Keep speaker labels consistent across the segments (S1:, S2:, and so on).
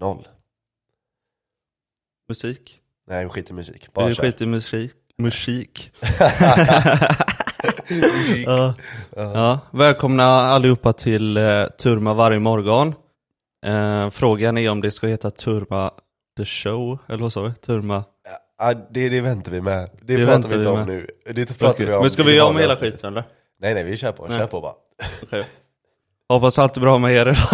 S1: 1-0.
S2: Musik.
S1: Nej, vi skiter i musik. Bara
S2: Vi
S1: kör.
S2: skiter i musik. Musik. ja. Ja. Välkomna allihopa till eh, Turma varje morgon. Eh, frågan är om det ska heta Turma the show, eller vad sa vi? Turma.
S1: Ja, det, det väntar vi med. Det,
S2: Det
S1: pratar
S2: väntar
S1: vi inte
S2: vi
S1: om
S2: med.
S1: nu. Det pratar vi om.
S2: Men ska
S1: i
S2: vi göra om
S1: vanliga
S2: hela
S1: avsnitt.
S2: skiten eller?
S1: Nej, nej, vi kör på. Kör på bara.
S2: Okej. Hoppas allt är bra med er idag.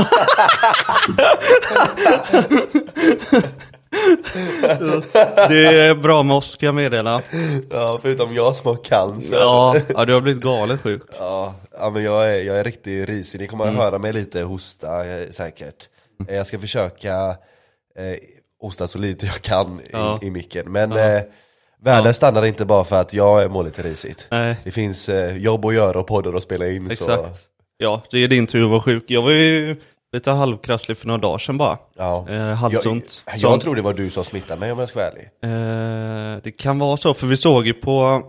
S2: Det är bra med oss ska jag meddela.
S1: Ja, förutom jag som har cancer.
S2: Ja, ja, du har blivit galet sjuk.
S1: Ja, ja, men jag är, jag är riktigt risig. Ni
S2: Mm.
S1: kommer att höra mig lite hosta eh, säkert. Eh, Jag ska försöka eh, hosta så lite jag kan i,
S2: Ja.
S1: i micken. Men eh, världen stannar inte bara för att jag mår lite risigt.
S2: Nej.
S1: Det finns eh, jobb att göra och poddar att spela in. Så,
S2: Exakt. Ja, det är din tur att vara sjuk. Jag var ju lite halvkrasslig för några dagar sedan bara.
S1: ja.
S2: Eh, halsont.
S1: Jag, jag
S2: Sånt.
S1: tror det var du som smittade mig om jag ska vara ärlig.
S2: Eh, det kan vara så, för vi såg ju på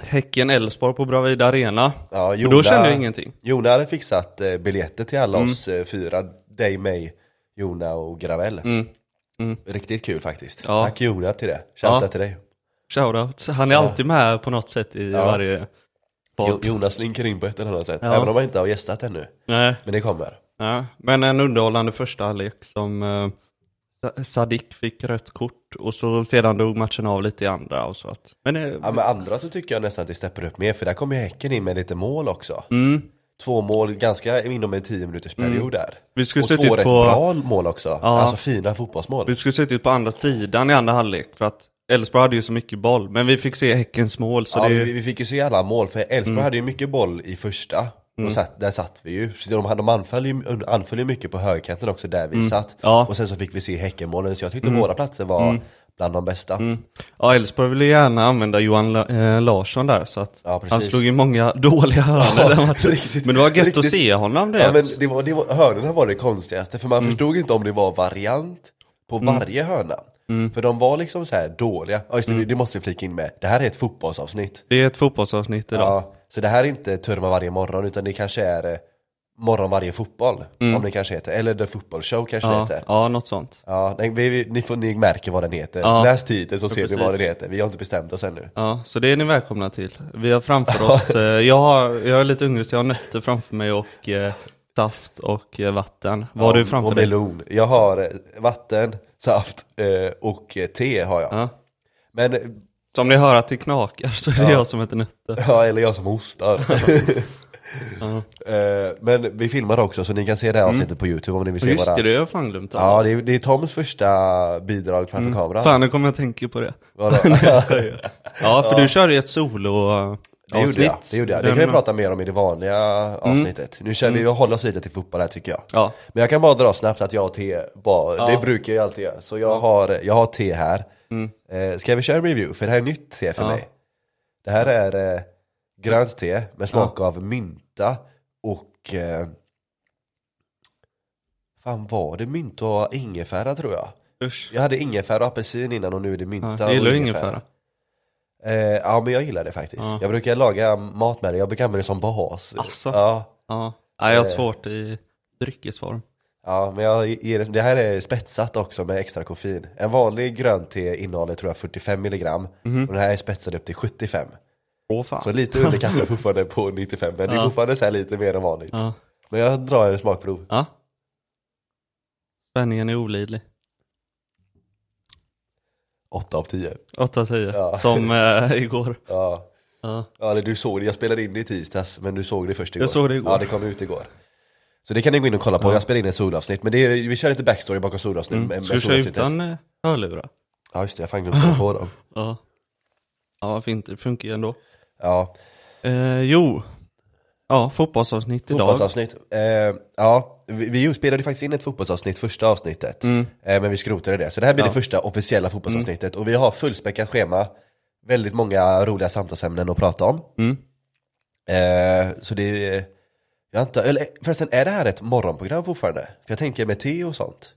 S2: Häcken-Elfsborg på Bravida Arena.
S1: Ja,
S2: Och då kände jag ingenting. Mm.
S1: Jona hade fixat eh, biljetter till alla oss eh, fyra. Dig, mig, Jona och Gravel. Riktigt kul faktiskt.
S2: Mm. Ja.
S1: Tack Jona till det. Shoutout
S2: Ja.
S1: till dig.
S2: Shoutout. Han är alltid med på något sätt i varje
S1: Jo,
S2: podd.
S1: Jonas slinker in på ett eller annat sätt. Även om han inte har gästat ännu.
S2: Nej.
S1: Men det kommer.
S2: Ja, men en underhållande första halvlek som eh, Sa- Sadik fick rött kort och så sedan dog matchen av lite i andra och så att. Men eh,
S1: Ja, men andra så tycker jag nästan att det steppar upp mer. För där kommer ju Häcken in med lite mål också.
S2: Mm.
S1: Två mål ganska inom en 10 minuters period där.
S2: Vi skulle
S1: och två
S2: suttit
S1: rätt
S2: på-
S1: bra mål också. Alltså fina fotbollsmål.
S2: vi skulle suttit på andra sidan i andra halvlek för att Elfsborg hade ju så mycket boll. Men vi fick se Häckens mål så
S1: Ja,
S2: det Mm.
S1: vi, vi fick ju se alla mål, för Elfsborg hade ju mycket boll i första. Och satt, där satt vi ju. Så De, hade- de anföll, ju, anföll ju mycket på högerkanten också, där vi satt.
S2: Mm. Ja. Mm.
S1: Och sen så fick vi se Häckenmålen, så jag tyckte våra platser var bland de bästa.
S2: Ja, Elfsborg ville gärna använda Johan La- eh, Larsson där så att
S1: Ja, precis.
S2: han slog ju många dåliga hörnor den matchen.
S1: riktigt,
S2: Men det var gött att
S1: riktigt.
S2: se honom det.
S1: Ja, men det var, det var, hörnorna var det konstigaste, för man
S2: Mm.
S1: förstod inte om det var variant på varje hörna.
S2: Mm.
S1: För de var liksom så här dåliga. Ja, just det, det måste vi flika in med. Det här är ett fotbollsavsnitt.
S2: Det är ett fotbollsavsnitt idag.
S1: Ja, så det här är inte Turma varje morgon utan det kanske är eh, Morgon varje fotboll, om det kanske heter. Eller The Football Show kanske det
S2: Mm. Ja,
S1: heter.
S2: ja, något sånt.
S1: Ja, nej, vi, vi, ni, får, ni märker vad den heter.
S2: Ja.
S1: Läs titeln så ser
S2: precis.
S1: ni vad den heter. Vi har inte bestämt oss ännu.
S2: Ja, så det är ni välkomna till. Vi har framför oss, eh, jag, har, jag är lite hungrig så jag har nötter framför mig och eh, saft och eh, vatten. Vad har
S1: Ja,
S2: du framför
S1: och
S2: dig?
S1: melon. Jag har eh, vatten, saft eh, och eh, te har jag.
S2: Ja.
S1: Men, eh,
S2: Som ni hör att det knakar så är det jag som heter nötter.
S1: ja, eller jag som hostar. Eh, Men vi filmar också så ni kan se det här avsnittet på YouTube om ni vill se
S2: Mm. Just
S1: våra...
S2: det, det har jag fan glömt. Ja.
S1: Ja, det är, det är Toms första bidrag framför kameran.
S2: Mm. Fan, nu kommer jag att tänka på det.
S1: Vadå?
S2: Ja, för du körde ju ett solo eh,
S1: Det gjorde, jag, det gjorde jag. Det kan vi
S2: Den- Mm.
S1: prata mer om i det vanliga avsnittet. Nu kör vi och håller oss lite till fotboll här tycker jag.
S2: Ja.
S1: Men jag kan bara dra snabbt att jag har te, bara, det brukar jag alltid göra. Så jag, har, jag har te här.
S2: Mm.
S1: Eh, ska vi köra en review? För det här är nytt te för mig. Det här är eh, grönt te med smak av mynta och... Eh, fan var det mynta och ingefära tror jag?
S2: Usch.
S1: Jag hade ingefära och apelsin innan och nu är det mynta
S2: Ja,
S1: och
S2: jag gillar ju ingefära.
S1: Eh, ja men jag gillar det faktiskt. Jag brukar laga mat med det, jag brukar använda det som bas.
S2: Asså?
S1: Ja,
S2: Ja. Nej, jag har
S1: Eh.
S2: svårt i dryckesform.
S1: ja, men jag ger det, det här är spetsat också med extra koffein. En vanlig grön te innehåller tror jag 45 milligram
S2: Mhm.
S1: och den här är spetsad upp till 75.
S2: Åh fan.
S1: Så lite under kaffe fortfarande på 95 men det är fortfarande så här lite mer än vanligt.
S2: Ja.
S1: Men jag drar en smakprov.
S2: ja. Spänningen är olidlig.
S1: 8 av 10.
S2: 8 av 10,
S1: Ja.
S2: som eh, igår.
S1: Ja.
S2: Ja.
S1: Ja, eller du såg det, jag spelade in det i tisdags men du såg det först igår.
S2: Jag såg det igår.
S1: Ja, det kom ut igår. Så det kan ni gå in och kolla på, jag spelade in ett solavsnitt. Men det är, vi kör lite backstory bakom solavsnitt. med- med
S2: Mm. Ska du köra
S1: solavsnittet.
S2: utan eh, hörlurar?
S1: Ja just det, jag fan glömde sätta på dem.
S2: Ja. Ja, varför inte? Det funkar ju ändå.
S1: Ja,
S2: Eh, jo. Ja, fotbollsavsnitt idag.
S1: fotbollsavsnitt. Eh, ja, vi, vi spelade ju faktiskt in ett fotbollsavsnitt första avsnittet. Eh, men vi skrotade det. Så det här blir det första officiella fotbollsavsnittet. Och vi har fullspäckat schema. Väldigt många roliga samtalsämnen att prata om.
S2: Mm.
S1: Eh, så det är... Jag antar, eller förresten, är det här ett morgonprogram fortfarande? För jag tänker med te och sånt.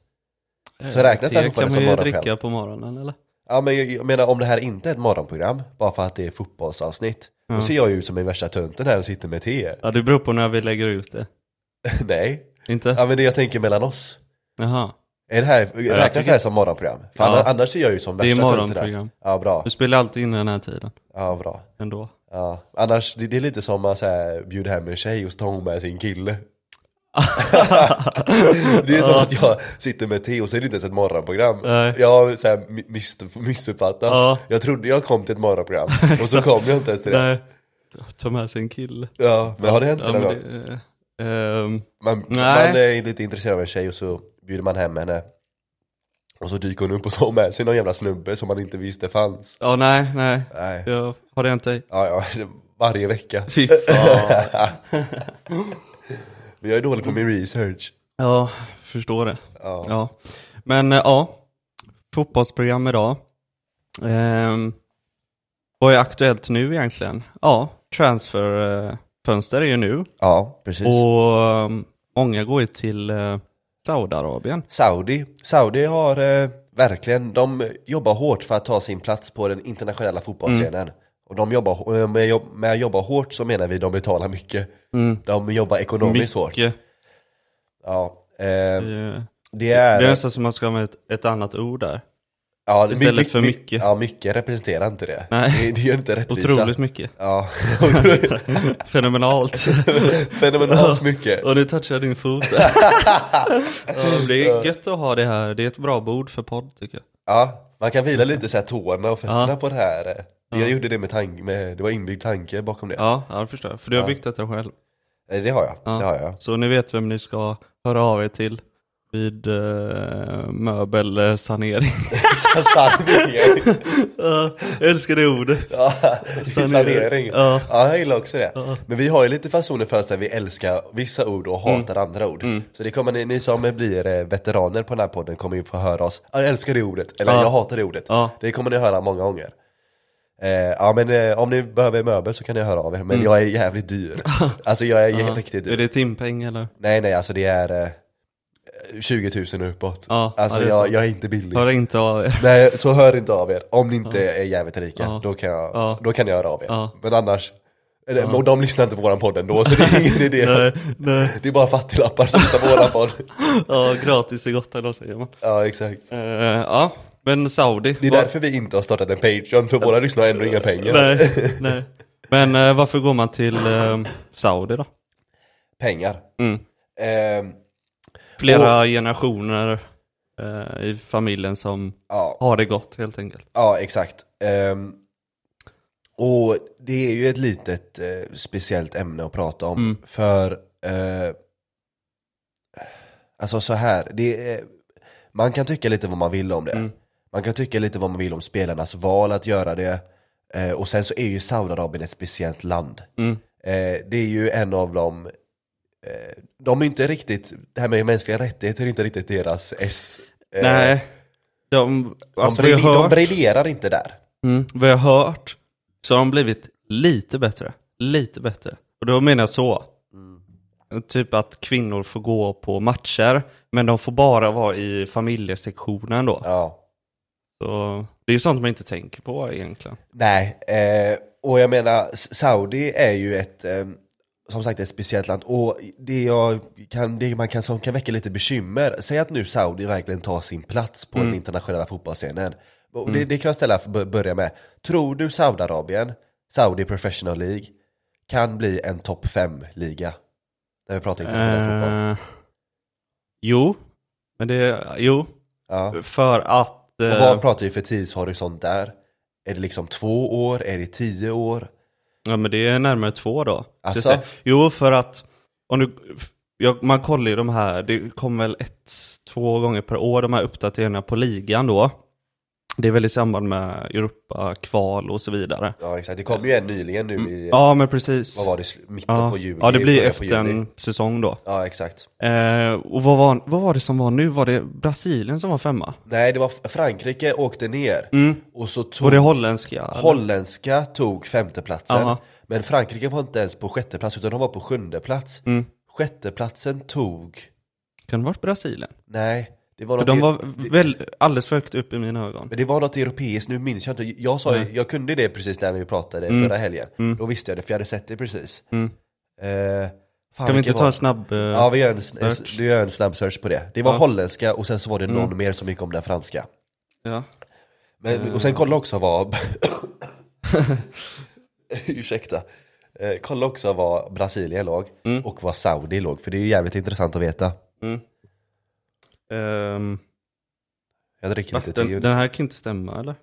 S1: Så räknas det här
S2: det Eh, kan
S1: fortfarande
S2: man
S1: som
S2: ju
S1: morgonprogram?
S2: dricka på morgonen eller?
S1: Ja men jag, jag menar om det här inte är ett morgonprogram, bara för att det är fotbollsavsnitt. Då ser jag ju ut som en värsta tönten här och sitter med te.
S2: Ja, det beror på när vi lägger ut det.
S1: Nej.
S2: Inte?
S1: Ja men det jag tänker mellan oss.
S2: Jaha.
S1: Är det här, räknas det
S2: tycker-
S1: här som morgonprogram? För
S2: Ja.
S1: annars, annars är jag ju som
S2: Det är
S1: värsta tunten där.
S2: morgonprogram.
S1: Ja, bra.
S2: Vi spelar alltid in den här tiden
S1: Ja, bra.
S2: ändå.
S1: Ja. Annars, det, det är lite som man så här, bjuder hem en tjej och så tar hon med sin kille. det är som att jag sitter med te och så är det inte ens ett morgonprogram.
S2: Nej.
S1: Jag har så här mi- misst- missuppfattat.
S2: Ja.
S1: Jag trodde jag kom till ett morgonprogram och så kom jag inte ens till det.
S2: Nej. Ta med sig en kille.
S1: Ja, men har det hänt
S2: Ja,
S1: någon
S2: men
S1: gång?
S2: det, eh, ehm,
S1: Man,
S2: Nej.
S1: man är lite intresserad av en tjej och så bjuder man hem henne Och så dyker hon upp och så har hon med sig någon jävla snubbe som man inte visste fanns
S2: ja, nej, nej.
S1: Nej, ja
S2: Jag har det inte.
S1: ja, varje vecka
S2: Fy fan.
S1: Men jag är dålig på min research
S2: Ja, förstår det.
S1: Ja,
S2: Ja. Men eh, ja, fotbollsprogram idag. Ehm, vad är aktuellt nu egentligen? Ja, transferfönster är ju nu
S1: ja precis
S2: och ehm, många går ju till eh, Saudiarabien.
S1: Saudi, Saudi har eh, verkligen, de jobbar hårt för att ta sin plats på den internationella fotbollsscenen
S2: Mm.
S1: Och de jobbar, eh, med, jobb- med jobba hårt så menar vi de betalar mycket
S2: Mm.
S1: De jobbar ekonomiskt hårt
S2: Mycket.
S1: Ja, eh,
S2: Eh,
S1: det är...
S2: Det är nästan som man ska ha med ett, ett annat ord där.
S1: Ja, det-
S2: Istället
S1: mycket-
S2: för
S1: mycket-
S2: mycket.
S1: Ja, mycket representerar inte det.
S2: Nej.
S1: Det, det gör inte rättvisa.
S2: Otroligt mycket.
S1: Ja, otroligt.
S2: Fenomenalt.
S1: Fenomenalt mycket.
S2: Och nu touchar jag din fot. ja, det är gött att ha det här. Det är ett bra bord för podd tycker jag.
S1: Ja, man kan vila lite så här tårna och fötterna
S2: Ja.
S1: på det här. eh. Jag gjorde det med tanke, med, det var inbyggd tanke bakom det.
S2: Ja, ja det förstår jag. För du har byggt detta själv.
S1: Eh, Det har jag,
S2: Ja.
S1: det har jag.
S2: Så ni vet vem ni ska höra av er till vid eh, möbelsanering.
S1: Sanering.
S2: Ja, jag älskar det ordet.
S1: Ja, sanering.
S2: Ja.
S1: Ja, jag gillar också det.
S2: Ja.
S1: Men vi har ju lite fasoner för oss där vi älskar vissa ord och hatar
S2: Mm.
S1: andra ord. Så det kommer ni, ni som blir eh, veteraner på den här podden kommer ju få höra oss, "Ja, jag älskar det ordet, eller
S2: Ja.
S1: jag hatar det ordet.
S2: Ja.
S1: Det kommer ni höra många gånger. Eh, ja men eh, om ni behöver möbel så kan ni höra av er, men jag är jävligt dyr. Alltså jag är
S2: Mm. Ja.
S1: riktigt dyr.
S2: Är det timpeng eller?
S1: Nej nej alltså det är eh, 20 000 uppåt.
S2: Ja,
S1: alltså
S2: ja, det är
S1: jag,
S2: så.
S1: jag är inte billig.
S2: Hör inte av er.
S1: Nej, så hör inte av er. Om ni inte är jävligt rika,
S2: Ja.
S1: då, kan jag,
S2: Ja.
S1: då kan jag höra av er.
S2: Ja.
S1: Men annars, eller, och de lyssnar inte på våran podd ändå, så det är ingen idé.
S2: Nej,
S1: att-
S2: nej.
S1: Det är bara fattiglappar som lyssnar på våran podd.
S2: Ja, gratis är gott eller vad säger man.
S1: Ja, exakt.
S2: Eh, ja, men Saudi.
S1: Det är därför vi inte har startat en Patreon, för våra lyssnare har ändå inga pengar.
S2: Nej, nej. Men eh, varför går man till eh, Saudi då?
S1: Pengar.
S2: Mm.
S1: Ehm,
S2: Flera generationer eh, i familjen som
S1: ja,
S2: har det gott helt enkelt.
S1: ja, exakt. Ehm, och det är ju ett litet eh, speciellt ämne att prata om.
S2: Mm.
S1: För, eh, alltså så här, det är, man kan tycka lite vad man vill om det.
S2: Mm.
S1: Man kan tycka lite vad man vill om spelarnas val att göra det. Eh, och sen så är ju Saudiarabien ett speciellt land.
S2: Mm.
S1: Eh, det är ju en av de eh, de är inte riktigt, det här med mänskliga rättigheter är inte riktigt deras S. Eh,
S2: Nej, de,
S1: de,
S2: alltså, vi
S1: brilj-
S2: har
S1: de
S2: hört-
S1: briljerar inte där.
S2: Mm, vad jag har hört så har de blivit lite bättre. Lite bättre. Och då menar jag så.
S1: Mm.
S2: Typ att kvinnor får gå på matcher, men de får bara vara i familjesektionen då.
S1: Ja.
S2: Så det är sånt man inte tänker på egentligen.
S1: Nej, eh, och jag menar, S- Saudi är ju ett, eh, som sagt, ett speciellt land. Och det, jag kan, det man kan, som kan väcka lite bekymmer, säg att nu Saudi verkligen tar sin plats på den internationella fotbollsscenen. Och det, det kan jag ställa, b- börja med. Tror du Saudiarabien, Saudi Professional League, kan bli en topp 5-liga? När vi pratar internationell fotboll.
S2: Eh, jo, men det, jo,
S1: Ja.
S2: för att...
S1: Och
S2: eh,
S1: vad pratar vi för tidshorisont där? Är det liksom två år? Är det tio år?
S2: Ja men det är närmare två då.
S1: Asså?
S2: Det är så- Jo för att, om du, f- ja, man kollar ju de här, det kommer väl ett, två gånger per år de här uppdateringarna på ligan då. Det är väl i samband med Europa-kval och så vidare.
S1: Ja exakt, det kom ju en nyligen nu i...
S2: Ja men precis.
S1: vad var det, sl- mitten
S2: Ja,
S1: på juli?
S2: ja det blir
S1: början på
S2: efter
S1: juli.
S2: en säsong då.
S1: Ja exakt.
S2: Eh, och vad var, vad var det som var nu? Var det Brasilien som var femma?
S1: Nej det var F- Frankrike åkte ner
S2: Mm.
S1: och så tog
S2: Var det holländska? eller?
S1: holländska tog femteplatsen.
S2: Aha.
S1: Men Frankrike var inte ens på sjätte plats utan de var på sjunde plats.
S2: Mm.
S1: Sjätteplatsen tog,
S2: Kan det ha varit Brasilien?
S1: nej, det var
S2: För
S1: något,
S2: de
S1: e-
S2: var väl alldeles för högt upp i mina ögon.
S1: men det var något europeiskt, nu minns jag inte. Jag, sa, ju- jag kunde
S2: Mm.
S1: det precis när vi pratade förra helgen. Då visste jag det för jag hade sett det precis. Eh, Fan,
S2: Kan vi inte
S1: vilken
S2: ta
S1: var-
S2: en snabb... eh,
S1: Ja vi gör en, en,
S2: search?
S1: du gör en snabb search på det. Det var
S2: Ja. Mm.
S1: holländska och sen så var det någon mer som gick om den franska.
S2: ja. Eh.
S1: Men, och sen kolla också vad... Ursäkta. Eh, kolla också vad Brasilien låg
S2: Mm.
S1: och vad Saudi låg, för det är ju jävligt intressant att veta.
S2: Ehm,
S1: Jag dricker
S2: va?
S1: lite te
S2: den,
S1: under
S2: den här kan inte stämma eller?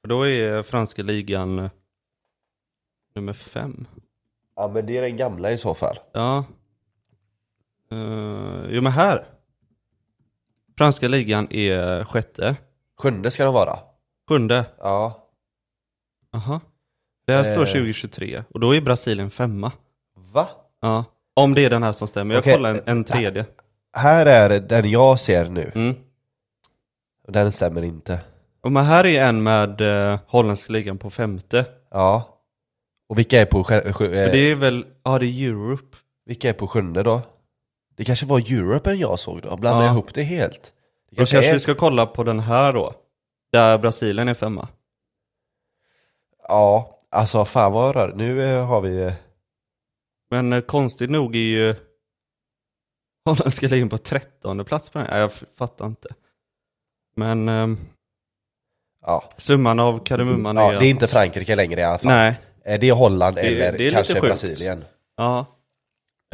S2: För då är franska ligan eh, nummer fem.
S1: Ja men det är den gamla i så fall.
S2: Ja. Uh, jo men här. Franska ligan är sjätte.
S1: Sjunde ska den vara.
S2: Sjunde.
S1: Ja.
S2: Aha. Det här står
S1: Eh.
S2: 2023 och då är Brasilien femma.
S1: Va?
S2: Ja. Om det är den här som stämmer. Jag
S1: Okej.
S2: kollar en, en tredje.
S1: Här är den jag ser nu.
S2: Mm.
S1: Den stämmer inte.
S2: Och men här är en med uh, holländska ligan på femte.
S1: Eh. Ja. Och vilka är på, sj- sj- eh,
S2: Men det är väl, ja det är Europe.
S1: vilka är på sjunde då? Det kanske var Europen jag såg då? Blandade
S2: Ja.
S1: jag ihop det helt? Det
S2: Då
S1: kanske
S2: kanske
S1: är...
S2: vi ska kolla på den här då. Där Brasilien är femma.
S1: Ja, alltså fan vad rör. Nu eh, har vi... eh,
S2: Men eh, konstigt nog är ju holländska ligan på trettonde plats på den här. Jag f- fattar inte. Men ehm,
S1: Ja.
S2: summan av kardemumman
S1: Ja,
S2: är
S1: det är inte
S2: att-
S1: Frankrike längre i alla fall.
S2: Nej.
S1: Eh, Det är Holland
S2: är-
S1: eller
S2: det är lite
S1: kanske
S2: sjukt.
S1: Brasilien.
S2: Ja.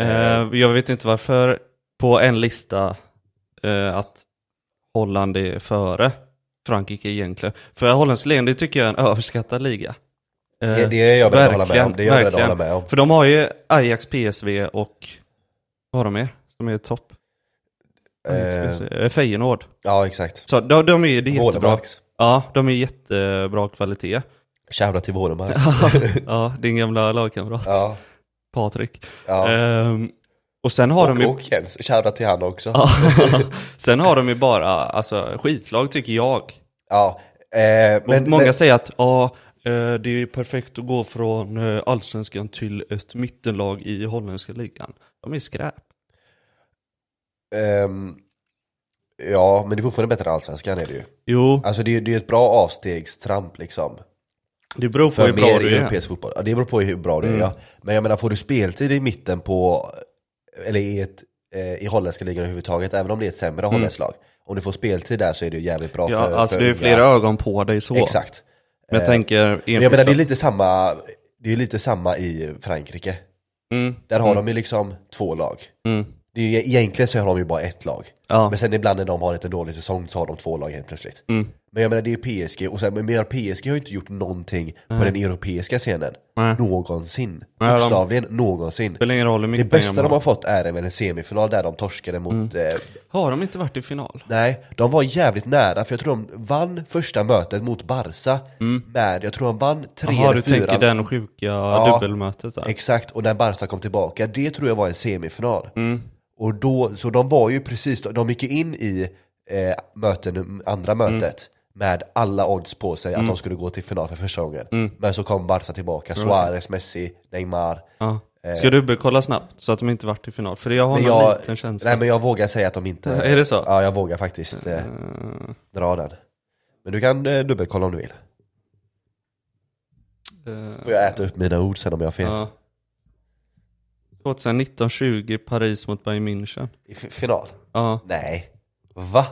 S2: Eh, jag vet inte varför på en lista eh, att Holland är före Frankrike egentligen. För holländska ligan, det tycker jag är en överskattad liga. Eh,
S1: Det, det är jag beredd att hålla med om. Det är jag beredd att
S2: verkligen.
S1: hålla med om.
S2: För de har ju Ajax, PSV och vad har de mer som är topp? Ajax,
S1: Eh,
S2: PSV, eh, Feyenoord.
S1: ja, exakt.
S2: Så de, de är, det är jättebra.
S1: Wålemarks.
S2: Ja, de är jättebra kvalitet.
S1: Shoutout till Wålemark.
S2: ja, din gamla lagkamrat
S1: ja,
S2: Patrik.
S1: ja.
S2: Ehm, och sen har de
S1: och,
S2: ju...
S1: och Jens. Shoutout till han också.
S2: Ja. sen har de ju bara alltså, skitlag tycker jag.
S1: Ja. Eh,
S2: Och
S1: men,
S2: många
S1: men,
S2: säger att ja, eh, det är perfekt att gå från eh, allsvenskan till ett mittenlag i holländska ligan. De är skräp.
S1: ehm, ja, men det är fortfarande bättre än allsvenskan är det ju.
S2: Jo,
S1: Alltså det är, det är ett bra avstegstramp liksom.
S2: det beror på
S1: För
S2: hur bra
S1: mer
S2: du är.
S1: europeisk fotboll. Ja, det beror på hur bra
S2: Mm.
S1: du är. Ja. Men jag menar, får du speltid i mitten på, eller i, ett, eh, i holländska ligan överhuvudtaget, även om det är ett sämre holländskt lag. Om du får speltid där så är det ju jävligt bra
S2: Mm. Ja,
S1: för
S2: alltså
S1: för
S2: det är ju
S1: unga.
S2: flera ögon på dig så.
S1: Exakt.
S2: Men jag tänker enskilt.
S1: Men jag menar, det är lite samma, det är lite samma i Frankrike.
S2: mm,
S1: Där har de ju liksom två lag.
S2: mm,
S1: Det är ju, e-, egentligen så har de ju bara ett lag.
S2: ja.
S1: Men sen ibland när de har lite dålig säsong så har de två lag helt plötsligt.
S2: Mm.
S1: Men jag menar det är PSG, och sen, men jag menar, PSG har ju inte gjort någonting på den europeiska scenen.
S2: Nej.
S1: Någonsin.
S2: Nej, de-
S1: Bokstavligen någonsin.
S2: Spelar ingen roll Mm. hur
S1: Det
S2: mycket
S1: bästa
S2: pengar
S1: de
S2: man
S1: har fått är även en semifinal där de torskade mot... Eh,
S2: har. Har de inte varit i final?
S1: nej, de var jävligt nära för jag tror de vann första mötet mot Barca med, jag tror de vann 3
S2: Mm. Jaha,
S1: eller
S2: du
S1: 4.
S2: tänker den sjuka dubbelmötet där.
S1: Exakt, och när Barca kom tillbaka, det tror jag var en semifinal.
S2: Mm.
S1: Och då, så de var ju precis, de gick ju in i eh, möten, andra
S2: Mm.
S1: mötet med alla odds på sig att de skulle gå till final för första gången.
S2: Mm.
S1: Men så kom Barca tillbaka, Suarez, Messi, Neymar.
S2: Ja. Ska du dubbelkolla snabbt så att de inte varit i final? För jag har
S1: eh. Men
S2: en
S1: jag,
S2: liten känsla.
S1: nej men jag vågar säga att de inte...
S2: Är det så?
S1: Ja, jag vågar faktiskt eh,
S2: Mm.
S1: dra den. Men du kan eh, dubbelkolla om du vill.
S2: Eh,
S1: Får jag äta upp mina ord sen om jag har fel.
S2: ja. 2019-20 Paris mot Bayern München.
S1: I f- final?
S2: Ja.
S1: Nej. Va?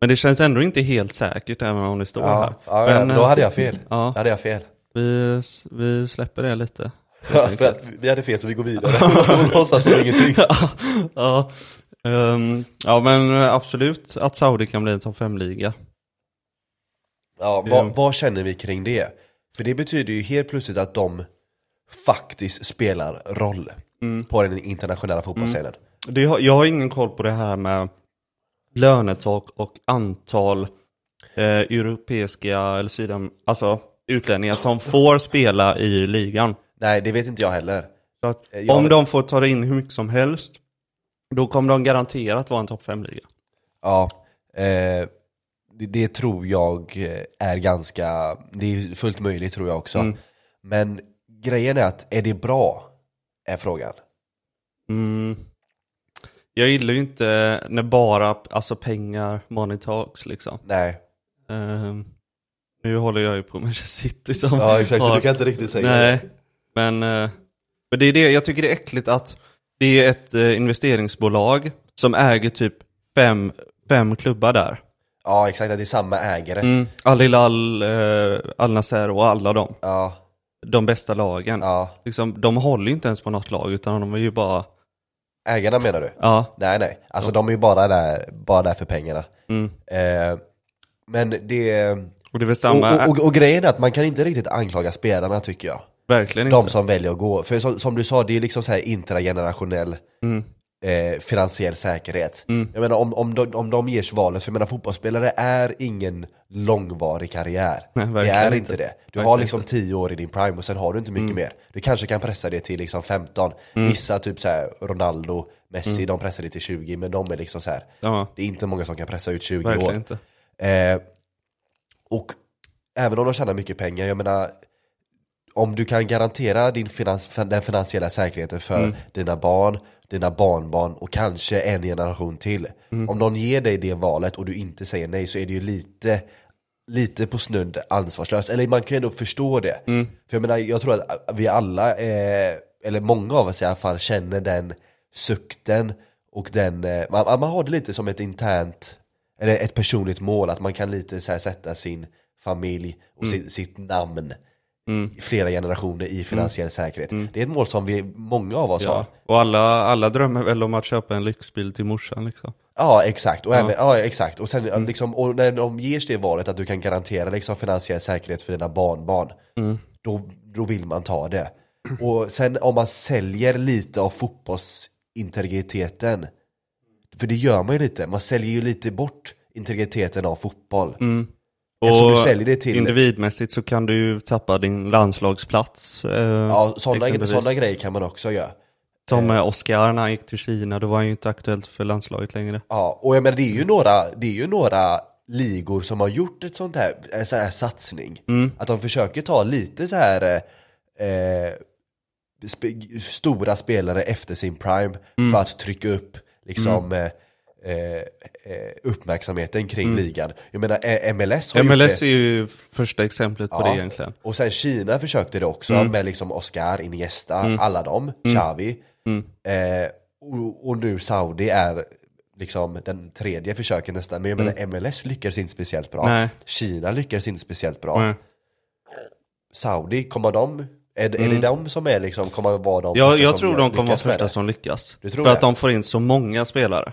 S2: Men det känns ändå inte helt säkert även om det står
S1: Ja,
S2: här.
S1: ja,
S2: Men,
S1: då
S2: eh,
S1: hade jag fel.
S2: Ja,
S1: Då hade jag fel.
S2: vi, vi släpper det lite.
S1: Ja, för att vi hade fel så vi går vidare och låtsas som ingenting.
S2: ja. Ehm, ja men eh, absolut att Saudi kan bli en topp 5-liga.
S1: Ja, vad, vad känner vi kring det? För det betyder ju helt plötsligt att de faktiskt spelar roll på den internationella fotbollsscenen.
S2: Det har, jag har ingen koll på det här med lönetak och antal eh, europeiska eller sydam, alltså utlänningar som får spela i ligan.
S1: Nej, det vet inte jag heller.
S2: Så att
S1: Eh, jag
S2: om
S1: vet-
S2: de får ta in hur mycket som helst, då kommer de garanterat vara en topp 5-liga.
S1: Ja, eh, det, det tror jag eh, är ganska, det är fullt möjligt tror jag också. Men grejen är att, är det bra? Är frågan.
S2: Mm. Jag gillar ju inte när bara alltså pengar, money talks liksom.
S1: Nej.
S2: Ehm, nu håller jag ju på Manchester City som
S1: Ja exakt, så
S2: har-
S1: du kan inte riktigt säga
S2: Nej, Men, eh, men det är det, jag tycker det är äckligt att det är ett eh, investeringsbolag som äger typ fem, fem klubbar där.
S1: Ja exakt, att det är samma ägare.
S2: Mm. Al-Hilal, eh, Al-Nassr och alla de.
S1: Ja,
S2: De bästa lagen.
S1: ja.
S2: Liksom, de håller ju inte ens på något lag utan de är ju bara,
S1: Ägarna menar du?
S2: ja,
S1: Nej nej, alltså de är ju bara där, bara där för pengarna.
S2: mm.
S1: Eh, men det...
S2: och det är väl
S1: Och,
S2: samma,
S1: och, och, och grejen är att man kan inte riktigt anklaga spelarna tycker jag.
S2: verkligen
S1: De
S2: inte.
S1: som väljer att gå. För som, som du sa, det är liksom så här intragenerationell
S2: Mm.
S1: eh, finansiell säkerhet.
S2: Mm.
S1: Jag menar om, om, de, om de ges valet, för jag menar fotbollsspelare är ingen långvarig karriär.
S2: Nej,
S1: det
S2: verkligen
S1: är
S2: inte. Mm.
S1: inte det. Du
S2: Verkligen
S1: har liksom 10 år i din prime och sen har du inte mycket mer. Du kanske kan pressa det till liksom 15.
S2: Mm.
S1: Vissa, typ så här, Ronaldo, Messi, de pressar det till 20, men de är liksom så här.
S2: Ja,
S1: Det är inte många som kan pressa ut 20
S2: verkligen
S1: år.
S2: inte.
S1: Eh, och även om de tjänar mycket pengar, jag menar om du kan garantera din finans, den finansiella säkerheten för dina barn, dina barnbarn och kanske en generation till. Om någon ger dig det valet och du inte säger nej så är det ju lite Lite på snudd ansvarslöst, eller man kan ju ändå förstå det. För jag menar, jag tror att vi alla, eh, eller många av oss i alla fall, känner den sukten och den, eh, man, man har det lite som ett internt eller ett personligt mål, att man kan lite så här sätta sin familj och si- sitt namn i flera generationer i finansiell säkerhet. Det är ett mål som vi, många av oss har.
S2: Ja. Och alla, alla drömmer väl om att köpa en lyxbil till morsan liksom.
S1: Ja, exakt. Och, Även, ja, exakt. och, sen, liksom, och när de ger det valet att du kan garantera liksom, finansiell säkerhet för dina barnbarn, då, då vill man ta det. Och sen om man säljer lite av fotbollsintegriteten, för det gör man ju lite, man säljer ju lite bort integriteten av fotboll. Eftersom du säljer det till-
S2: Individmässigt så kan du ju tappa din landslagsplats. Eh,
S1: Ja, sådana,
S2: exempelvis.
S1: sådana grejer kan man också göra.
S2: Som eh, Oscar när han gick till Kina, då var han ju inte aktuellt för landslaget längre.
S1: Ja, och jag menar det är ju några, det är ju några ligor som har gjort ett sånt här, en sån här satsning. Att de försöker ta lite så här eh, eh, sp- stora spelare efter sin prime för att trycka upp liksom eh, eh, eh, uppmärksamheten kring ligan. Jag menar eh, MLS har gjort
S2: MLS
S1: det.
S2: är ju första exemplet på det
S1: Ja.
S2: egentligen. Mm.
S1: Och sen Kina försökte det också med liksom Oscar, Iniesta, alla dem, Xavi.
S2: Mm.
S1: Eh, och, och nu Saudi är liksom den tredje försöken nästan. Men jag menar MLS lyckades inte speciellt bra.
S2: Mm. Nej.
S1: Kina lyckades inte speciellt bra.
S2: Nej.
S1: Saudi, kommer de, är, är det de som är liksom, kommer vara de
S2: Mm. Jag,
S1: första
S2: jag
S1: som
S2: tror
S1: gör-
S2: de kommer vara
S1: lyckas med
S2: första
S1: det?
S2: som lyckas.
S1: Du tror
S2: för
S1: det?
S2: att de får in så många spelare.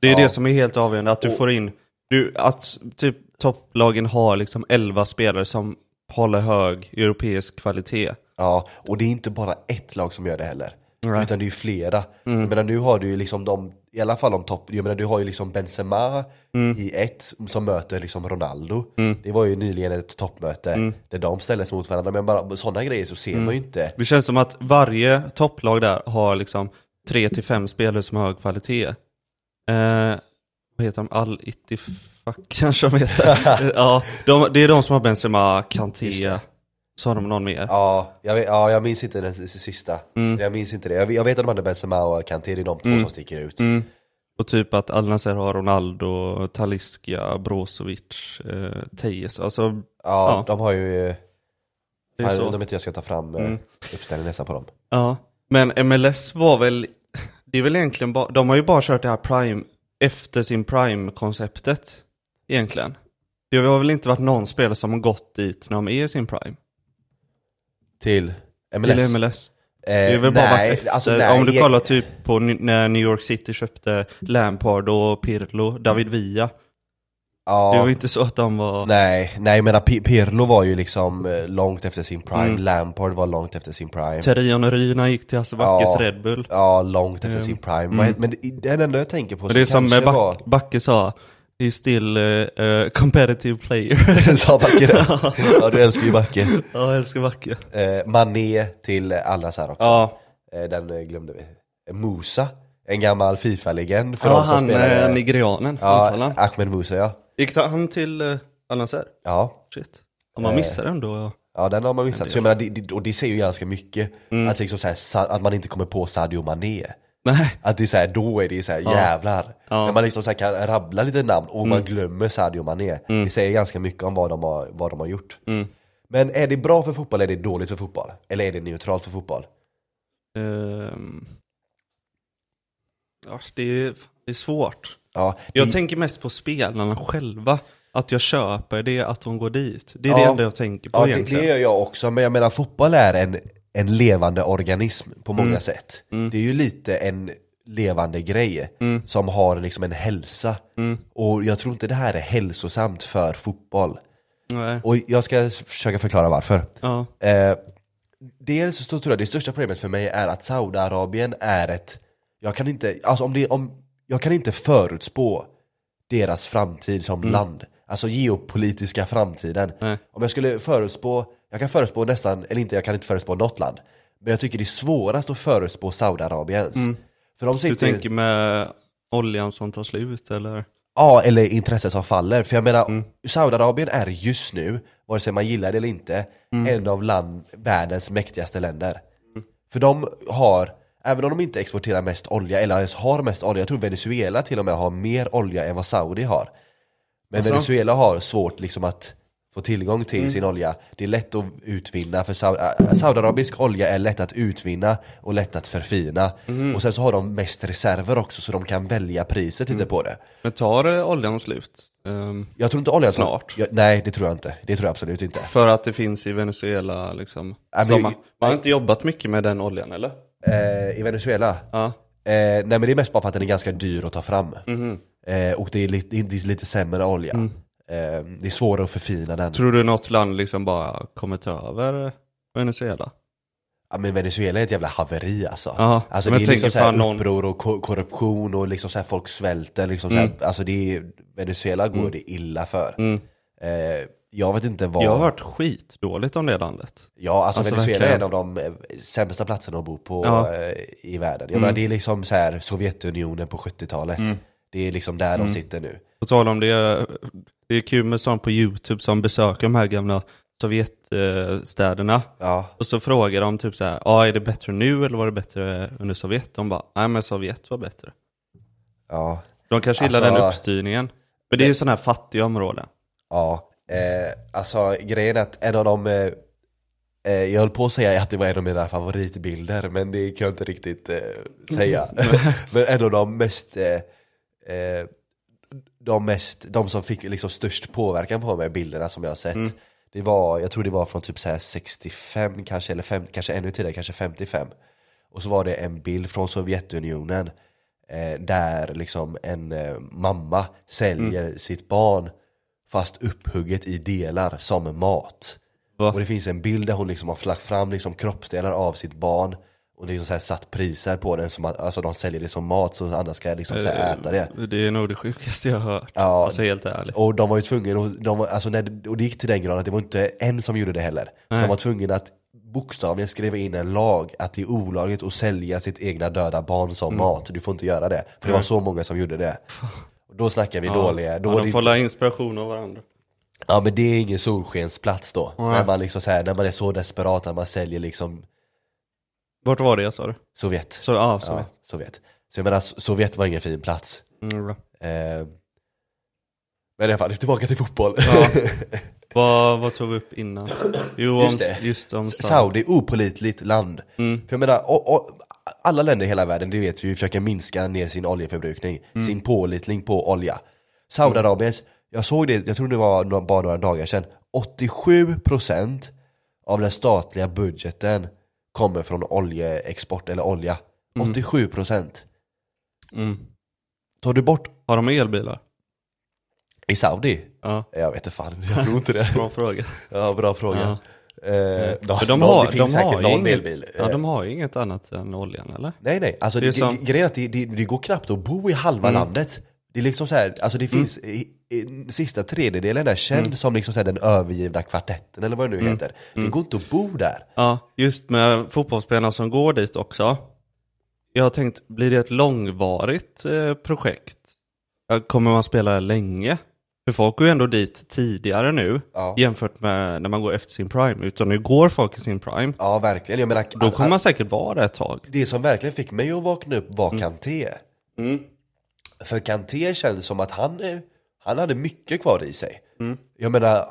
S2: Det är
S1: Ja.
S2: det som är helt avgörande, att du
S1: Och-
S2: får in, du, att typ topplagen har liksom 11 spelare som håller hög europeisk kvalitet.
S1: Ja, och det är inte bara ett lag som gör det heller.
S2: Nej.
S1: Utan det är ju flera. Jag menar nu har du ju liksom de, i alla fall de topp, jag menar du har ju liksom Benzema
S2: Mm.
S1: i ett som möter liksom Ronaldo. Det var ju nyligen ett toppmöte
S2: Mm.
S1: där de ställdes mot varandra. Men bara sådana grejer så ser man ju inte.
S2: Det känns som att varje topplag där har liksom 3-5 spelare som har hög kvalitet. Eh, vad heter de? Al-Ittifaq kanske de heter. ja, de, det är de som har Benzema, Kanté, så har de någon mer.
S1: Ja, jag, vet- ja, jag minns inte den s- sista.
S2: Mm.
S1: Jag minns inte det. Jag, vet- jag vet att de hade Benzema och Kanté, det är de två som sticker ut.
S2: Och typ att Al Nassr har Ronaldo, Talisca, Brozovic, eh, Tejes. Alltså,
S1: Ja,
S2: Ja.
S1: de har ju...
S2: det är
S1: Nej,
S2: så.
S1: Om inte jag ska ta fram mm. uppställningen nästan på dem.
S2: Ja. Men MLS var väl, det är väl egentligen bara, de har ju bara kört det här prime, efter sin prime-konceptet. Egentligen. Det har väl inte varit någon spelare som har gått dit när de är i sin prime.
S1: Till MLS.
S2: Till MLS. Det är väl bara varit
S1: Eh, nej,
S2: efter,
S1: alltså, nej,
S2: om du
S1: jag-
S2: kollar typ på n- när New York City köpte Lampard och Pirlo, David Villa.
S1: ja.
S2: Det var ju inte så att de var...
S1: Nej, nej men Pi- Pirlo var ju liksom eh, långt efter sin prime,
S2: Mm.
S1: Lampard var långt efter sin prime.
S2: Terry Henry när han gick till Hasse Backes
S1: Ja.
S2: Red Bull.
S1: Ja, långt efter sin prime. Vad heter- Men det- den enda jag tänker på
S2: Och Mm. det är som
S1: kanske
S2: Back,
S1: var...
S2: Backe sa, he's still eh, eh, competitive player.
S1: Sa Backe det? Ja, du älskar ju Backe.
S2: ja, jag älskar Backe.
S1: Eh, Mané till alla så här också.
S2: Ja,
S1: Eh, den eh, glömde vi. Eh, Musa, en gammal Fifa-legend för
S2: ja
S1: de som
S2: han
S1: spelar.
S2: eh, nigerianen,
S1: ja,
S2: anfallaren.
S1: Ahmed Musa ja.
S2: Gick han till eh, Al Nassr?
S1: Ja,
S2: Shit. Om
S1: Eh.
S2: man missar den då, ja. Mm.
S1: Ja den har man missat. Så jag menar, det, det, och det säger ju ganska mycket. Att, liksom så här, Sa- att man inte kommer på Sadio Mané.
S2: Nej.
S1: Att det är så här, då är det så här, jävlar.
S2: Ja. Mm.
S1: När man liksom så här kan rabbla
S2: Mm.
S1: lite namn och man glömmer Sadio Mané. Det säger ganska mycket om vad de har, vad de har gjort. Men är det bra för fotboll eller är det dåligt för fotboll? Eller är det neutralt för fotboll?
S2: Ehm. Ja, det, är, det är svårt.
S1: Ja,
S2: Jag
S1: det-
S2: tänker mest på spelarna själva. Att jag köper det, att de går dit. Det är det
S1: Ja.
S2: enda jag tänker på
S1: ja det,
S2: egentligen.
S1: det gör jag också, men jag menar fotboll är en, en levande organism på många
S2: Mm.
S1: sätt. Det är ju lite en levande grej
S2: Mm.
S1: som har liksom en hälsa. Och jag tror inte det här är hälsosamt för fotboll.
S2: Nej.
S1: Och jag ska försöka förklara varför.
S2: Ja.
S1: Eh, dels så tror jag det största problemet för mig är att Saudiarabien är ett... Jag kan inte, alltså om det, om, jag kan inte förutspå deras framtid som land. Alltså geopolitiska framtiden.
S2: Mm. Nej.
S1: Om jag skulle förutspå, jag kan förutspå nästan, eller inte, jag kan inte förutspå något land. Men jag tycker det är svårast att förutspå Saudiarabiens. För de
S2: Mm. Du
S1: sitter,
S2: tänker med oljan som tar slut eller?
S1: Ja, eller intresset som faller. För jag menar, Saudiarabien är just nu, vare sig man gillar det eller inte, en av land, världens mäktigaste länder. För de har, även om de inte exporterar mest olja, eller ens har mest olja, jag tror Venezuela till och med har mer olja än vad Saudi har. Men
S2: Alltså?
S1: Venezuela har svårt liksom att få tillgång till sin olja. Det är lätt att utvinna, för Sau- äh, saudiarabisk olja är lätt att utvinna och lätt att förfina. Och sen så har de mest reserver också, så de kan välja priset lite på det.
S2: Men tar eh, oljan slut? Ehm,
S1: Jag tror inte oljan
S2: Snart.
S1: Jag, nej, det tror jag inte. Det tror jag absolut inte.
S2: för att det finns i Venezuela liksom.
S1: Äh, men-
S2: som, man, man har inte jobbat mycket med den oljan eller?
S1: Eh, I Venezuela?
S2: Ja.
S1: Eh, nej men det är mest bara för att den är ganska dyr att ta fram. Eh, och det är, lite, det är lite sämre olja. Eh, det är svårare att förfina den.
S2: Mm. Tror du något land liksom bara kommer ta över Venezuela?
S1: Ja, men Venezuela är ett jävla haveri alltså.
S2: Ja,
S1: alltså
S2: men
S1: det är
S2: jag
S1: liksom
S2: tänker
S1: så här
S2: fan någon-
S1: uppror och ko- korruption och liksom så här folk svälter. Liksom
S2: Mm.
S1: så här, alltså det är, Venezuela går det illa för. Eh, jag vet inte vad...
S2: Jag har hört skitdåligt om det landet.
S1: Ja, alltså,
S2: Alltså,
S1: Venezuela är en
S2: verkligen.
S1: av de eh, sämsta platserna att bo på
S2: Ja. Mm.
S1: eh, i världen. Jag menar, det är liksom så här Sovjetunionen på 70-talet. Det är liksom där
S2: Mm.
S1: de sitter nu.
S2: På tal om det, det är kul med sånt på YouTube som besöker de här gamla Sovjetstäderna.
S1: Ja,
S2: Och så frågar de typ så här, ah, är det bättre nu eller var det bättre under Sovjet? De bara, nej men Sovjet var bättre.
S1: ja,
S2: De kanske gillar
S1: Alltså-
S2: den uppstyrningen. Men det är ju sådana här fattiga områden.
S1: ja. Eh, alltså grejen är att en av de, eh, eh, jag höll på att säga att det var en av mina favoritbilder, men det kan jag inte riktigt eh, säga. men en av de mest, eh, eh, de mest, de som fick liksom störst påverkan på mig, bilderna som jag har sett. Det var, jag tror det var från typ så här 65 kanske, eller fem, kanske ännu tidigare, kanske 55. Och så var det en bild från Sovjetunionen eh, där liksom en eh, mamma säljer sitt barn fast upphugget i delar som mat.
S2: Va?
S1: Och det finns en bild där hon liksom har lagt fram liksom kroppsdelar av sitt barn och liksom så här satt priser på den, som att, alltså de säljer det som mat så andra ska liksom så
S2: Eh,
S1: här äta det.
S2: Det är nog det sjukaste jag har hört.
S1: Ja.
S2: Alltså helt ärligt.
S1: Och de var ju tvungna, och de, var- alltså när, det- och det gick till den graden att det var inte en som gjorde det heller. Så de var tvungna att bokstavligen skriva in en lag att det är olagligt att sälja sitt egna döda barn
S2: Mm.
S1: som mat. Du får inte göra det. För det var så många som gjorde det. Och då snackar vi dåliga. Då
S2: ja,
S1: är det
S2: de
S1: inte-
S2: får la inspiration av varandra.
S1: Ja men det är ingen solskensplats då. När, man liksom så här, när man är så desperat att man säljer liksom
S2: Vart var det jag sa det?
S1: Sovjet.
S2: Så, ja, så.
S1: ja, Sovjet. Så jag menar, So- Sovjet var ingen fin plats.
S2: Mm, bra.
S1: Eh, men i alla fall, tillbaka till fotboll.
S2: Vad, vad tog vi upp innan? Jo, om,
S1: Just det.
S2: just om Saudi.
S1: Saudi, opolitligt land.
S2: Mm.
S1: För jag menar, o- o- alla länder i hela världen, det vet vi ju, försöker minska ner sin oljeförbrukning,
S2: Mm.
S1: sin pålitling på olja. Saudiarabiens, jag såg det, jag tror det var nå- bara några dagar sedan, 87% av den statliga budgeten kommer från oljeexport eller olja. 87%.
S2: Mm.
S1: Tar du bort
S2: Har de elbilar?
S1: i Saudi?
S2: Ja,
S1: Jag vet inte fan, jag tror inte det.
S2: bra fråga.
S1: Ja, bra fråga. Eh,
S2: Mm. För
S1: någon-
S2: de har,
S1: det finns
S2: de har
S1: säkert
S2: ju
S1: någon
S2: inget,
S1: elbil.
S2: Ja,
S1: Eh,
S2: de har ju inget annat än oljan, eller?
S1: Nej nej, alltså
S2: Det
S1: det
S2: är som-
S1: grejen är Mm. att det, det, det går knappt att bo i halva landet. Det är liksom så här, alltså det finns, i, i, sista tredjedelen är känd som liksom så här den övergivna kvartetten eller vad det nu heter. Det går inte att bo där.
S2: Ja, just med fotbollsspelarna som går dit också. Jag har tänkt, blir det ett långvarigt eh, projekt? Ja, Kommer man spela där länge? För folk går ju ändå dit tidigare nu
S1: Ja.
S2: jämfört med när man går efter sin prime. Utan nu går folk i sin prime.
S1: Ja verkligen, jag menar,
S2: Då
S1: alltså,
S2: kommer man säkert vara där ett tag.
S1: det som verkligen fick mig att vakna upp var Kanté. För Kanté kändes som att han, eh, han hade mycket kvar i sig. Jag menar,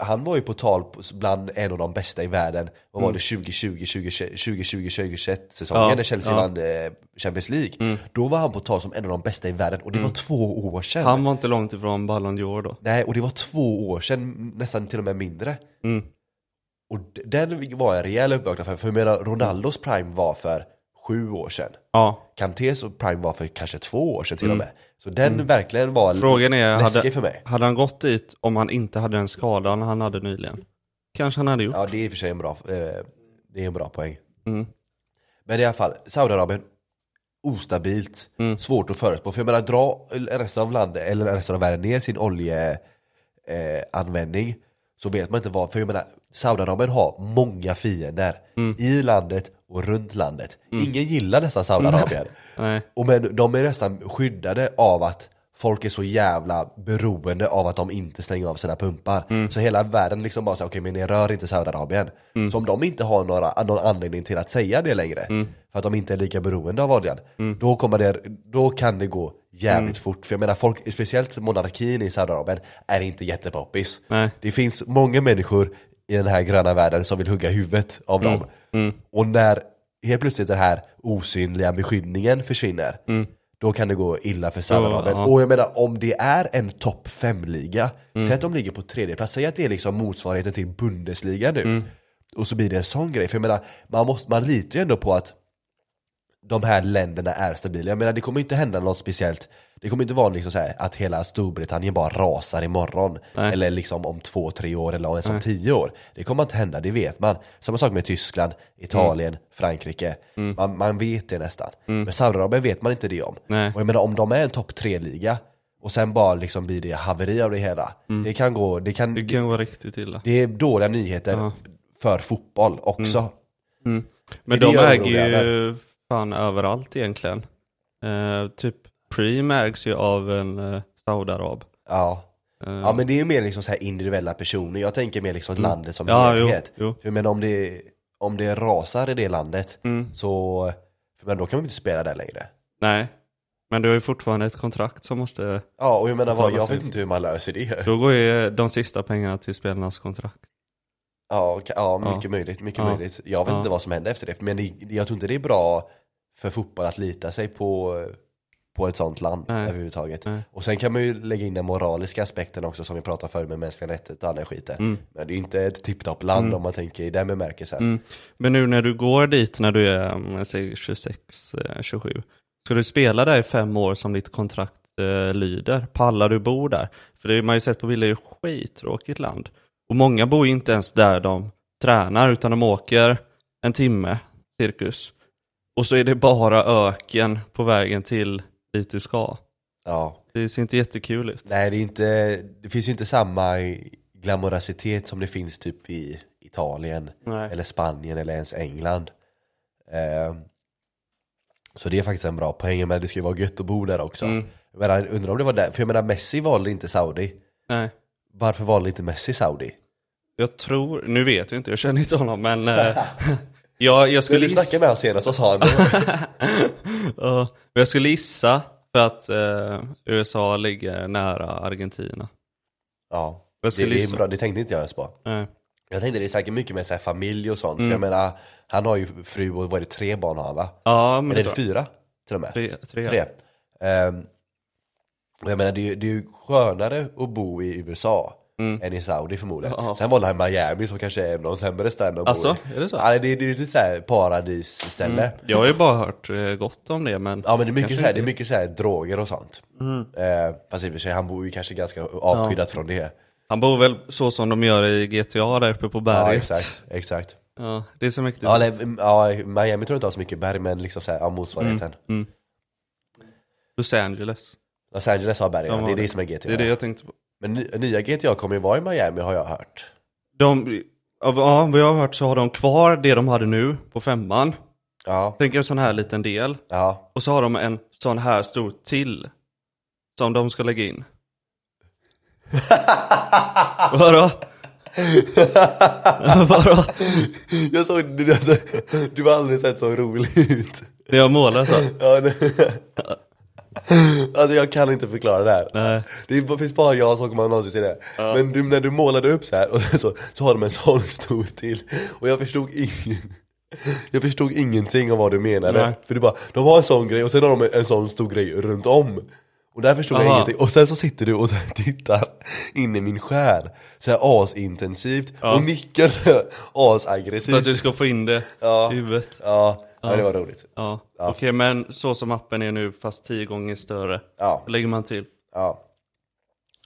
S1: han var ju på tal bland en av de bästa i världen. Vad var det 2020, 2020, 2021 säsongen
S2: Ja,
S1: när Chelsea
S2: ja.
S1: vann eh, Champions League. Då var han på tal som en av de bästa i världen och det var två år sedan.
S2: Han var inte långt ifrån Ballon d'Or då.
S1: Nej, och det var två år sedan, nästan till och med mindre.
S2: Mm.
S1: Och d- den var en rejäl uppvaknande för, för jag menar, Ronaldos prime var för sju år sedan.
S2: Ja,
S1: Kantés prime var för kanske två år sedan till och med. Så den verkligen var
S2: Frågan är,
S1: läskig
S2: hade,
S1: för mig.
S2: hade han gått dit om han inte hade den skadan han hade nyligen? Kanske han hade gjort.
S1: Ja, det är i och för sig en bra, eh, det är en bra poäng.
S2: Mm.
S1: Men i alla fall, Saudiarabien, ostabilt, svårt att förutspå. För jag menar, dra resten av landet, eller resten av världen ner sin oljeanvändning eh, användning, så vet man inte vad. För jag menar, Saudiarabien har många fiender i landet och runt landet. Ingen gillar nästan Saudiarabien.
S2: Nej.
S1: Och men de är nästan skyddade av att folk är så jävla beroende av att de inte stänger av sina pumpar.
S2: Mm.
S1: Så hela världen liksom bara säger okej men ni rör inte Saudiarabien.
S2: Mm.
S1: Så om de inte har några, någon anledning till att säga det längre, för att de inte är lika beroende av oljan,
S2: Mm.
S1: då, kommer det, då kan det gå jävligt fort. För jag menar folk, speciellt monarkin i Saudiarabien, är inte jättepoppis.
S2: Nej.
S1: Det finns många människor i den här gröna världen som vill hugga huvudet av
S2: Mm.
S1: dem. Och när helt plötsligt den här osynliga beskyddningen försvinner, då kan det gå illa för Saudiarabien.
S2: Mm. ja.
S1: Och jag menar, om det är en topp 5-liga,
S2: Mm.
S1: säg att de ligger på tredje plats, säg att det är liksom motsvarigheten till Bundesliga nu.
S2: Mm.
S1: Och så blir det en sån grej. För jag menar, man, måste, man litar ju ändå på att de här länderna är stabila. Jag menar det kommer inte hända något speciellt. Det kommer inte vara liksom så här att hela Storbritannien bara rasar imorgon.
S2: Nej.
S1: Eller liksom om två, tre år eller ens om tio år. Det kommer inte hända, det vet man. Samma sak med Tyskland, Italien,
S2: Mm.
S1: Frankrike. Man, man vet det nästan. Men Saudiarabien vet man inte det om.
S2: Nej.
S1: Och jag menar om de är en topp tre-liga och sen bara liksom blir det haveri av det hela. Det kan gå, det kan,
S2: Mm. Det kan vara riktigt illa.
S1: det är dåliga nyheter för fotboll också.
S2: Mm. Men
S1: det
S2: de
S1: gör
S2: äger
S1: oroliga
S2: ju fan överallt egentligen. Eh, typ Preem ägs ju av en uh, saudarab.
S1: Ja.
S2: Eh,
S1: Ja men det är ju mer liksom så här individuella personer, jag tänker mer liksom landet som
S2: Mm. Ja,
S1: helhet.
S2: jo, jo.
S1: För jag menar om det, om det rasar i det landet
S2: Mm.
S1: så, för men då kan man inte spela där längre.
S2: Nej, men du har ju fortfarande ett kontrakt som måste...
S1: Ja och jag menar vad,
S2: Betala
S1: jag
S2: sig
S1: vet inte hur man löser det.
S2: Då går ju de sista pengarna till spelarnas kontrakt.
S1: Ja, och- ja
S2: Ja.
S1: mycket möjligt, mycket
S2: Ja.
S1: möjligt. Jag vet
S2: Ja.
S1: inte vad som händer efter det, men det- jag tror inte det är bra för fotboll att lita sig på, på ett sånt land
S2: Nej.
S1: överhuvudtaget.
S2: Nej.
S1: Och sen kan man ju lägga in den moraliska aspekten också som vi pratade förut med mänskliga rättigheter och all den skiten. Men det är ju inte ett tipptopp land om man tänker i den bemärkelsen.
S2: Mm. Men nu när du går dit när du är mm, jag säger 26, eh, 27, ska du spela där i fem år som ditt kontrakt eh, lyder? Pallar du bo där? För det har man ju sett på bilder, det är ett skittråkigt land. Och många bor ju inte ens där de tränar, utan de åker en timme, cirkus. Och så är det bara öken på vägen till dit du ska.
S1: Ja.
S2: Det ser inte jättekul ut.
S1: Nej, det, är inte, det finns ju inte samma glamorositet som det finns typ i Italien,
S2: Nej.
S1: eller Spanien eller ens England. Eh, så det är faktiskt en bra poäng, men det ska ju vara gött att bo där också.
S2: Mm.
S1: Jag menar, undrar om det var där, för jag menar Messi valde inte Saudi.
S2: Nej.
S1: Varför valde inte Messi Saudi?
S2: Jag tror, nu vet jag inte, jag känner inte honom, men eh, jag, jag skulle
S1: Du snackade med honom senast, vad sa han?
S2: Ja, men jag skulle gissa för att eh, USA ligger nära Argentina.
S1: ja,
S2: Jag
S1: det,
S2: skulle
S1: det, är
S2: gissa.
S1: bra, det tänkte inte jag ens på.
S2: Nej.
S1: Jag tänkte det är säkert mycket med så här familj och sånt, för
S2: Mm.
S1: jag menar, han har ju fru och vad är det, tre barn har han va?
S2: Ja, men det
S1: Eller
S2: är
S1: är det
S2: bra.
S1: fyra till och med?
S2: Tre, tre.
S1: tre. Ehm, och jag menar det är, ju- det är ju skönare att bo i USA än i Saudi förmodligen.
S2: Mm. Ja.
S1: Sen valde han Miami som kanske är någon sämre ställe att
S2: Alltså,
S1: bo i.
S2: är det så?
S1: Ja, det, är- det är ju lite såhär paradisställe.
S2: Jag har ju bara hört eh, gott om det, Mm. men
S1: Ja men det är mycket,
S2: Kanske
S1: såhär, det
S2: inte.
S1: är mycket såhär droger och sånt. Eh, fast i och för sig, han bor ju kanske ganska avskyddat från det.
S2: han bor väl så som de gör i GTA där uppe på berget.
S1: Ja exakt, exakt.
S2: Ja, det är så mäktigt.
S1: Ja, eller, ja, Miami tror jag inte har så mycket berg men liksom såhär, ja, motsvarigheten.
S2: Mm, Los Angeles.
S1: Los Angeles har berg,
S2: De
S1: ja. det
S2: har
S1: är det som är GTA.
S2: Det är det jag tänkte på.
S1: Men ny- nya GTA kommer ju vara i Miami har jag hört.
S2: De, av ja, vad jag har hört så har de kvar det de hade nu på femman.
S1: Ja,
S2: Tänk en sån här liten del.
S1: ja.
S2: Och så har de en sån här stor till. Som de ska lägga in. Vadå? Vadå?
S1: Jag såg du, alltså, du har aldrig sett så rolig ut.
S2: När jag målar så.
S1: Ja, det, Alltså jag kan inte förklara det här.
S2: Nej.
S1: Det är- finns bara jag som kommer någonsin se det. Men du, när du målade upp så här, och så, så har de en sån stor till. Och jag förstod ingen. Jag förstod ingenting av vad du menade.
S2: Nej.
S1: För du bara, de har en sån grej och sen har de en sån stor grej runt om. Och där förstod jag
S2: Aha.
S1: ingenting. Och sen så sitter du och så här tittar in i min själ. Så här asintensivt. Och nickar så här
S2: För att du
S1: asaggressivt.
S2: ska få in det
S1: Ja.
S2: i huvudet.
S1: Ja, ja, det var roligt.
S2: Ja. Okej, men så som appen är nu, fast tio gånger större,
S1: Ja.
S2: lägger man till.
S1: Ja.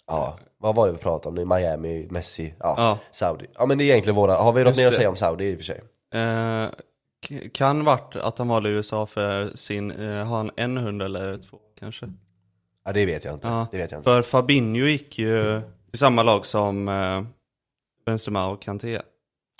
S1: Ja, vad var det vi pratade om nu? Miami, Messi, ja,
S2: Ja.
S1: Saudi. Ja men det är egentligen våra, har vi något mer att
S2: det.
S1: säga om Saudi i och för sig?
S2: Eh, k- kan vart att han valde USA för sin, eh, har han en hund eller två kanske?
S1: Ja det vet jag inte,
S2: Ja.
S1: det vet jag inte.
S2: För Fabinho gick ju till samma lag som eh, Benzema och Kanté.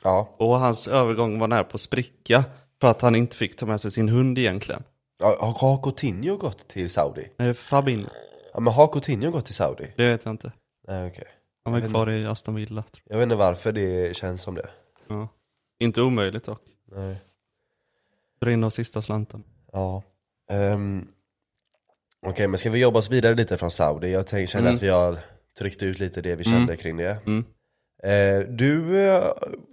S1: Ja.
S2: Och hans övergång var nära på att spricka för att han inte fick ta med sig sin hund egentligen.
S1: Ja, Har har Coutinho gått till Saudi?
S2: Nej, Fabinho,
S1: Ja men har Coutinho gått till Saudi?
S2: det vet jag inte.
S1: Nej okej.
S2: Han var kvar i Aston Villa. Tror
S1: Jag vet inte varför det känns som det.
S2: jag. Ja. Inte omöjligt dock.
S1: Nej.
S2: Dra in de sista slanten.
S1: Ja. Ehm, Okej men ska vi jobba oss vidare lite från Saudi? Jag tänk, känner
S2: Mm.
S1: att vi har tryckt ut lite det vi kände kring det.
S2: Mm.
S1: Eh, du eh,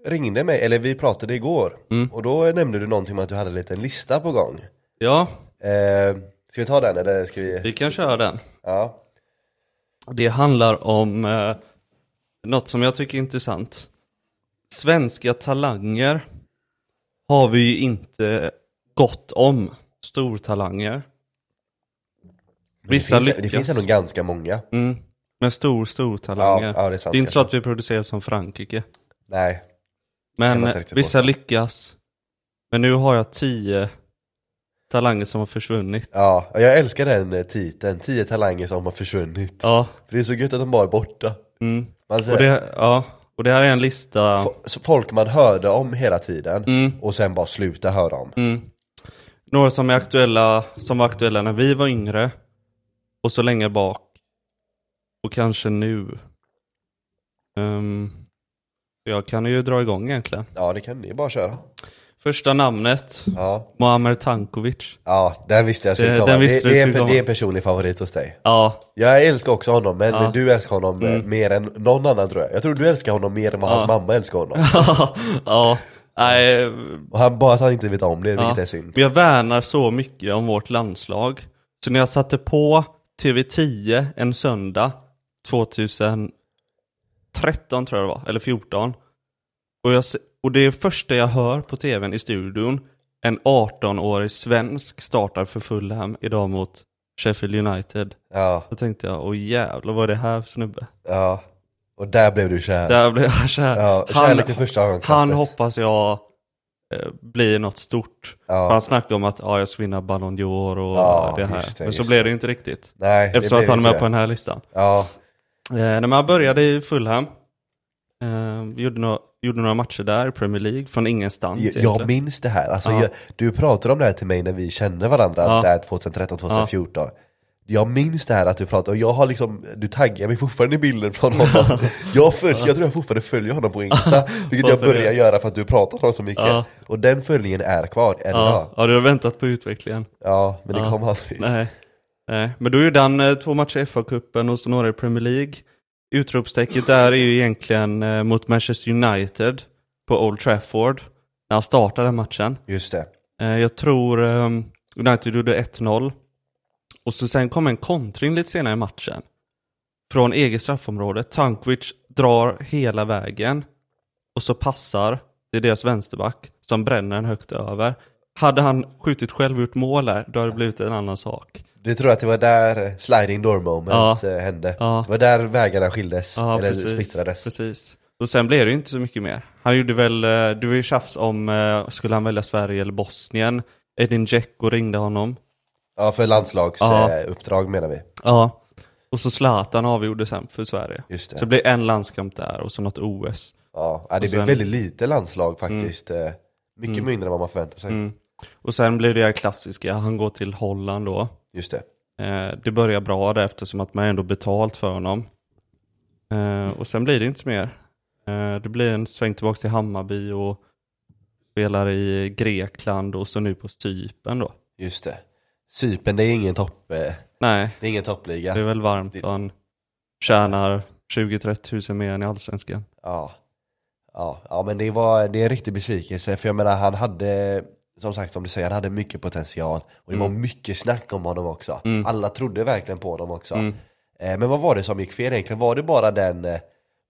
S1: ringde mig, eller vi pratade igår,
S2: Mm.
S1: och då nämnde du någonting om att du hade en liten lista på gång.
S2: Ja,
S1: Eh, ska vi ta den eller ska vi?
S2: vi kan köra den.
S1: Ja.
S2: Det handlar om eh, något som jag tycker är intressant. Svenska talanger har vi ju inte gott om. Stortalanger. Vissa
S1: det, finns, det
S2: lyckas.
S1: finns ändå ganska många.
S2: Mm. Men stor, stor
S1: Ja,
S2: talanger.
S1: ja, det är sant.
S2: det är inte så
S1: kanske.
S2: att vi producerar som Frankrike.
S1: Nej, Kan man
S2: Men
S1: inte riktigt
S2: vissa
S1: påstå.
S2: lyckas. Men nu har jag tio talanger som har försvunnit.
S1: ja, jag älskar den eh, titeln, 10 talanger som har försvunnit.
S2: Ja,
S1: För det är så gött att de bara är borta.
S2: mm.
S1: Man,
S2: och, det, ja. och det här är en lista.
S1: Folk man hörde om hela tiden
S2: Mm.
S1: och sen bara sluta höra om.
S2: Mm. Några som är aktuella, som var aktuella när vi var yngre och så länge bak och kanske nu. Ehm, jag kan ju dra igång egentligen.
S1: Ja, det kan ni bara köra.
S2: Första namnet,
S1: Ja,
S2: Muamer Tankovic.
S1: ja den visste jag skulle
S2: Det-
S1: komma.
S2: den visste
S1: det,
S2: du
S1: det, är, en-
S2: skulle komma.
S1: det är en personlig favorit hos dig.
S2: Ja,
S1: Jag älskar också honom, men
S2: Ja. Mm.
S1: du älskar honom eh, mer än någon annan tror jag. Jag tror du älskar honom mer än vad hans mamma älskar honom.
S2: ja, nej,
S1: Och han, bara att han inte vet om det,
S2: ja.
S1: vilket är synd.
S2: Men jag värnar så mycket om vårt landslag. Så när jag satte på TV10 en söndag 2013 tror jag det var, eller 14. Och, jag, se- och det första jag hör på TVn i studion, en 18-årig svensk startar för Fulham idag mot Sheffield United.
S1: Ja,
S2: Då tänkte jag, åh jävlar vad är det här för snubbe?
S1: ja. Och där blev du kär.
S2: Där blev jag kär.
S1: Ja, kärlek vid första ögonkastet.
S2: Han hoppas jag eh, blir något stort.
S1: Ja.
S2: För Han snackade om att ja, jag ska vinna Ballon d'Or och
S1: Ja,
S2: det här.
S1: just det,
S2: men så
S1: just
S2: blev det inte riktigt.
S1: Nej, det
S2: Eftersom
S1: blev
S2: att han är
S1: inte
S2: med
S1: det.
S2: på den här listan.
S1: Ja,
S2: Eh, när man började i Fulham, eh, gjorde, några, gjorde några matcher där i Premier League från ingenstans.
S1: jag, jag
S2: egentligen.
S1: minns det här. Alltså,
S2: Ja.
S1: jag, du pratade om det här till mig när vi kände varandra
S2: Ja.
S1: där 2013, 2014. Jag minns det här att du pratade, och jag har liksom, du taggar mig fortfarande i bilden från honom. jag, följ, jag tror jag fortfarande följer honom på Insta, vilket jag
S2: Varför det?
S1: börjar göra för att du pratar om honom så mycket.
S2: Ja.
S1: Och den följningen är kvar än idag.
S2: ja, ja, du har väntat på utvecklingen.
S1: Ja, men det
S2: Ja.
S1: kom aldrig.
S2: Nej. Nej. Men då gjorde han eh, två matcher i FA-cupen och så några i Premier League. Utropstecket där är ju egentligen eh, mot Manchester United på Old Trafford. När han startade den matchen.
S1: Just det.
S2: Eh, jag tror eh, United gjorde 1-0. Och så sen kom en kontring lite senare i matchen. Från eget straffområde. Tankovic drar hela vägen. Och så passar till deras vänsterback som bränner den högt över. Hade han skjutit själv och gjort mål där, då hade det blivit en annan sak.
S1: Du tror att det var där eh, sliding door moment
S2: Ja.
S1: eh, hände?
S2: Ja,
S1: Det var där vägarna skildes,
S2: ja
S1: eller
S2: precis.
S1: splittrades.
S2: Precis. Och sen blev det ju inte så mycket mer. Han gjorde väl, eh, det var ju tjafs om, eh, skulle han välja Sverige eller Bosnien? Edin Dzeko ringde honom.
S1: Ja, för
S2: Ja.
S1: landslagsuppdrag menar vi.
S2: Ja. Och så Zlatan avgjorde sen för Sverige.
S1: Just det.
S2: Så det blev en landskamp där och så något OS.
S1: Ja, ja, det
S2: Och
S1: blev
S2: sen- Mm.
S1: väldigt lite landslag faktiskt. eh, Mycket mindre än vad man förväntar sig.
S2: Och sen blev det här klassiska, han går till Holland då.
S1: Just det.
S2: Eh, det börjar bra där eftersom att man ändå betalt för honom. Eh, och sen blir det inte mer. Eh, det blir en sväng tillbaka till Hammarby och spelar i Grekland och så nu på Cypern då.
S1: Just det. Cypern, det är ingen topp... eh,
S2: Nej,
S1: Det är ingen toppliga.
S2: det är väl varmt och han tjänar 20-30 tusen mer än i Allsvenskan.
S1: Ja. Ja, ja men det, var, det är en riktig besvikelse för jag menar han hade som sagt som du säger, han hade mycket potential och det
S2: Mm.
S1: var mycket snack om honom också. Alla trodde verkligen på honom också.
S2: Mm.
S1: Eh, men vad var det som gick fel egentligen? Var det bara den eh,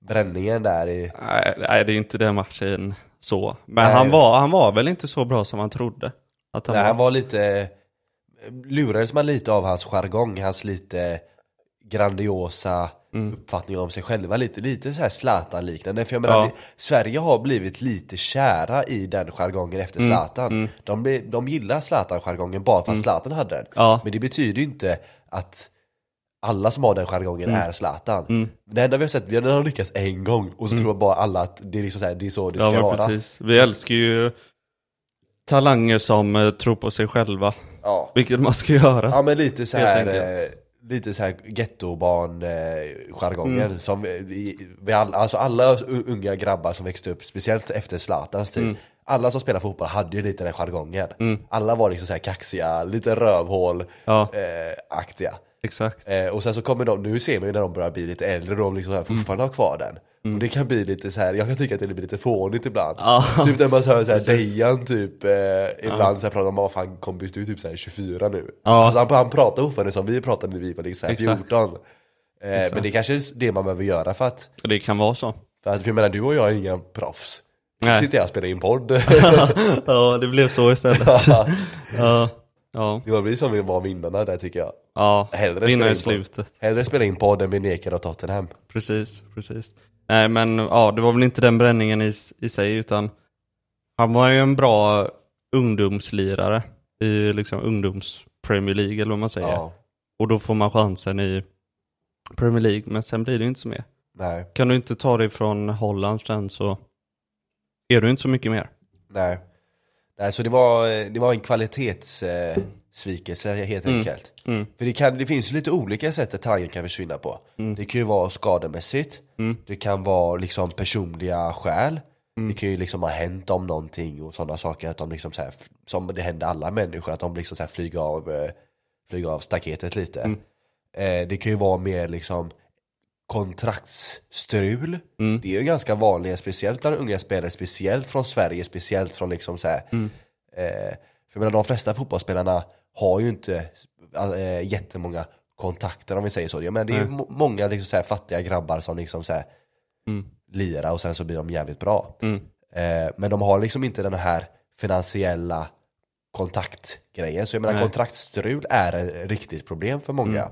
S1: bränningen där i...
S2: Nej, nej, det är inte den matchen så. Men
S1: Nej.
S2: han var, han var väl inte så bra som man trodde. Att han
S1: Nej,
S2: var.
S1: han var lite... Lurades man lite av hans jargong, hans lite grandiosa
S2: Mm.
S1: uppfattning om sig själva. Lite, lite så här Zlatan-liknande. För jag menar,
S2: Ja.
S1: det, Sverige har blivit lite kära i den jargongen efter
S2: Mm.
S1: Zlatan. De, blir- de gillar Zlatan-jargongen bara för att Zlatan hade den.
S2: Ja.
S1: Men det betyder ju inte att alla som har den jargongen
S2: Mm.
S1: är Zlatan. Det enda vi har sett, vi har- den har lyckats en gång och så tror bara alla att det är, liksom så, här, det, är så det
S2: Mm. Ja,
S1: ska
S2: men
S1: vara.
S2: precis. Vi älskar ju talanger som eh, tror på sig själva.
S1: Ja.
S2: Vilket man ska göra.
S1: Ja men lite så
S2: Helt
S1: här,
S2: enkelt.
S1: eh, lite så här gettobarn eh, jargongen
S2: Mm.
S1: som vi, vi all, alltså alla u- unga grabbar som växte upp, speciellt efter Zlatans tid
S2: Mm.
S1: Alla som spelar fotboll hade ju lite den jargongen Alla var liksom så här kaxiga, lite eh,
S2: Ja.
S1: rövhål-aktiga
S2: Exakt.
S1: eh, Och sen så kommer de, nu ser man ju när de börjar bli lite äldre, de liksom så här
S2: Mm.
S1: fortfarande har kvar den Och det kan bli lite så här, jag kan tycka att det blir lite fånigt ibland
S2: Ja.
S1: Typ när man hör såhär Dejan typ, eh, ibland så här pratar man om "Ah, fan kompis du är typ såhär 24 nu
S2: Ja.
S1: alltså, han, han pratar fortfarande som vi pratade när vi var liksom så här
S2: Exakt.
S1: 14 eh, Men det kanske är det man behöver göra för att,
S2: Och Det kan vara så.
S1: för att för jag menar du och jag är inga proffs Nu
S2: Nej.
S1: sitter jag och spelar in podd,
S2: ja, det blev så istället. ja. Ja.
S1: det var vi som vi var vinnarna där tycker jag
S2: ja.
S1: Hellre
S2: Vinna i
S1: spela in podd.
S2: slutet.
S1: Hellre spela in podd än vi nekar av Tottenham
S2: Precis, precis. Nej men ja, det var väl inte den bränningen i, i sig utan han var ju en bra ungdomslirare i liksom ungdoms Premier League eller vad man säger.
S1: Ja,
S2: Och då får man chansen i Premier League men sen blir det ju inte så mer.
S1: nej,
S2: Kan du inte ta dig från Holland sen så är du inte så mycket mer.
S1: nej Nej så det var, eh, det var en kvalitetssvikelse eh, svikelse, helt enkelt
S2: Mm.
S1: För det, kan, det finns ju lite olika sätt att talangen kan försvinna på. Det kan ju vara skademässigt,
S2: Mm.
S1: det kan vara liksom personliga skäl. Det kan ju liksom ha hänt om någonting och sådana saker att de liksom så här, som det händer alla människor, att de liksom så här flyger av, eh, flyger av staketet lite.
S2: Mm.
S1: Eh, det kan ju vara mer liksom kontraktsstrul. Det är ju ganska vanligt, speciellt bland unga spelare, speciellt från Sverige, speciellt från liksom så här, Eh, för jag menar, de flesta fotbollsspelarna har ju inte eh, jättemånga kontakter om vi säger så. Jag menar, det är ju må- många liksom, så här, fattiga grabbar som liksom så här, lirar och sen så blir de jävligt bra. Eh, men de har liksom inte den här finansiella kontaktgrejen. Så jag menar kontraktstrul är ett riktigt problem för många.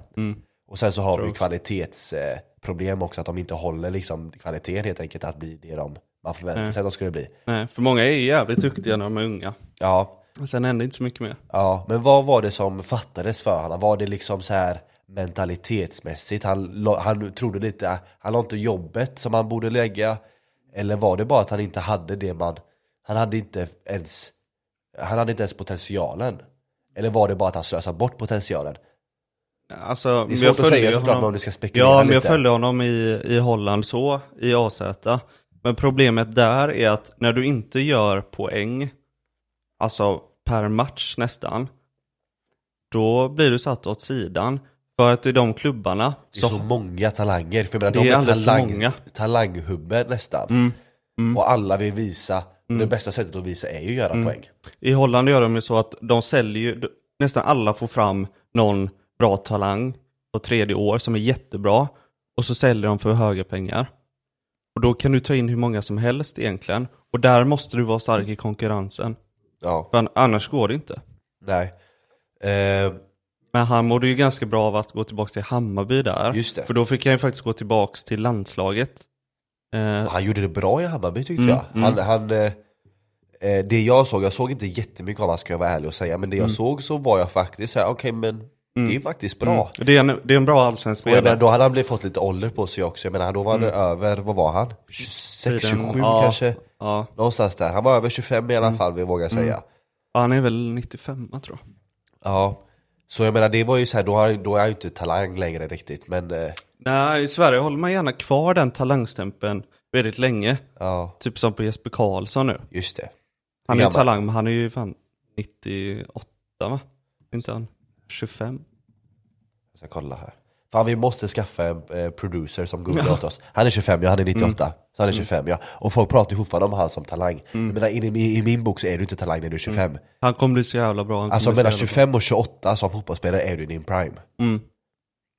S1: Och sen så har vi ju kvalitetsproblem eh, problem också, att de inte håller liksom, kvaliteten helt enkelt att bli det de, man förväntar sig att de skulle bli.
S2: Nej, för många är ju jävligt duktiga när de är unga.
S1: Ja,
S2: Och Sen händer inte så mycket mer.
S1: Ja, men vad var det som fattades för honom? Var det liksom så här mentalitetsmässigt? Han, la- han trodde lite, han la inte jobbet som han borde lägga. Eller var det bara att han inte hade det man, han hade inte ens, han hade inte ens potentialen. Eller var det bara att han slösade bort potentialen?
S2: Alltså,
S1: Det är
S2: men
S1: svårt att
S2: följde
S1: säga
S2: ju
S1: såklart
S2: honom-
S1: om du ska spekulera
S2: Ja, men
S1: lite.
S2: jag följde honom i, i Holland så, i AZ. Men problemet där är att när du inte gör poäng, alltså per match nästan, då blir du satt åt sidan. För att i de klubbarna,
S1: Det är så,
S2: så,
S1: många talanger, för jag menar,
S2: Det
S1: de
S2: är
S1: är
S2: alldeles för
S1: talang,
S2: många. Mm.
S1: talanghubben nästan. Och alla vill visa, och det bästa sättet att visa är ju att göra
S2: Mm.
S1: poäng.
S2: i Holland gör de ju så att de säljer ju, d- nästan alla får fram någon bra talang på tredje år som är jättebra och så säljer de för höga pengar. Och då kan du ta in hur många som helst egentligen. Och där måste du vara stark i konkurrensen.
S1: Ja,
S2: För annars går det inte.
S1: nej. Eh,
S2: Men han mådde ju ganska bra av att gå tillbaka till Hammarby där.
S1: Just det.
S2: För då fick han ju faktiskt gå tillbaka till landslaget. Eh,
S1: Han gjorde det bra i Hammarby tyckte
S2: Mm,
S1: jag. Han, han, eh, eh, det jag såg, jag såg inte jättemycket av han ska jag vara ärlig och säga, men det
S2: Mm.
S1: jag såg så var jag faktiskt såhär, okej men det är faktiskt bra.
S2: det, är en, Mm. det är en bra allsvensk
S1: Och jag menar,
S2: spelare.
S1: då hade han blivit fått lite ålder på sig också, jag menar då var han över, vad var han? 26, 27
S2: Ja, Mm.
S1: kanske?
S2: Ja,
S1: Någonstans där, han var över 25 i alla fall vill jag våga säga.
S2: Och han är väl 95 tror jag.
S1: Ja. Så jag menar det var ju såhär, då, har- då är jag ju inte talang längre riktigt men eh,
S2: Nej, i Sverige håller man gärna kvar den talangstämpeln väldigt länge.
S1: ja,
S2: Typ som på Jesper Karlsson nu.
S1: just det.
S2: Han är ju
S1: Gammal.
S2: talang, men han är ju fan 98 va? Är Inte han 25?
S1: Så ska kolla här. Fan vi måste skaffa en eh, producer som googlar åt oss. Han är 25, ja han är
S2: Mm.
S1: 98. Så han är 25 ja. Och folk pratar ju fortfarande om han som talang.
S2: Mm.
S1: Jag menar, in i, i min bok så är du inte talang när du är 25.
S2: Han kommer bli så jävla bra. Han
S1: Alltså
S2: kommer bli
S1: mellan
S2: så jävla
S1: 25 och 28 som fotbollsspelare är du i din prime.
S2: Mm.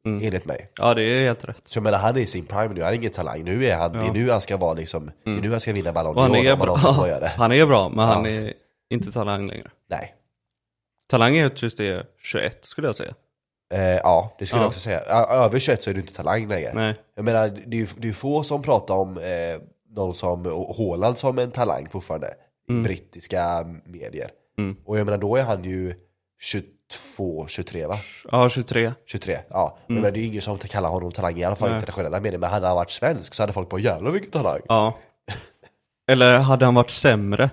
S2: Mm.
S1: Enligt mig.
S2: bra. Ja, det är helt rätt.
S1: Så jag menar han är i sin prime nu, han är ingen talang. Nu är han, det är nu han ska vara liksom, det är nu han ska vinna Ballon
S2: Mm. Och han,
S1: d'Or
S2: är
S1: om man någonsin får göra
S2: bra.
S1: det.
S2: han är bra, men han
S1: Ja.
S2: är inte talang längre.
S1: Nej.
S2: Talang är tills det är 21 skulle jag säga.
S1: Eh, ja, det skulle
S2: Ja.
S1: jag också säga. Ö- Över 21 så är du inte talang längre.
S2: Nej.
S1: Jag menar, det är ju det är ju få som pratar om eh, någon som Haaland som en talang fortfarande. I brittiska medier.
S2: Mm.
S1: Och jag menar, då är han ju 22, 23 va?
S2: Ja, 23.
S1: 23, ja. Men jag menar, det är ju ingen som kallar honom talang, i alla fall
S2: Mm. Nej.
S1: inte internationella medier. Men hade han varit svensk så hade folk bara jävlar vilken talang.
S2: Ja. Eller hade han varit sämre?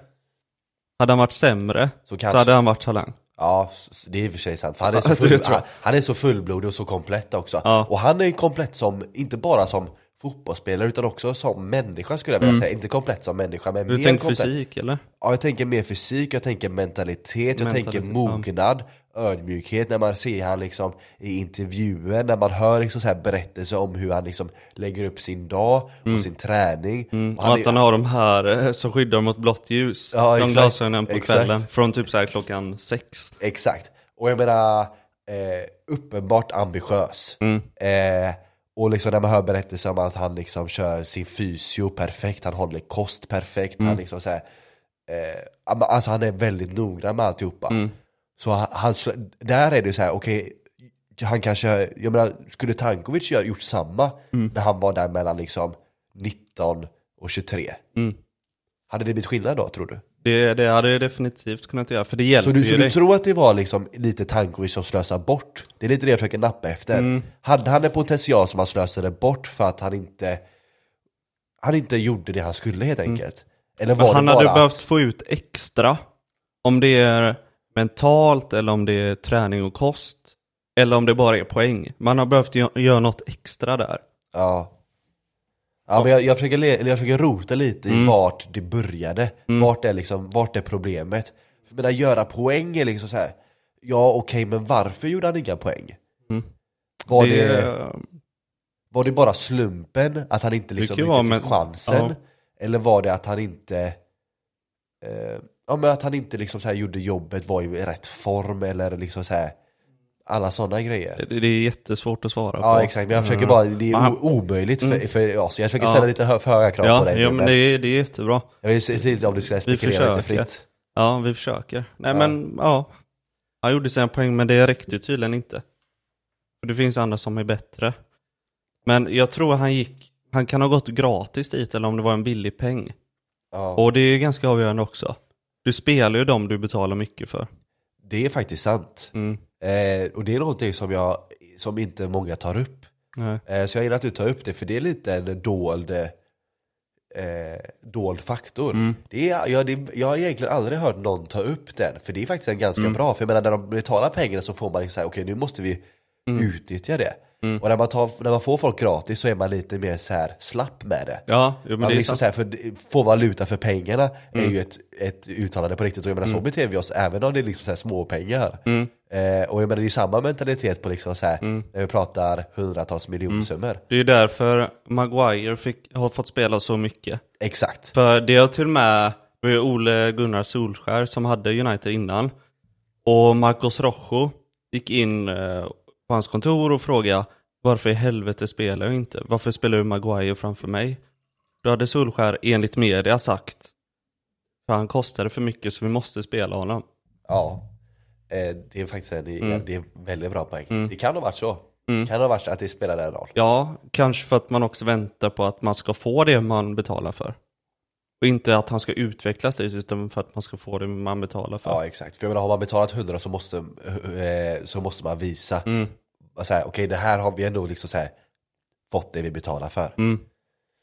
S2: Hade han varit sämre
S1: Så
S2: så,
S1: kanske-
S2: hade han varit talang.
S1: Ja, s- s- det är i och för sig sant. För han, är så
S2: Ja,
S1: full,
S2: det tror jag.
S1: han, han är så fullblodig och så komplett också.
S2: Ja.
S1: Och han är komplett som, inte bara som fotbollsspelare utan också som människa skulle jag vilja säga. Inte komplett som människa men
S2: Mm. Du
S1: mer
S2: tänker
S1: komplett.
S2: fysik eller?
S1: Ja, jag tänker mer fysik, jag tänker mentalitet, jag
S2: Mentalitet,
S1: tänker mognad, ödmjukhet när man ser han liksom i intervjuer, när man hör liksom så här berättelser om hur han liksom lägger upp sin dag och sin träning. Och
S2: Och
S1: han
S2: Mm. att han
S1: är,
S2: har de här eh, som skyddar mot blått ljus.
S1: Ja,
S2: de
S1: exakt.
S2: glasögonen på
S1: Exakt.
S2: kvällen. Från typ så här klockan sex.
S1: exakt. Och jag menar, eh, uppenbart ambitiös. Eh, och liksom när man hör berättelser om att han liksom kör sin fysio perfekt, han håller kost perfekt, han liksom så här, eh, ja, men alltså han är väldigt noggrann med alltihopa. Så han, han, slä- där är det så här, okej, han kanske, jag menar, skulle Tankovic ha gjort samma när han var där mellan liksom 19 och 23?
S2: Mm.
S1: Hade det blivit skillnad då tror du?
S2: Det, det hade jag definitivt kunnat göra, för det hjälper
S1: Så du, så
S2: ju
S1: du
S2: dig.
S1: tror att det var liksom lite Tankovic som slösade bort? Det är lite det jag försöker nappa efter.
S2: Mm.
S1: Hade han en potential som han slösade bort för att han inte, han inte gjorde det han skulle helt enkelt? Eller var
S2: Mm. Men han
S1: det
S2: hade
S1: bara
S2: behövt få ut extra. Om det är mentalt eller om det är träning och kost. Eller om det bara är poäng. Man har behövt gö- göra något extra där.
S1: Ja. Ja, men jag, jag, försöker le, eller jag försöker rota lite
S2: Mm.
S1: i vart det började. Vart, är liksom, vart är problemet? För menar, göra poäng är liksom så här. ja okej, men varför gjorde han inga poäng?
S2: Mm.
S1: Var det...
S2: det,
S1: var det bara slumpen? Att han inte liksom
S2: kan ju
S1: riktigt
S2: vara,
S1: fick
S2: men-
S1: chansen?
S2: ja.
S1: Eller var det att han inte... Eh, ja men att han inte liksom så här gjorde jobbet, var i rätt form eller liksom så här Alla sådana grejer.
S2: det, det är jättesvårt att svara på.
S1: Ja exakt, men jag försöker bara, det är
S2: Men han- Mm.
S1: o- omöjligt för, för oss. Jag försöker
S2: Ja.
S1: ställa lite hö- för höga krav på
S2: Ja,
S1: dig
S2: ja
S1: nu,
S2: men det är, det är jättebra.
S1: Jag vill se till om du ska spekulera lite
S2: försöker.
S1: fritt.
S2: Ja, vi försöker. Nej men ja. Han gjorde sina poäng men det räckte tydligen inte. För det finns andra som är bättre. Men jag tror han gick, han kan ha gått gratis dit eller om det var en billig peng.
S1: Ja.
S2: Och det är ganska avgörande också. Du spelar ju dem du betalar mycket för.
S1: Det är faktiskt sant.
S2: Mm.
S1: Eh, och det är någonting som, jag, som inte många tar upp.
S2: Nej.
S1: Eh, så jag gillar att du tar upp det, för det är lite en dold, eh, dold faktor. Det är, jag, det, jag har egentligen aldrig hört någon ta upp den, för det är faktiskt en ganska bra. För jag menar, när de betalar pengarna så får man liksom säga okej nu måste vi utnyttja det. Och när man, tar, när man får folk gratis så är man lite mer så här slapp med det.
S2: Ja, jo, men
S1: Man
S2: det är
S1: liksom
S2: sant. Mm.
S1: så här, för få valuta för pengarna är ju ett, ett uttalande på riktigt. Och jag menar, så beter vi oss även om det är liksom så här småpengar.
S2: Mm.
S1: Eh, och jag menar, det är samma mentalitet på liksom så här, när vi pratar hundratals miljonsummor.
S2: Det är ju därför Maguire fick, har fått spela så mycket.
S1: Exakt.
S2: För det har till och med det var ju Ole Gunnar Solskär som hade United innan. Och Marcos Rojo gick in eh, på hans kontor och frågade varför i helvete spelar jag inte? Varför spelar du Maguire framför mig? Då hade Solskär enligt media sagt för han kostade för mycket så vi måste spela honom.
S1: Ja. Eh, det är faktiskt en,
S2: Mm.
S1: det är en väldigt bra poäng. Det kan ha varit så. Det kan ha varit så att det spelade en roll.
S2: Ja, kanske för att man också väntar på att man ska få det man betalar för. Och inte att han ska utvecklas dit, utan för att man ska få det man betalar för.
S1: Ja, exakt. För jag menar, har man betalat 100 så måste, eh, så måste man visa. Mm. Okej, det här har vi ändå liksom så här, fått det vi betalar för.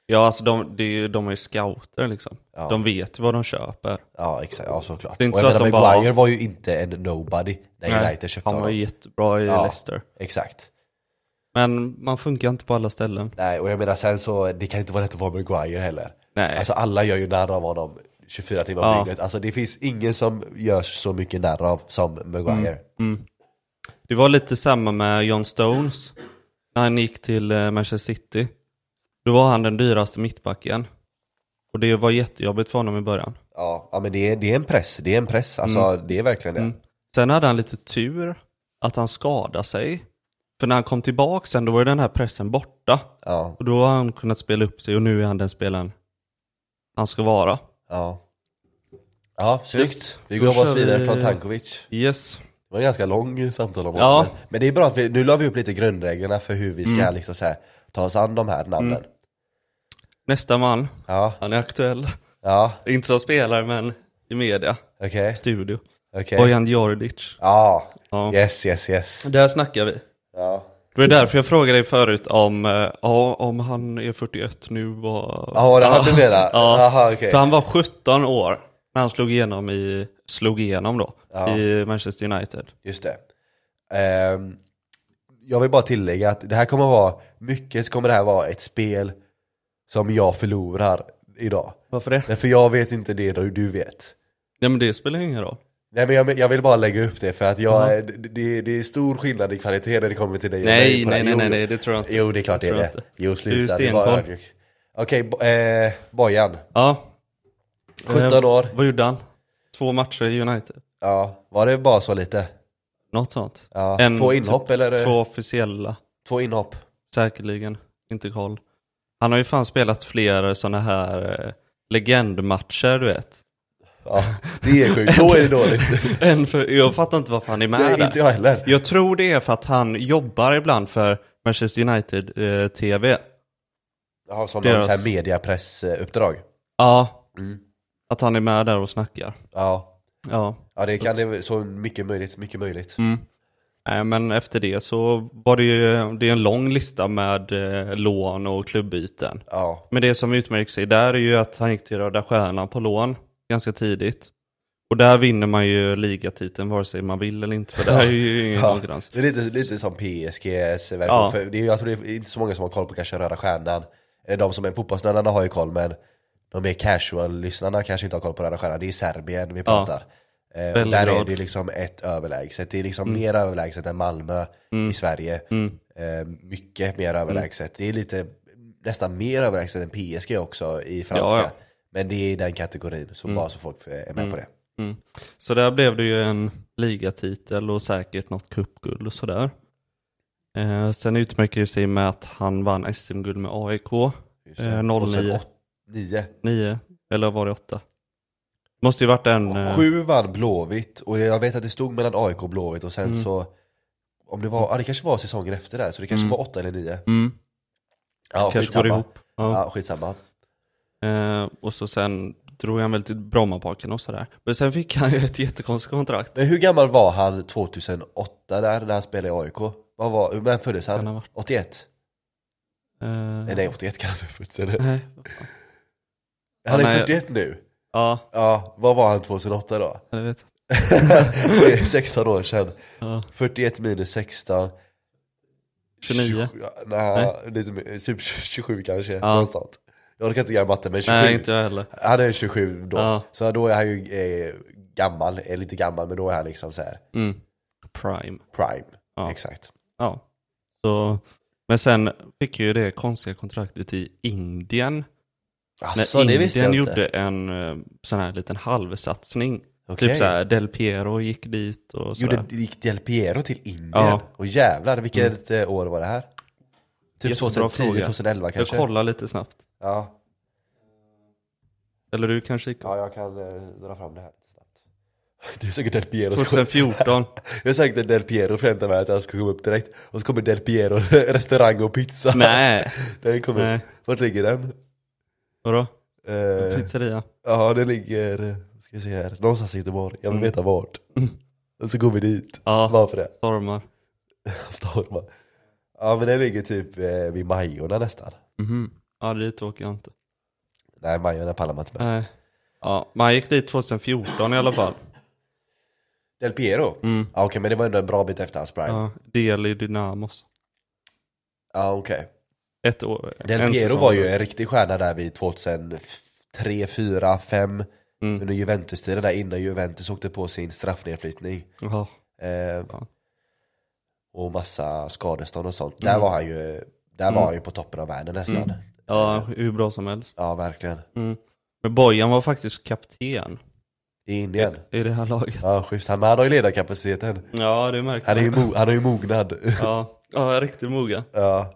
S2: Ja, alltså de, det är, ju- de är ju scouter liksom.
S1: Ja.
S2: De vet vad de köper.
S1: Ja exakt, ja såklart.
S2: Det är inte
S1: och
S2: så
S1: jag
S2: att
S1: menar,
S2: de bara-
S1: Maguire var ju inte en nobody när United köpte
S2: Han var
S1: honom.
S2: ju jättebra i
S1: Ja.
S2: Leicester.
S1: Exakt.
S2: Men man funkar inte på alla ställen.
S1: Nej, och jag menar sen så, det kan inte vara rätt att vara Maguire heller.
S2: Nej.
S1: Alltså alla gör ju narr av honom 24 timmar om
S2: Ja. Mm.
S1: dygnet. Alltså det finns ingen som görs så mycket narr av som Maguire.
S2: Det var lite samma med John Stones. När han gick till eh, Manchester City. Då var han den dyraste mittbacken. Och det var jättejobbigt för honom i början.
S1: Ja, ja men det är, det är en press, det är en press. Alltså det är verkligen det.
S2: Mm. Sen hade han lite tur att han skadade sig. För när han kom tillbaka sen då var ju den här pressen borta.
S1: Ja,
S2: Och då har han kunnat spela upp sig och nu är han den spelaren han ska vara.
S1: ja. Ja, snyggt.
S2: Yes.
S1: Vi
S2: Då
S1: går oss
S2: kör
S1: vidare
S2: vi-
S1: från Tankovic.
S2: Yes.
S1: Det var en ganska lång samtal om
S2: Ja. Mm.
S1: honom. Men det är bra att vi, nu la vi upp lite grundreglerna för hur vi ska liksom så här, ta oss an de här namnen.
S2: Nästa man.
S1: Ja,
S2: Han är aktuell.
S1: ja,
S2: Inte som spelare men i media.
S1: okej,
S2: Studio.
S1: okej.
S2: Bojan Djordjic.
S1: Ja,
S2: Ja.
S1: yes, yes, yes.
S2: Där snackar vi.
S1: Ja,
S2: Det var därför jag frågade dig förut om, eh, ja, om han är 41 nu var...
S1: ja var det han du menade?
S2: Ja.
S1: Jaha, okej.
S2: För han var 17 år när han slog igenom i, slog igenom då,
S1: Ja.
S2: i Manchester United.
S1: Just det. Ehm, jag vill bara tillägga att det här kommer vara, mycket kommer det här vara ett spel som jag förlorar idag.
S2: Varför det?
S1: Därför jag vet inte det du, du vet.
S2: Ja men det spelar ju ingen roll.
S1: Nej men jag, jag vill bara lägga upp det för att jag, är- det- det, det är stor skillnad i kvalitet när det kommer till dig och mig
S2: Nej,
S1: på det
S2: nej,
S1: här.
S2: nej,
S1: Jo,
S2: nej,
S1: jo.
S2: nej, det tror jag inte.
S1: Jo det är klart det är
S2: Tror
S1: det.
S2: jag inte.
S1: Jo sluta,
S2: Du är
S1: du var
S2: stenkoll.
S1: ödmjuk. Okej, bo, eh, Bojan.
S2: Ja.
S1: 17 år.
S2: Eh, Vad gjorde han? Två matcher i United?
S1: Ja, var det bara så lite?
S2: Något sånt.
S1: Ja.
S2: En-
S1: två inhopp eller?
S2: Två officiella,
S1: två inhopp.
S2: säkerligen. Inte koll. Han har ju fan spelat fler sådana här eh, legendmatcher, du vet.
S1: Ja, det är sjukt, då är det dåligt.
S2: En för, jag fattar inte varför han är med
S1: Nej,
S2: där.
S1: inte jag heller.
S2: Jag tror det är för att han jobbar ibland för Manchester United eh, TV.
S1: Ja, som någon
S2: Deras-
S1: sån här eh, mediapressuppdrag.
S2: Ja,
S1: Mm.
S2: att han är med där och snackar.
S1: Ja.
S2: Ja.
S1: ja, det kan det så mycket möjligt, mycket möjligt.
S2: Mm. Nej, men efter det så var det ju det är en lång lista med eh, lån och klubbyten.
S1: Ja,
S2: Men det som utmärker sig där är ju att han gick till Röda Stjärnan på lån ganska tidigt. Och där vinner man ju ligatiteln vare sig man vill eller inte, för där är ju ingen
S1: Ja.
S2: konkurrens.
S1: det är lite, lite som PSGs version.
S2: Ja.
S1: För det är, jag tror det är inte så många som har koll på kanske Röda Stjärnan. Eller De som är fotbollsnördarna har ju koll, men de mer casual-lyssnarna kanske inte har koll på Röda Stjärnan. Det är Serbien vi pratar. Eh, och där är
S2: Belgrad.
S1: det liksom ett överlägset. Det är liksom
S2: Mm.
S1: mer överlägset än Malmö i Sverige. Eh, mycket
S2: Mm.
S1: mer överlägset. Det är lite nästan mer överlägset än PSG också i franska.
S2: Ja, ja.
S1: Men det är den kategorin, så bara så folk är med på det.
S2: Mm. Så där blev det ju en ligatitel och säkert något cupguld och sådär. Eh, sen utmärker det sig med att han vann SM-guld med AIK
S1: Just det.
S2: eh, 09,
S1: 2009.
S2: 9, eller var det 8? Måste ju varit en... eh,
S1: Sju vann Blåvitt och jag vet att det stod mellan AIK och Blåvitt och sen
S2: Mm.
S1: så om det var, ja det kanske var säsongen efter där så det kanske var åtta eller nio.
S2: Mm,
S1: Ja,
S2: kanske går
S1: skitsamma.
S2: ihop. Ja.
S1: Ja, skitsamma.
S2: Eh, och så sen drog han väl till Brommaparken och sådär. Men sen fick han ju ett jättekonstigt kontrakt.
S1: Men hur gammal var han 2008 där när han spelade i AIK? Vad var, hur- när föddes
S2: Kan han
S1: han?
S2: ha
S1: 81?
S2: Eh,
S1: Nej, nej 81 kan han inte ha fötts eller?
S2: nej, vad fan.
S1: Han
S2: nej.
S1: är 41 nu.
S2: Ja,
S1: Ja, vad var han 2008 då?
S2: jag vet.
S1: Det är 16 år sedan.
S2: Ja.
S1: 41 minus 16.
S2: 29.
S1: Tjugo- nej, lite mer, typ 27 kanske.
S2: Ja.
S1: Någonstans. Jag orkar inte göra matte men 27.
S2: Nej, inte jag heller.
S1: Han är 27 då.
S2: Ja.
S1: Så då är han ju eh, gammal, är lite gammal men då är han liksom så här
S2: Mm. Prime.
S1: prime.
S2: Ja.
S1: Exakt.
S2: Ja. Så, men sen fick ju det konstiga kontraktet i Indien.
S1: Alltså
S2: när
S1: det
S2: Indien
S1: visste jag inte.
S2: gjorde en eh, sån här liten halvsatsning.
S1: Okej.
S2: Typ så här, Del Piero gick dit och sådär.
S1: Gjorde gick Del Piero till Indien?
S2: Ja. Mm.
S1: Och jävlar, vilket eh, år var det här? Typ
S2: Jättebra
S1: 2010,
S2: fråga.
S1: 2011
S2: Jag
S1: kanske?
S2: kollar lite snabbt.
S1: Ja.
S2: Eller du kanske gick
S1: ja, jag kan eh, dra fram det här lite snabbt. Det är säkert Del Piero. som-
S2: 2014.
S1: Jag sa inte Del Piero förväntar mig att han ska komma upp direkt. Och så kommer Del Piero, restaurang och pizza.
S2: Nej,
S1: Den kommer.
S2: Nej.
S1: Vart ligger den?
S2: vadå?
S1: Eh,
S2: Pizzeria?
S1: Ja, det ligger, ska vi se här, någonstans i Göteborg. Jag vill veta vart. Och så går vi dit.
S2: Mm. Ja,
S1: Bara för det.
S2: stormar.
S1: Stormar. Ja men den ligger typ eh, vid Majorna nästan.
S2: Mhm. Ja, dit åker jag inte.
S1: Nej Majorna pallar man inte med.
S2: Nej. Ja, man gick dit 2014 i alla fall.
S1: Del Piero?
S2: Mm.
S1: Ja okej men det var ändå en bra bit efter hans prime. Ja,
S2: Ja, del i Dynamos.
S1: okej.
S2: Ett år.
S1: Del
S2: en
S1: Piero
S2: säsong.
S1: var ju en riktig stjärna där vid 2003, 4, 5.
S2: Mm.
S1: Under Juventus-tiden där innan Juventus åkte på sin straffnedflyttning.
S2: Ja.
S1: Eh,
S2: Ja.
S1: och massa skadestånd och sånt.
S2: Mm.
S1: Där var han ju, där var han ju på toppen av världen nästan.
S2: Ja, hur bra som helst. Mm.
S1: Ja, verkligen.
S2: Men Bojan var faktiskt kapten
S1: I Indien.
S2: i det här laget.
S1: Ja, schysst. Han, men han har ju ledarkapaciteten.
S2: Ja, det märker
S1: Han är ju,
S2: man.
S1: mo- han är ju mognad.
S2: Ja, ja riktigt mogen.
S1: Ja.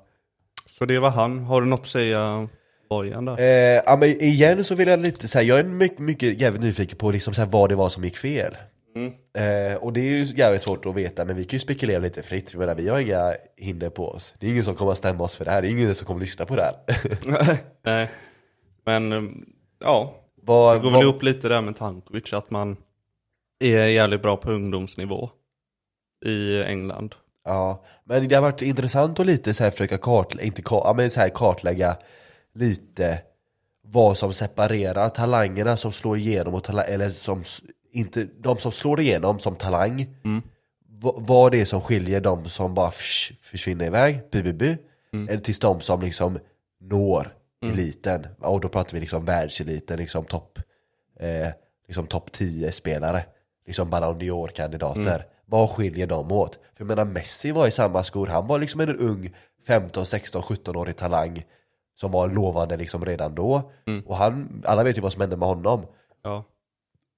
S2: Så det var han. Har du något att säga Bojan där?
S1: Eh, ja, men igen så vill jag lite säga, jag är mycket, mycket jävligt nyfiken på liksom, så här, vad det var som gick fel.
S2: Mm.
S1: Eh, och det är ju jävligt svårt att veta, men vi kan ju spekulera lite fritt. Jag menar, vi har inga hinder på oss. Det är ingen som kommer att stämma oss för det här, det är ingen som kommer att lyssna på det här.
S2: Nej. Men eh, ja,
S1: vad,
S2: det går väl ihop lite där med Tankovic, att man är jävligt bra på ungdomsnivå i England.
S1: Ja, men det har varit intressant att lite så här försöka kartlägga, inte kar, ja, men så här kartlägga lite vad som separerar talangerna som slår igenom och talang, eller som s- inte, de som slår igenom som talang.
S2: Mm.
S1: Va- vad det är som skiljer de som bara fsch, försvinner iväg, bu, bu, bu, eller tills de som liksom når eliten. Och då pratar vi liksom världseliten, liksom topp eh, liksom topp 10-spelare, liksom Ballon d'Or-kandidater. Vad skiljer dem åt? För jag menar Messi var i samma skor, han var liksom en ung 15, 16, 17-årig talang som var lovande liksom redan då. Och han, alla vet ju vad som hände med honom.
S2: Ja.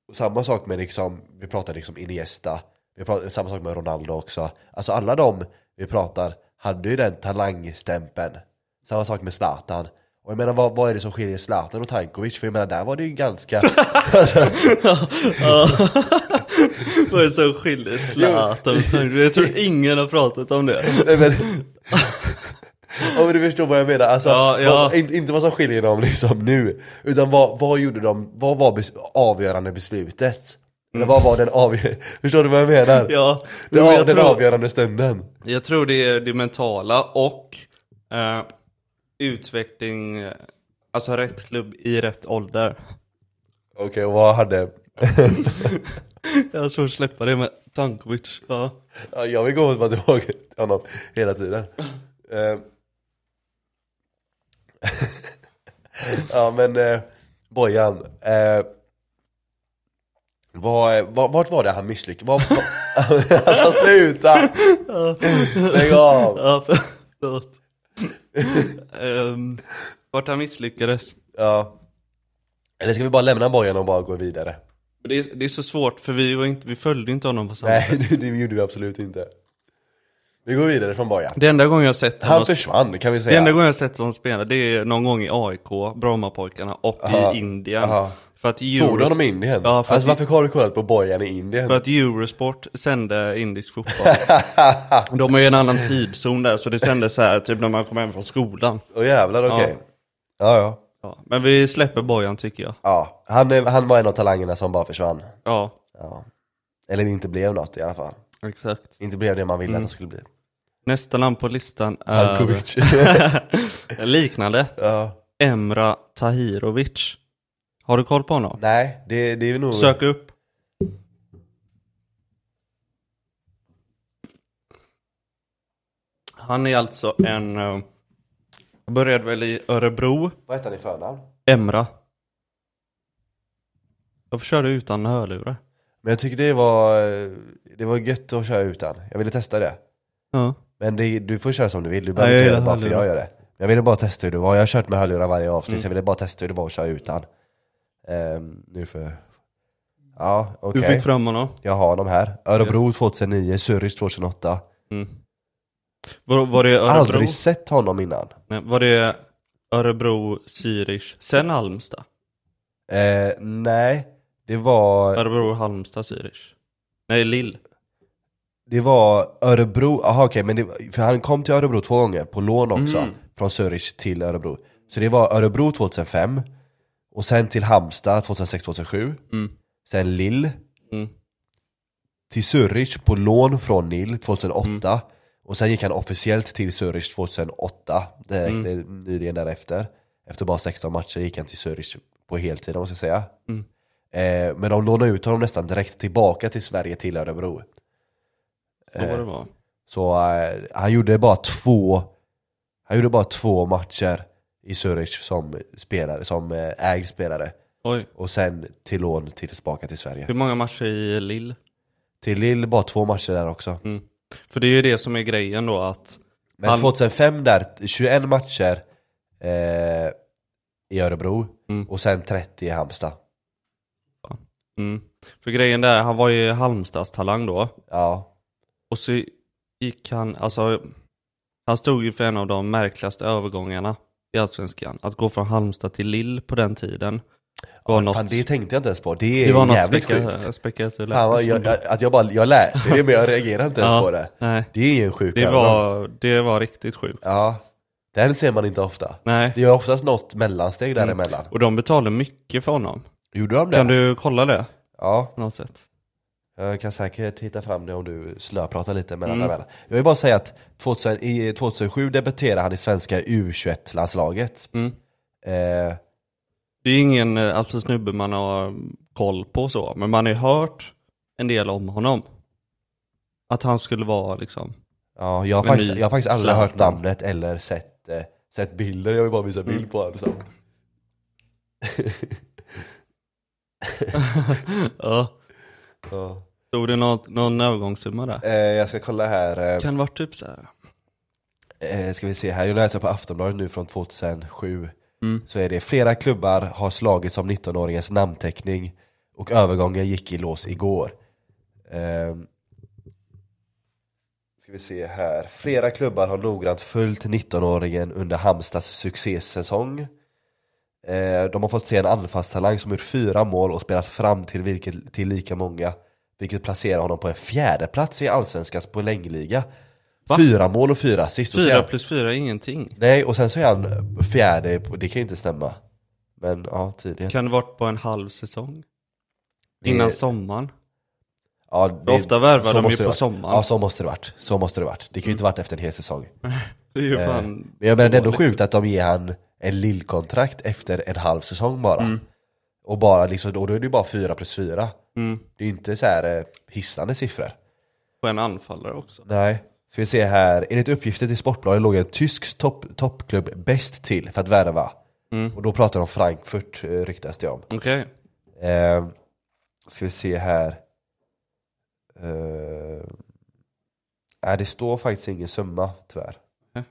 S1: Och samma sak med liksom, vi pratar liksom Iniesta, vi pratar, samma sak med Ronaldo också. Alltså alla de vi pratar hade ju den talangstämpeln. Samma sak med Zlatan. Och jag menar vad, vad är det som skiljer Zlatan och Tankovic? För jag menar där var det ju ganska...
S2: Vad är det som skiljer Zlatan och Tankovic? Jag tror ingen har pratat om det.
S1: Nej men... Om du förstår vad jag menar, alltså,
S2: Ja, ja.
S1: Vad, in, inte vad som skiljer dem liksom nu, utan vad, vad gjorde de, vad var bes, avgörande beslutet? Eller vad var den avgörande, förstår du vad jag menar?
S2: Ja,
S1: det
S2: men
S1: var
S2: jag
S1: den
S2: tror-
S1: avgörande stunden.
S2: Jag tror det är det mentala och eh, utveckling, eh, alltså rätt klubb i rätt ålder.
S1: Okej, och vad hade,
S2: Jag har svårt att släppa det med Tankovic. Ja.
S1: ja, jag vill gå tillbaka till honom hela tiden. Eh. ja men, eh, Bojan, eh, vad, eh, vad, vart var det han misslyckades? Vad- vad- Alltså sluta! Lägg av!
S2: Ja, förlåt.
S1: Ehm,
S2: um, vart han misslyckades.
S1: Ja. Eller ska vi bara lämna Bojan och bara gå vidare?
S2: Det är, det är så svårt för vi, var inte, vi följde inte honom på samma
S1: Nej, det, det gjorde vi absolut inte. Vi går vidare från Bojan.
S2: Det enda gången jag sett honom,
S1: Han försvann kan vi
S2: det enda
S1: säga.
S2: gången jag sett honom spela det är någon gång i AIK, Brommapojkarna och i Indien.
S1: aha.
S2: För att
S1: Såg du
S2: Euros,
S1: honom i Indien?
S2: Ja,
S1: alltså
S2: för att-
S1: varför har du kollat på Bojan i Indien?
S2: för att Eurosport sände indisk fotboll. De har ju en annan tidszon där så det sändes så här typ när man kom hem från skolan.
S1: Åh jävlar, okej. Ja, ja.
S2: Ja, men vi släpper Bojan tycker jag.
S1: ja. Han, är- han var en av talangerna som bara försvann.
S2: Ja,
S1: Ja. Eller inte blev något i alla fall.
S2: exakt.
S1: Inte blev det man ville att
S2: Mm.
S1: han skulle bli.
S2: Nästa namn på listan är
S1: Alkovic.
S2: liknande.
S1: ja.
S2: Emra Tahirovic. Har du koll på honom?
S1: Nej, det, det är nog...
S2: Sök upp. Han är alltså en... eh, Började väl i Örebro.
S1: Vad heter han i förnamn?
S2: Emra. Varför kör du utan hörlurar?
S1: Men jag tycker det var, det var gött att köra utan. Jag ville testa det.
S2: Ja.
S1: Men det, du får köra som du vill, du behöver
S2: Nej, jag
S1: inte göra det bara
S2: gillar
S1: för jag
S2: hörlurar.
S1: gör det. Jag ville bara testa hur det var, jag har kört med hörlurar varje avsnitt,
S2: Mm.
S1: så jag ville bara testa hur det var att köra utan. Ehm, nu för... Ja,
S2: Du
S1: okej.
S2: fick fram honom.
S1: Jag har dem här. Örebro 2009, Zürich 2008.
S2: Mm. Var, var det Örebro?
S1: Aldrig sett honom innan.
S2: Nej, var det Örebro, Zürich, sen Halmstad?
S1: Eh, nej, det var,
S2: Örebro, Halmstad, Zürich. Nej, Lill. det
S1: det var Örebro, aha okej, men det, för han kom till Örebro två gånger på lån också. Från Zürich till Örebro. Så det var Örebro 2005, och sen till Halmstad 2006-2007. Sen Lill.
S2: Mm.
S1: Till Zürich på lån från Lill 2008. Och sen gick han officiellt till Zürich 2008, direkt, eh, nyligen därefter. Efter bara 16 matcher gick han till Zürich på heltid om man ska säga. Eh, men de lånade ut honom nästan direkt tillbaka till Sverige, till Örebro.
S2: Så
S1: Eh.
S2: var det var.
S1: Så eh, han gjorde bara två Han gjorde bara två matcher i Zürich som spelare, som eh, ägd spelare.
S2: Oj.
S1: Och sen till lån till- tillbaka till Sverige.
S2: Hur många matcher i Lille? Mm.
S1: Till Lille bara två matcher där också.
S2: För det är ju det som är grejen då att
S1: Men
S2: Han-
S1: 2005 där, 21 matcher eh, i Örebro
S2: Mm.
S1: och sen 30 i Halmstad.
S2: Mm. För grejen där, han var ju Halmstads talang då.
S1: Ja,
S2: Och så gick han, alltså han stod ju för en av de märkligaste övergångarna i Allsvenskan. Att gå från Halmstad till Lille på den tiden var något,
S1: fan det tänkte jag inte ens på. Det är
S2: det var något
S1: jävligt
S2: speka-
S1: sjukt.
S2: spektakulärt.
S1: Fan, vad, jag, jag, att jag, bara, jag läste det men jag reagerade inte ens
S2: Ja.
S1: på det.
S2: Nej,
S1: Det är ju en sjuk
S2: det
S1: övergång.
S2: var, det var riktigt sjukt.
S1: Ja, den ser man inte ofta.
S2: Nej.
S1: Det är oftast något mellansteg
S2: Mm.
S1: däremellan.
S2: Och de betalade mycket för honom.
S1: Gjorde de det?
S2: Kan du kolla det
S1: Ja,
S2: på något sätt?
S1: jag kan säkert hitta fram det om du slöpratar lite mellan
S2: Mm.
S1: emellan. Jag vill bara säga att 2000, i 2007 debuterade han i svenska U21-landslaget.
S2: Mm.
S1: Eh,
S2: Det är ingen eh, alltså, snubbe man har mm, koll på så, men man har ju hört en del om honom. Att han skulle vara liksom,
S1: ja, jag har
S2: Men
S1: faktiskt,
S2: ny-
S1: jag har faktiskt aldrig hört
S2: Zlatan.
S1: namnet eller sett, eh, sett bilder. Jag vill bara visa bild på honom. Så.
S2: ja.
S1: Ja.
S2: Stod det någon, någon övergångssumma där?
S1: Eh, jag ska kolla här.
S2: Kan vara typ så här.
S1: Eh, ska vi se här. Jag läser på Aftonbladet nu från 2007. Så är det flera klubbar har slagits om 19-åringens namnteckning och övergången gick i lås igår. Ehm. ska vi se här. Flera klubbar har noggrant följt 19-åringen under Halmstads succésäsong. Eh, de har fått se en anfallstalang som gjort fyra mål och spelat fram till, vilket, till lika många. Vilket placerar honom på en fjärde plats i Allsvenskans poängliga. Fyra mål och fyra assist. Och så är
S2: Fyra
S1: han-
S2: plus fyra är ingenting.
S1: Nej, och sen så är han fjärde, på- det kan ju inte stämma. Men ja, tydligen.
S2: Kan det varit på en halv säsong?
S1: Det-
S2: Innan sommaren?
S1: Ja, det,
S2: Ofta värvar
S1: så
S2: de ju
S1: måste
S2: på
S1: det varit.
S2: sommaren.
S1: Ja, så måste det varit. Så måste det varit. Det kan ju inte varit efter en hel säsong.
S2: Det är ju
S1: Eh,
S2: fan...
S1: Men jag menar det är ändå
S2: dåligt.
S1: sjukt att de ger han en lillkontrakt efter en halv säsong bara. Och bara liksom, och då är det ju bara fyra plus fyra.
S2: Mm.
S1: Det är ju inte så här eh, hisnande siffror.
S2: På en anfallare också.
S1: Nej. Ska vi se här, enligt uppgifter till Sportbladet låg en tysk topp, toppklubb bäst till för att värva.
S2: Mm.
S1: Och då pratar de om Frankfurt eh, ryktas det om.
S2: Okej.
S1: Eh, ska vi se här. Eh, nej, det står faktiskt ingen summa tyvärr.
S2: Nej.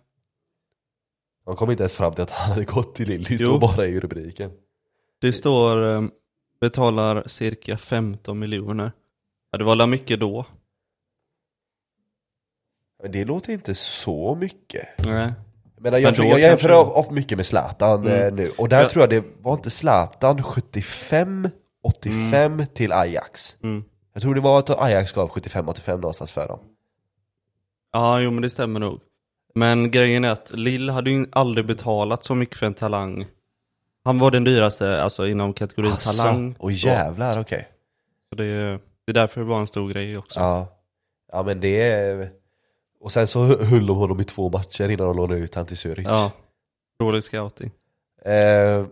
S1: De kom inte ens fram till att han hade gått till Lille, det
S2: Jo.
S1: står bara i rubriken.
S2: Det står eh, betalar cirka 15 miljoner. Ja, det var la mycket då.
S1: Men det låter inte så mycket.
S2: Nej.
S1: Men jag,
S2: Men då
S1: jag jämför
S2: kanske-
S1: of- of- mycket med Zlatan
S2: Mm.
S1: eh, nu, och där
S2: Jag-
S1: tror jag det var inte Zlatan 75, 85 till Ajax.
S2: Mm.
S1: Jag tror det var att Ajax gav 75-85 någonstans för dem.
S2: Ja, jo men det stämmer nog. Men grejen är att Lill hade ju aldrig betalat så mycket för en talang. Han var den dyraste, alltså inom kategorin talang.
S1: och
S2: Så.
S1: jävlar okej.
S2: Så det, det är därför det var en stor grej också.
S1: Ja. ja men det är... Och sen så höll de honom i två matcher innan de lånade ut han till Zürich.
S2: Ja. Dålig scouting.
S1: Eh, ja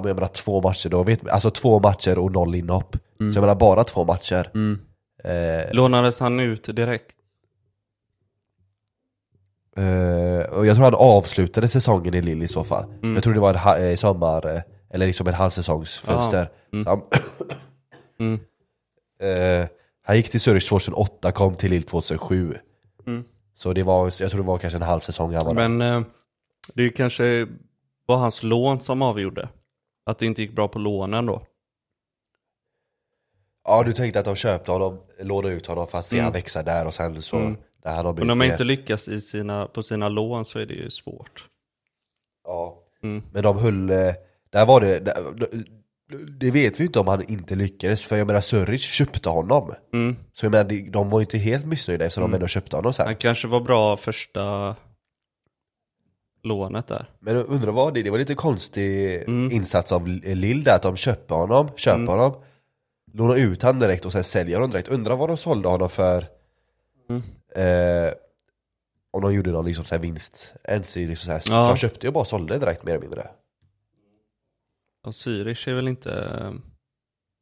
S1: men jag menar två matcher då, vet, alltså två matcher och noll inhopp.
S2: Mm.
S1: Så jag menar bara två matcher. Eh,
S2: Lånades han ut direkt?
S1: eh, och jag tror han avslutade säsongen i Lille i så fall.
S2: Mm.
S1: Jag tror det var en ha- eh, sommar, eh, eller liksom en halvsäsongsfönster. Så han,
S2: Mm.
S1: eh, han gick till Zürich 2008, kom till Lille 2007.
S2: Mm.
S1: Så det var, jag tror det var kanske en halv säsong han var där.
S2: Men eh, det är ju kanske var hans lån som avgjorde. Att det inte gick bra på lånen då.
S1: Ja du tänkte att de köpte honom, lånade ut honom för att se han växa där och sen så när han har
S2: Om
S1: blivit
S2: Mm. de har
S1: mer-
S2: inte lyckats i sina, på sina lån så är det ju svårt.
S1: ja.
S2: Mm.
S1: Men de höll, eh, där var det, där, det vet vi ju inte om han inte lyckades för jag menar Zürich köpte honom.
S2: Mm.
S1: Så jag menar de- de var ju inte helt missnöjda eftersom de ändå köpte honom sen.
S2: Han kanske var bra första lånet där.
S1: Men jag undrar vad det, det var lite konstig
S2: Mm.
S1: insats av Lill där att de köper honom, köper honom, lånar ut han direkt och sen säljer honom direkt. Undrar vad de sålde honom för.
S2: Mm.
S1: Eh, om de gjorde någon liksom så här vinst. Ens i liksom så här,
S2: Ja.
S1: för de köpte ju och bara sålde direkt mer eller mindre.
S2: Och Zürich är väl inte... eh,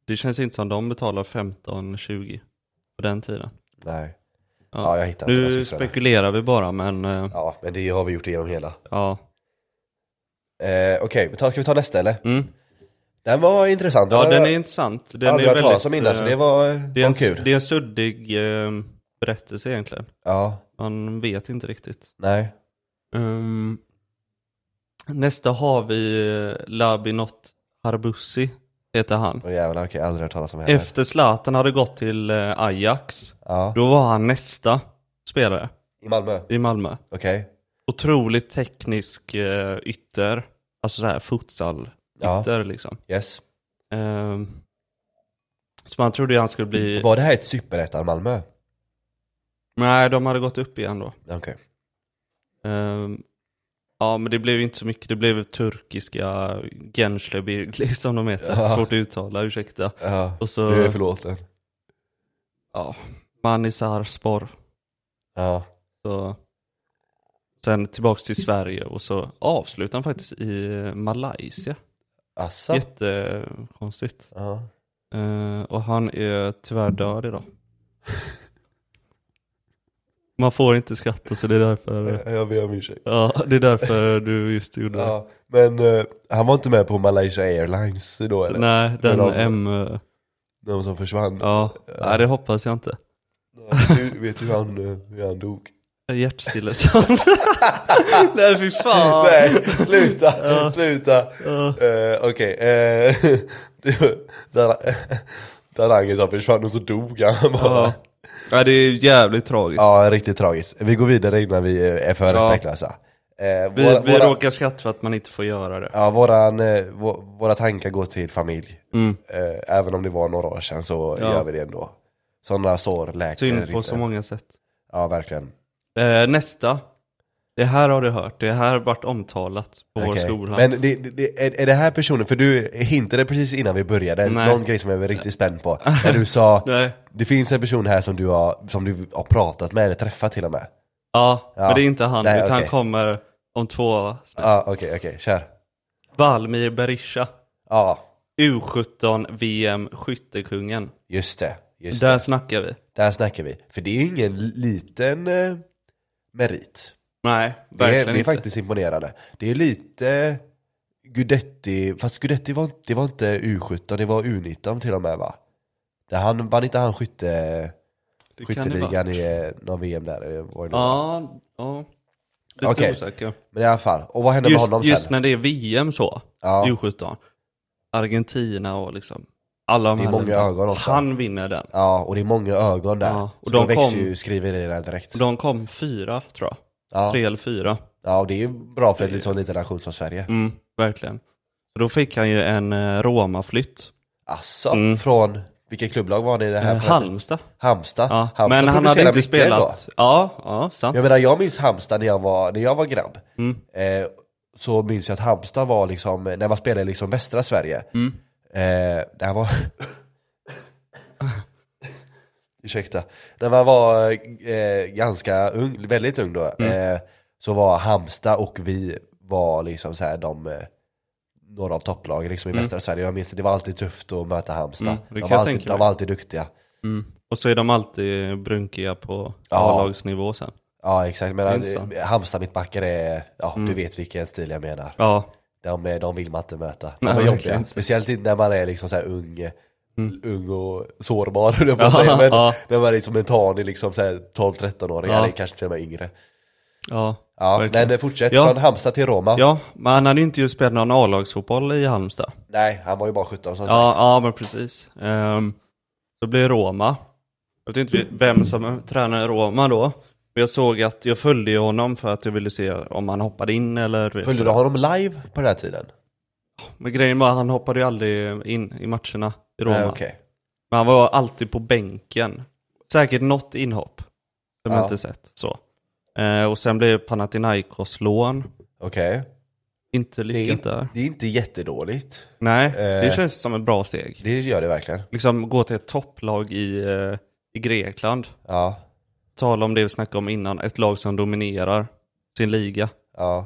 S2: Det känns inte som de betalar 15-20 på den tiden.
S1: Nej.
S2: Ja.
S1: Ja, jag hittade inte de
S2: Nu
S1: siffrorna.
S2: spekulerar vi bara men eh,
S1: Ja, men det har vi gjort igenom hela. Eh,
S2: ja.
S1: Okej, vi tar- ska vi ta nästa eller?
S2: Mm.
S1: Den var intressant.
S2: Ja
S1: var,
S2: den är intressant. Den
S1: aldrig
S2: är
S1: hört talas
S2: väldigt,
S1: om innan så
S2: eh,
S1: det var,
S2: det är
S1: var
S2: en,
S1: kul.
S2: Det är en suddig eh, berättelse egentligen.
S1: Ja,
S2: Man vet inte riktigt.
S1: nej.
S2: Ehm, nästa har vi eh, Labinot Harbussi, heter han.
S1: Åh jävlar, okej, aldrig hört talas om heller.
S2: Efter Zlatan hade gått till eh, Ajax,
S1: Ja.
S2: då var han nästa spelare
S1: I Malmö?
S2: i Malmö.
S1: Okej.
S2: Otroligt teknisk eh, ytter, alltså så här futsal-ytter
S1: Ja,
S2: liksom.
S1: yes.
S2: Ehm, så man trodde ju han skulle bli...
S1: Var det här ett superettan Malmö?
S2: Nej, de hade gått upp igen då.
S1: Okej.
S2: Ehm, ja, men det blev ju inte så mycket. Det blev turkiska Genslebirgli som de heter.
S1: Ja.
S2: Svårt att uttala, ursäkta.
S1: Ja,
S2: Och så,
S1: du är förlåten.
S2: ja, Manisar Spor.
S1: Ja.
S2: Så, sen tillbaks till Sverige och så avslutade han faktiskt i Malaysia.
S1: Asså?
S2: Jättekonstigt.
S1: Ja.
S2: Ehm, och han är tyvärr död idag. Man får inte skratta så det är därför,
S1: Jag ber om ursäkt.
S2: ja, det är därför du just gjorde det.
S1: Ja, men eh, han var inte med på Malaysia Airlines då eller?
S2: Nej, den
S1: Men om-
S2: M... eh,
S1: De som försvann.
S2: Ja, nej, det hoppas jag inte.
S1: Du vet hur han, eh, hur han dog?
S2: Hjärtstillestånd. nej, fy fan.
S1: Nej, sluta, sluta.
S2: Ja.
S1: Eh, Okej, eh, det var- Talangen som försvann och så dog han bara.
S2: Ja. Nej, det är jävligt tragiskt.
S1: Ja, riktigt tragiskt. Vi går vidare innan vi eh, är för
S2: Ja.
S1: respektlösa. Eh,
S2: vi
S1: våra-
S2: vi
S1: våra-
S2: råkar skratta för att man inte får göra det.
S1: Ja, våran, eh, vå- våra tankar går till familj.
S2: Mm.
S1: Eh, Även om det var några år sedan så
S2: Ja.
S1: gör vi det ändå. Sådana sår läker
S2: Synd på
S1: inte.
S2: så många sätt.
S1: Ja, verkligen.
S2: Eh, nästa. Det här har du hört. Det här har varit omtalat på vår
S1: Okej.
S2: skola.
S1: Men det, det- det, är, är det här personen, för du hintade precis innan vi började,
S2: Nej.
S1: någon grej som jag var riktigt spänd på. När du sa,
S2: Nej.
S1: det finns en person här som du har, som du har pratat med eller träffat till och med.
S2: Ja,
S1: Ja.
S2: men det är inte han.
S1: Nej,
S2: utan han
S1: okej.
S2: kommer om två
S1: Ja,
S2: snäpp.
S1: okej, okej, kör.
S2: Valmir Berisha.
S1: Ja,
S2: U17 VM Skyttekungen.
S1: just det. Just
S2: Där
S1: det.
S2: snackar vi.
S1: Där snackar vi. För det är ju ingen liten eh, merit.
S2: Nej,
S1: Det
S2: verkligen
S1: är, det är
S2: inte.
S1: faktiskt imponerande. Det är lite Gudetti, fast Gudetti var, inte- det var inte U17, det var U19 till och med va? Där han, vann inte han skytte,
S2: Det kan det vara.
S1: skytteligan i eh, någon VM där? eller vad det nu var?
S2: Ja, ja. Lite
S1: Okej.
S2: osäker.
S1: Men i alla fall, och vad hände med
S2: Just,
S1: honom
S2: just
S1: sen?
S2: när det är VM så,
S1: Ja,
S2: U17. Argentina och liksom alla de
S1: Det är
S2: här
S1: många
S2: länderna.
S1: ögon också.
S2: Han vinner den.
S1: ja, och det är många ögon där.
S2: Ja, och
S1: och de,
S2: de
S1: växer
S2: kom-
S1: ju, skriver i det där direkt.
S2: De kom fyra tror jag. Tre
S1: Ja,
S2: eller fyra.
S1: ja, och det är ju bra för en sån liten nation som Sverige.
S2: Mm, verkligen. Så då fick han ju en eh, Roma-flytt.
S1: Asså,
S2: Mm.
S1: Alltså, från, vilket klubblag var det i det här?
S2: Eh, Halmstad.
S1: Halmstad?
S2: Ja.
S1: Halmstad
S2: Men han hade
S1: producerar
S2: inte
S1: mycket ändå.
S2: spelat. Ja, ja, sant.
S1: Jag menar jag minns Halmstad när jag var, när jag var grabb.
S2: Mm.
S1: Eh, så minns jag att Halmstad var liksom, när man spelade i liksom västra Sverige.
S2: Mm.
S1: Eh, det här var... Ursäkta. När man var eh, ganska ung, väldigt ung då.
S2: Mm.
S1: Eh, så var Halmstad och vi var liksom så här de eh, några av topplagen liksom i västra Sverige. Jag minns att det var alltid tufft att möta Halmstad.
S2: Mm, det
S1: de,
S2: kan
S1: var
S2: jag
S1: alltid,
S2: tänka
S1: de
S2: mig.
S1: var alltid duktiga.
S2: Och så är de alltid brunkiga på
S1: Ja.
S2: A-lagsnivå sen.
S1: Ja exakt, men
S2: Intressant. Mm.
S1: eh, Halmstad mittbackar är, ja du vet vilken stil jag menar.
S2: Ja,
S1: De, är- de vill man inte möta. De
S2: Nej,
S1: är
S2: verkligen
S1: jobbiga.
S2: inte.
S1: Speciellt inte när man är liksom så här ung, ung och sårbar höll jag på att säga.
S2: Ja,
S1: Men
S2: ja.
S1: när man är liksom en tanig liksom så här 12-13-åring,
S2: Ja.
S1: eller kanske till och med yngre.
S2: ja.
S1: Ja,
S2: verkligen.
S1: men fortsätt,
S2: Ja.
S1: från Halmstad till Roma.
S2: Ja, men han hade ju inte just spelat någon A-lagsfotboll i Halmstad.
S1: Nej, han var ju bara 17 som
S2: Ja,
S1: sagt.
S2: ja men precis. Um, så blir Roma. Jag vet inte vem som tränar i Roma då. Men jag såg att jag följde ju honom för att jag ville se om han hoppade in eller... vet
S1: Följde du honom live på den här tiden?
S2: Men grejen var att han hoppade ju aldrig in i matcherna i Roma.
S1: Nej, okej.
S2: Men han var alltid på bänken. Säkert något inhopp. Som
S1: Ja.
S2: jag inte sett. Så. Eh, och sen blev Panathinaikos lån.
S1: Okej. Det,
S2: Inte
S1: är
S2: lyckat
S1: in-
S2: där.
S1: det är inte jättedåligt.
S2: Nej,
S1: Eh.
S2: det känns som ett bra steg.
S1: Det gör det verkligen.
S2: Liksom gå till ett topplag i, eh, i Grekland.
S1: Ja,
S2: tala om det vi snackade om innan, ett lag som dominerar sin liga.
S1: ja,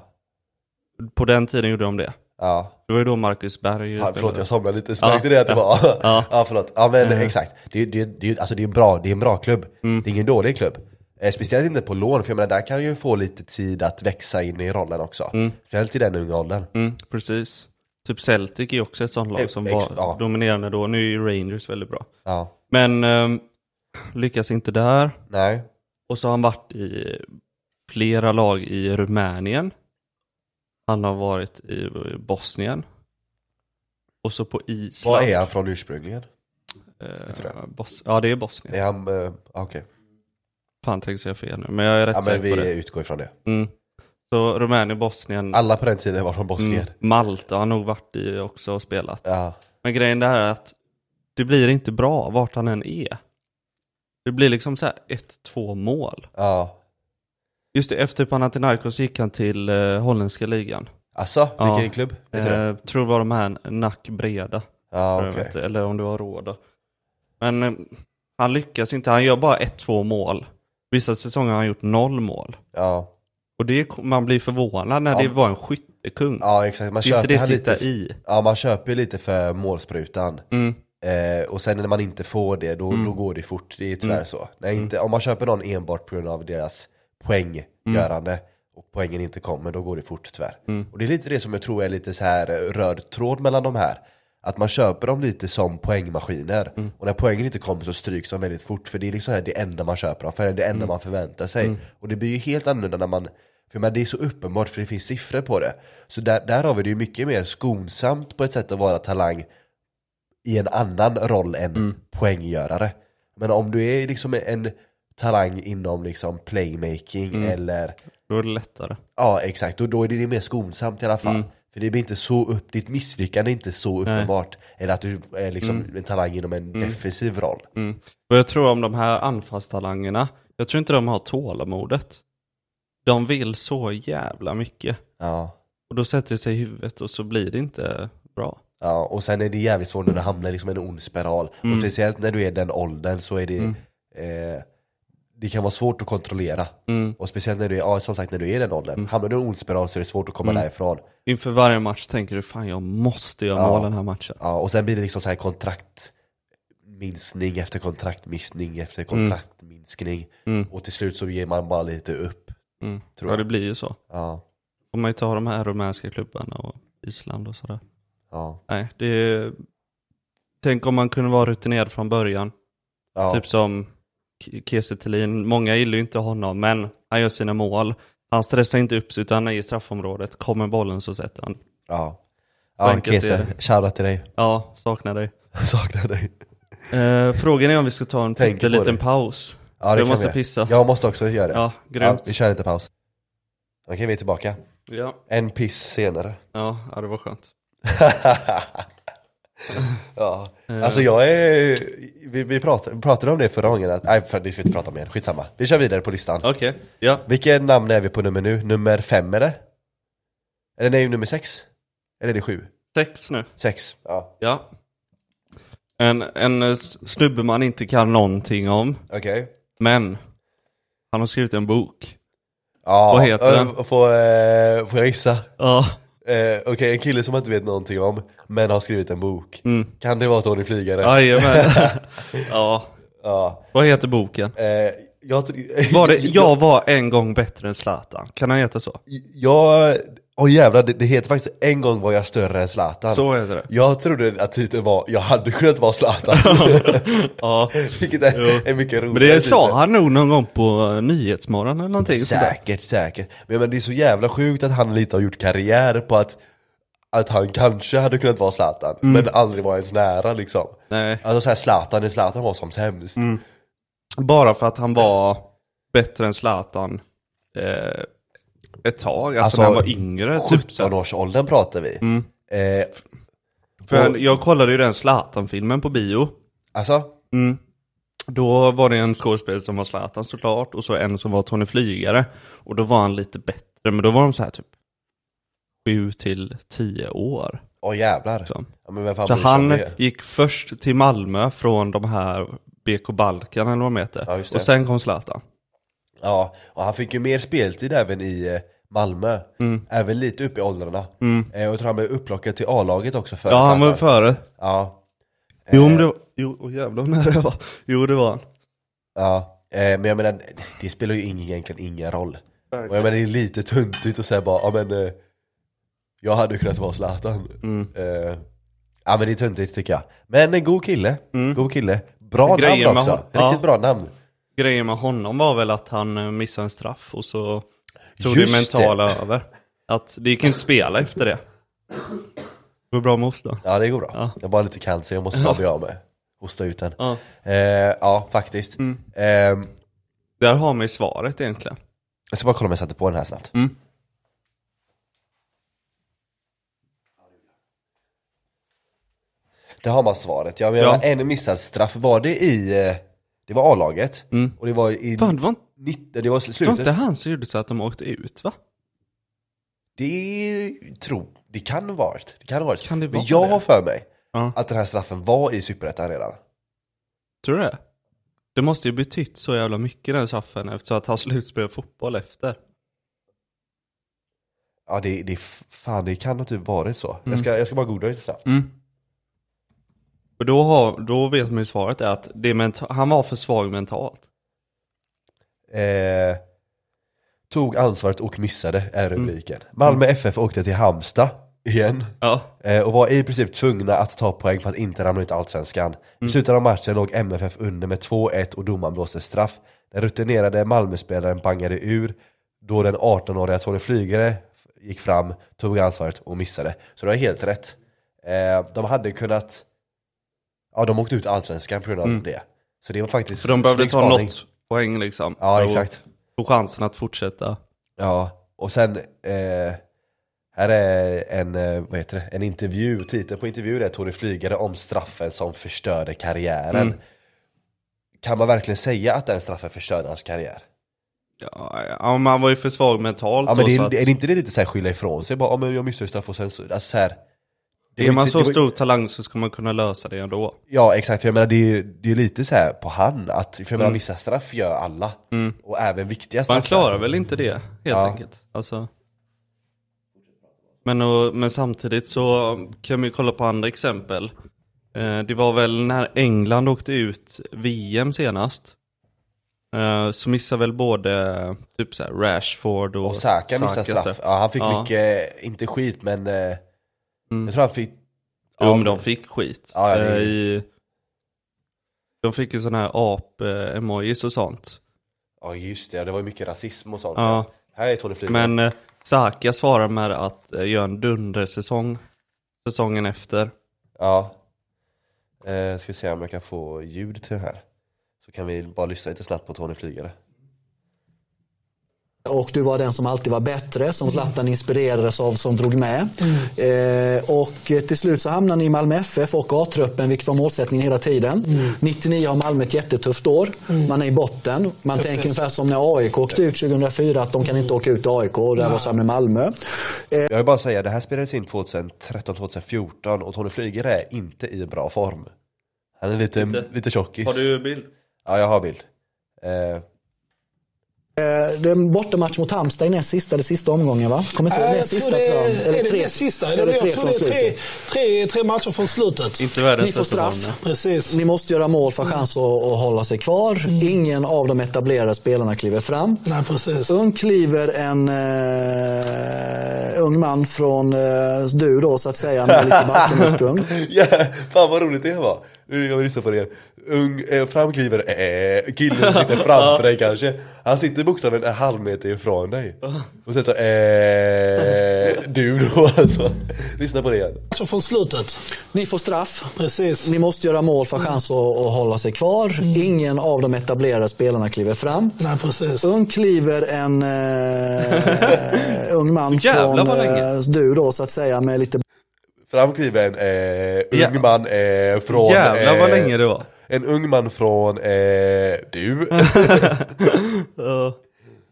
S2: På den tiden gjorde de det.
S1: ja.
S2: Det var ju då Marcus Berg
S1: Fan, förlåt jag somnade lite, så
S2: Typ, Ja.
S1: märkte det att det var... Ja,
S2: Ja.
S1: förlåt. Ja men
S2: Mm.
S1: exakt. Det, det, det, alltså, det, är en bra, det är en bra klubb. Det är ingen dålig klubb. Eh, Speciellt inte på lån, för jag menar där kan du ju få lite tid att växa in i rollen också. Speciellt i den unga åldern.
S2: Mm, precis. Typ Celtic är ju också ett sånt lag som
S1: Eh, Ex-
S2: var
S1: ja.
S2: dominerande då. Nu är ju Rangers väldigt bra.
S1: Ja.
S2: Men ehm, lyckas inte där.
S1: Nej.
S2: Och så har han varit i flera lag i Rumänien. Han har varit i Bosnien. Och så på Island.
S1: Var är han från ursprungligen? du
S2: Eh, Bos- ja, det är Bosnien.
S1: Är han, eh, okej.
S2: Fan, tänker säga fel nu. Men jag är rätt
S1: Ja men
S2: säker
S1: vi
S2: på det.
S1: utgår ifrån det.
S2: Mm. Så Rumänien, Bosnien,
S1: Alla på den tiden var från Bosnien.
S2: mm, Malta har han nog varit i också och spelat.
S1: Ja.
S2: Men grejen där är att det blir inte bra vart han än är. Det blir liksom så här ett, två mål.
S1: Ja.
S2: Just det, efter Panathinaikos gick han till eh, holländska ligan.
S1: Alltså,
S2: Ja.
S1: vilken klubb? Vet du det?
S2: Eh, tror det var de här Nack Breda,
S1: Ja
S2: tror jag
S1: okej.
S2: de hette, eller om det var Råda. Men eh, han lyckas inte, han gör bara ett, två mål. Vissa säsonger har han gjort noll mål.
S1: Ja.
S2: Och det, är- man blir förvånad när
S1: Ja.
S2: det var en skyttekung.
S1: ja exakt, man
S2: det är inte
S1: köper
S2: det
S1: han
S2: sitta
S1: lite.
S2: i.
S1: Ja man köper ju lite för målsprutan.
S2: Mm.
S1: Eh, och sen när man inte får det, då, då går det fort. Det är tyvärr så. Nej, inte, om man köper någon enbart på grund av deras poänggörande och poängen inte kommer, då går det fort tyvärr. Och det är lite det som jag tror är lite så här eh, röd tråd mellan de här. Att man köper dem lite som poängmaskiner. Och när poängen inte kommer så stryks de väldigt fort. För det är liksom här det enda man köper dem för, det är det enda man förväntar sig. Och det blir ju helt annorlunda när man för men det är så uppenbart för det finns siffror på det. Så där, där har vi det ju mycket mer skonsamt på ett sätt att vara talang i en annan roll än poänggörare. Men om du är liksom en talang inom liksom playmaking eller
S2: Då är det lättare.
S1: ja exakt, då, då är det mer skonsamt i alla fall. För det blir inte så upp, ditt misslyckande är inte så uppenbart. Eller att du är liksom en talang inom en defensiv roll.
S2: Mm. Och jag tror om de här anfallstalangerna, jag tror inte de har tålamodet. De vill så jävla mycket.
S1: Ja.
S2: Och då sätter det sig i huvudet och så blir det inte bra.
S1: Ja, och sen är det jävligt svårt när du hamnar i liksom en ond spiral. Och speciellt när du är den åldern så är det eh, Det kan vara svårt att kontrollera. Och speciellt när du är, ja, som sagt när du är i den åldern. Hamnar du i en ond spiral så är det svårt att komma därifrån.
S2: Inför varje match tänker du fan jag måste göra
S1: Ja.
S2: mål den här matchen.
S1: Ja, och sen blir det liksom så här kontraktminskning efter kontraktminskning
S2: Mm.
S1: efter kontraktminskning. Och till slut så ger man bara lite upp.
S2: Mm.
S1: Mm, Tror
S2: ja
S1: jag.
S2: det blir ju så.
S1: Ja,
S2: Om man ju tar de här rumänska klubbarna och Island och sådär.
S1: ja,
S2: Nej, det är... Tänk om man kunde vara rutinerad från början.
S1: ja.
S2: Typ som K- Kiese Thelin. Många gillar ju inte honom, men han gör sina mål. Han stressar inte upp sig, utan han är i straffområdet. Kommer bollen så sätter han.
S1: ja.
S2: Så
S1: Ja,
S2: enkelt är
S1: Kese, shoutout till dig.
S2: Ja, saknar dig.
S1: Jag saknar dig.
S2: Eh, frågan är om vi ska ta en
S1: Tänker på
S2: liten
S1: det.
S2: paus.
S1: Ja, det
S2: jag
S1: kan
S2: måste
S1: vi.
S2: pissa. Ja,
S1: Jag måste också göra det.
S2: grymt.
S1: vi kör lite paus. Okej, vi är tillbaka.
S2: Ja.
S1: En piss senare.
S2: Ja, ja, det var skönt.
S1: ja.
S2: Eh.
S1: Alltså jag är, vi, vi pratade, pratade om det förra gången, att, nej för det ska vi inte prata om igen, skitsamma. Vi kör vidare på listan.
S2: Okej, ja.
S1: Vilket namn är vi på nummer nu? Nummer fem är det? Eller nej, nummer sex? Eller är det sju?
S2: Sex nu.
S1: Sex? Ja.
S2: Ja. En, en eh, s- snubbe man inte kan någonting om,
S1: Okej.
S2: men han har skrivit en bok.
S1: Ja.
S2: Vad heter
S1: eh,
S2: den?
S1: Får, eh, får jag gissa?
S2: Ja,
S1: Eh, Okej, en kille som man inte vet någonting om, men har skrivit en bok.
S2: Mm.
S1: Kan det vara Tony Flygare?
S2: jajamän. ja,
S1: Ja.
S2: vad heter boken?
S1: Eh, jag,
S2: Var det Jag var en gång bättre än Zlatan? Kan han heta så?
S1: Jag, åh jävlar, det, det heter faktiskt En gång var jag större än Zlatan.
S2: Så heter det.
S1: Jag trodde att titeln var Jag hade kunnat vara Zlatan.
S2: Ja.
S1: Vilket är,
S2: Jo.
S1: är mycket roligare.
S2: Men det sa
S1: titel.
S2: han nog någon gång på eh, Nyhetsmorgon eller någonting. sådär.
S1: Säkert, säkert. Men, men det är så jävla sjukt att han lite har gjort karriär på att, att han kanske hade kunnat vara Zlatan,
S2: Mm.
S1: men aldrig var ens nära liksom.
S2: Nej.
S1: Alltså såhär Zlatan, när Zlatan var som sämst.
S2: Mm. Bara för att han var bättre än Zlatan eh, ett tag, alltså,
S1: Alltså,
S2: när han var yngre. Typ, så. Mm.
S1: 17-årsåldern pratar vi. Eh,
S2: för jag kollade ju den Zlatan-filmen på bio.
S1: alltså,
S2: Då var det en skådespelare som var Zlatan såklart, och så en som var Tony Flygare. Och då var han lite bättre, men då var de så här typ 7 till 10 år.
S1: åh jävlar.
S2: Så.
S1: Ja, men vem fan
S2: Så
S1: bryr sig om
S2: han
S1: det?
S2: gick först till Malmö från de här BK Balkan eller vad de heter.
S1: Ja, just det.
S2: och sen kom Zlatan.
S1: Ja, och han fick ju mer speltid även i eh, Malmö.
S2: Mm.
S1: Även lite upp i åldrarna. Eh, och jag tror han blev upplockad till A-laget också för
S2: Ja, han var
S1: Zlatan. Eh.
S2: före.
S1: Ja,
S2: Jo, men det var... Jo, oh, jävlar när det var. Jo, det var han.
S1: ja. Eh, men jag menar, det spelar ju ingen, egentligen ingen roll. Och jag menar det är lite tuntigt att säga bara, ja men eh, jag hade kunnat vara
S2: Mm. Mm.
S1: Zlatan. Eh, ja men det är tuntigt tycker jag. Men en god kille, god kille. Bra
S2: Grejen
S1: namn
S2: med
S1: också.
S2: hon-
S1: Riktigt
S2: ja.
S1: bra namn.
S2: Grejen med honom var väl att han eh, missade en straff och så tog det
S1: Just
S2: mentala över. Att det gick inte att spela efter det. Det var bra med oss då.
S1: Ja, det går bra.
S2: Ja.
S1: Jag har bara lite kall så jag måste bara bli av med. Hosta ut den.
S2: Ja. Mm.
S1: Eh, ja, faktiskt. Ehm,
S2: Där har man ju svaret egentligen.
S1: jag ska bara kolla om jag satte på den här snabbt.
S2: Mm.
S1: Där har man svaret. Jag menar,
S2: Ja.
S1: en missad straff. Var det i... eh, Det var A-laget.
S2: Mm.
S1: Och det var i...
S2: Fan, det var, inte-
S1: 90, det var
S2: det var
S1: slutet.
S2: inte han som gjorde så att de åkte ut va?
S1: Det tror det kan ha varit. Det kan ha varit.
S2: Kan det
S1: Men
S2: vara
S1: jag
S2: det?
S1: har för mig
S2: Ja.
S1: att den här straffen var i Superettan redan.
S2: Tror du det? Det måste ju betytt så jävla mycket den straffen eftersom att han slutspelade fotboll efter.
S1: Ja, det, det, fan, det kan ha typ varit så.
S2: Mm.
S1: Jag, ska, jag ska bara googla lite snabbt.
S2: Och då, har, då vet man ju svaret är att det är menta- han var för svag mentalt.
S1: Eh, tog ansvaret och missade, är
S2: Mm.
S1: rubriken. Malmö FF åkte till Halmstad igen.
S2: Ja.
S1: Eh, och var i princip tvungna att ta poäng för att inte ramla ut i Allsvenskan. I
S2: Mm.
S1: slutet av matchen låg MFF under med 2-1 och domaren blåste straff. Den rutinerade Malmöspelaren bangade ur då den 18-åriga Tony Flygare gick fram, tog ansvaret och missade. Så det var helt rätt. Eh, de hade kunnat... Ja, de åkte ut i Allsvenskan på grund av det. Så det var faktiskt...
S2: För Mm. de behövde
S1: snygg
S2: ta
S1: spaning.
S2: något poäng liksom.
S1: Ja,
S2: Och-
S1: exakt.
S2: Och chansen att fortsätta.
S1: Ja, och sen eh, här är en, eh, vad heter det? en intervju, titeln på intervjun är Tony Flygare om straffen som förstörde karriären.
S2: Mm.
S1: Kan man verkligen säga att den straffen förstörde hans karriär?
S2: Ja, ja, men han var ju för svag mentalt
S1: Ja, men
S2: då,
S1: det,
S2: så
S1: är,
S2: att,
S1: är det inte det lite så här skylla ifrån sig? Bara, ja, men jag missade straff och sen så, alltså så här, det
S2: är
S1: var
S2: man
S1: inte-
S2: så
S1: det var-
S2: stor talang så ska man kunna lösa det ändå.
S1: Ja exakt, jag menar det är ju det är lite så här på han att, för jag menar vissa straff gör alla. Och även viktiga straff.
S2: Mm. Man klarar väl inte det helt
S1: Ja.
S2: enkelt. Alltså. Men, och, men samtidigt så kan vi kolla på andra exempel. Eh, det var väl när England åkte ut VM senast. Eh, så missade väl både eh, typ så här Rashford och,
S1: Och Saka missade
S2: Saka, så
S1: straff.
S2: här.
S1: Ja, han fick
S2: Ja. Mm.
S1: mycket, inte skit men, eh, jag tror han fick
S2: Jo men de fick skit.
S1: Ja, ja, det är-
S2: Eh, i, de fick ju sådana här ap-emojis och sånt.
S1: Ja just det, ja, det var ju mycket rasism och sånt.
S2: Ja.
S1: Här är Tony Flyger.
S2: Men eh, Saka svarar med att eh, göra en dundersäsong säsongen efter.
S1: Ja. Eh, ska vi se om jag kan få ljud till det här. Så kan vi bara lyssna lite snabbt på Tony Flygare.
S3: Och du var den som alltid var bättre, som
S4: Mm.
S3: Zlatan inspirerades av, som drog med. Eh, och eh, till slut så hamnade ni i Malmö FF och A-truppen, vilket var målsättningen hela tiden.
S4: Mm.
S3: 99 har Malmö ett jättetufft år. Man är i botten. Man tänker ungefär som när AIK åkte ut 2004, att de kan inte åka ut i AIK. Och där var samma med Malmö.
S1: Jag vill bara säga, det här spelades in 2013-2014 och Tony Flygare är inte i bra form. Han är lite,
S2: Inte?
S1: lite tjockis.
S2: Har du bild?
S1: Ja, jag har bild. Eh,
S3: Eh, det är en bortamatch mot Halmstad i näst sista, eller sista omgången va? Kommer inte ihåg,
S4: Nej,
S3: näst
S4: jag
S3: sista
S4: tror det
S3: tror jag.
S4: är, är
S3: Eller
S4: det
S3: tre,
S4: tre, sista.
S3: eller
S4: jag
S3: tre
S4: tror
S3: från
S4: det är tre,
S3: slutet.
S4: tre, tre matcher från slutet.
S2: Inte världens
S3: Ni får
S2: bästa
S3: straff.
S2: barn,
S4: Precis.
S3: Ni måste göra mål
S4: Mm.
S3: för chans att, att hålla sig kvar. Ingen av de etablerade spelarna kliver fram.
S4: Nej, precis.
S3: Ung kliver en eh, ung man från eh, du då så att säga med lite Balkanursprung.
S1: Ja, fan vad roligt det var. Nu Jag vill lyssna på det igen. Ung, eh, framkliver, eh, killen som sitter framför dig kanske. Han sitter bokstavligen en halv meter ifrån dig. Och sen så, eh, du då alltså. Lyssna på det igen.
S4: Matcher från slutet.
S3: Ni får straff.
S4: Precis.
S3: Ni måste göra mål för chans att, att hålla sig kvar. Ingen av de etablerade spelarna kliver fram.
S4: Nej, precis.
S3: Ung kliver en eh, ung man
S2: Jävlar,
S3: från
S2: vad länge.
S3: eh, du då så att säga med lite
S1: Framkliver en eh, ung
S2: Ja.
S1: man eh, från...
S2: Jävlar vad
S1: eh,
S2: länge det var.
S1: En ung man från, eh, du.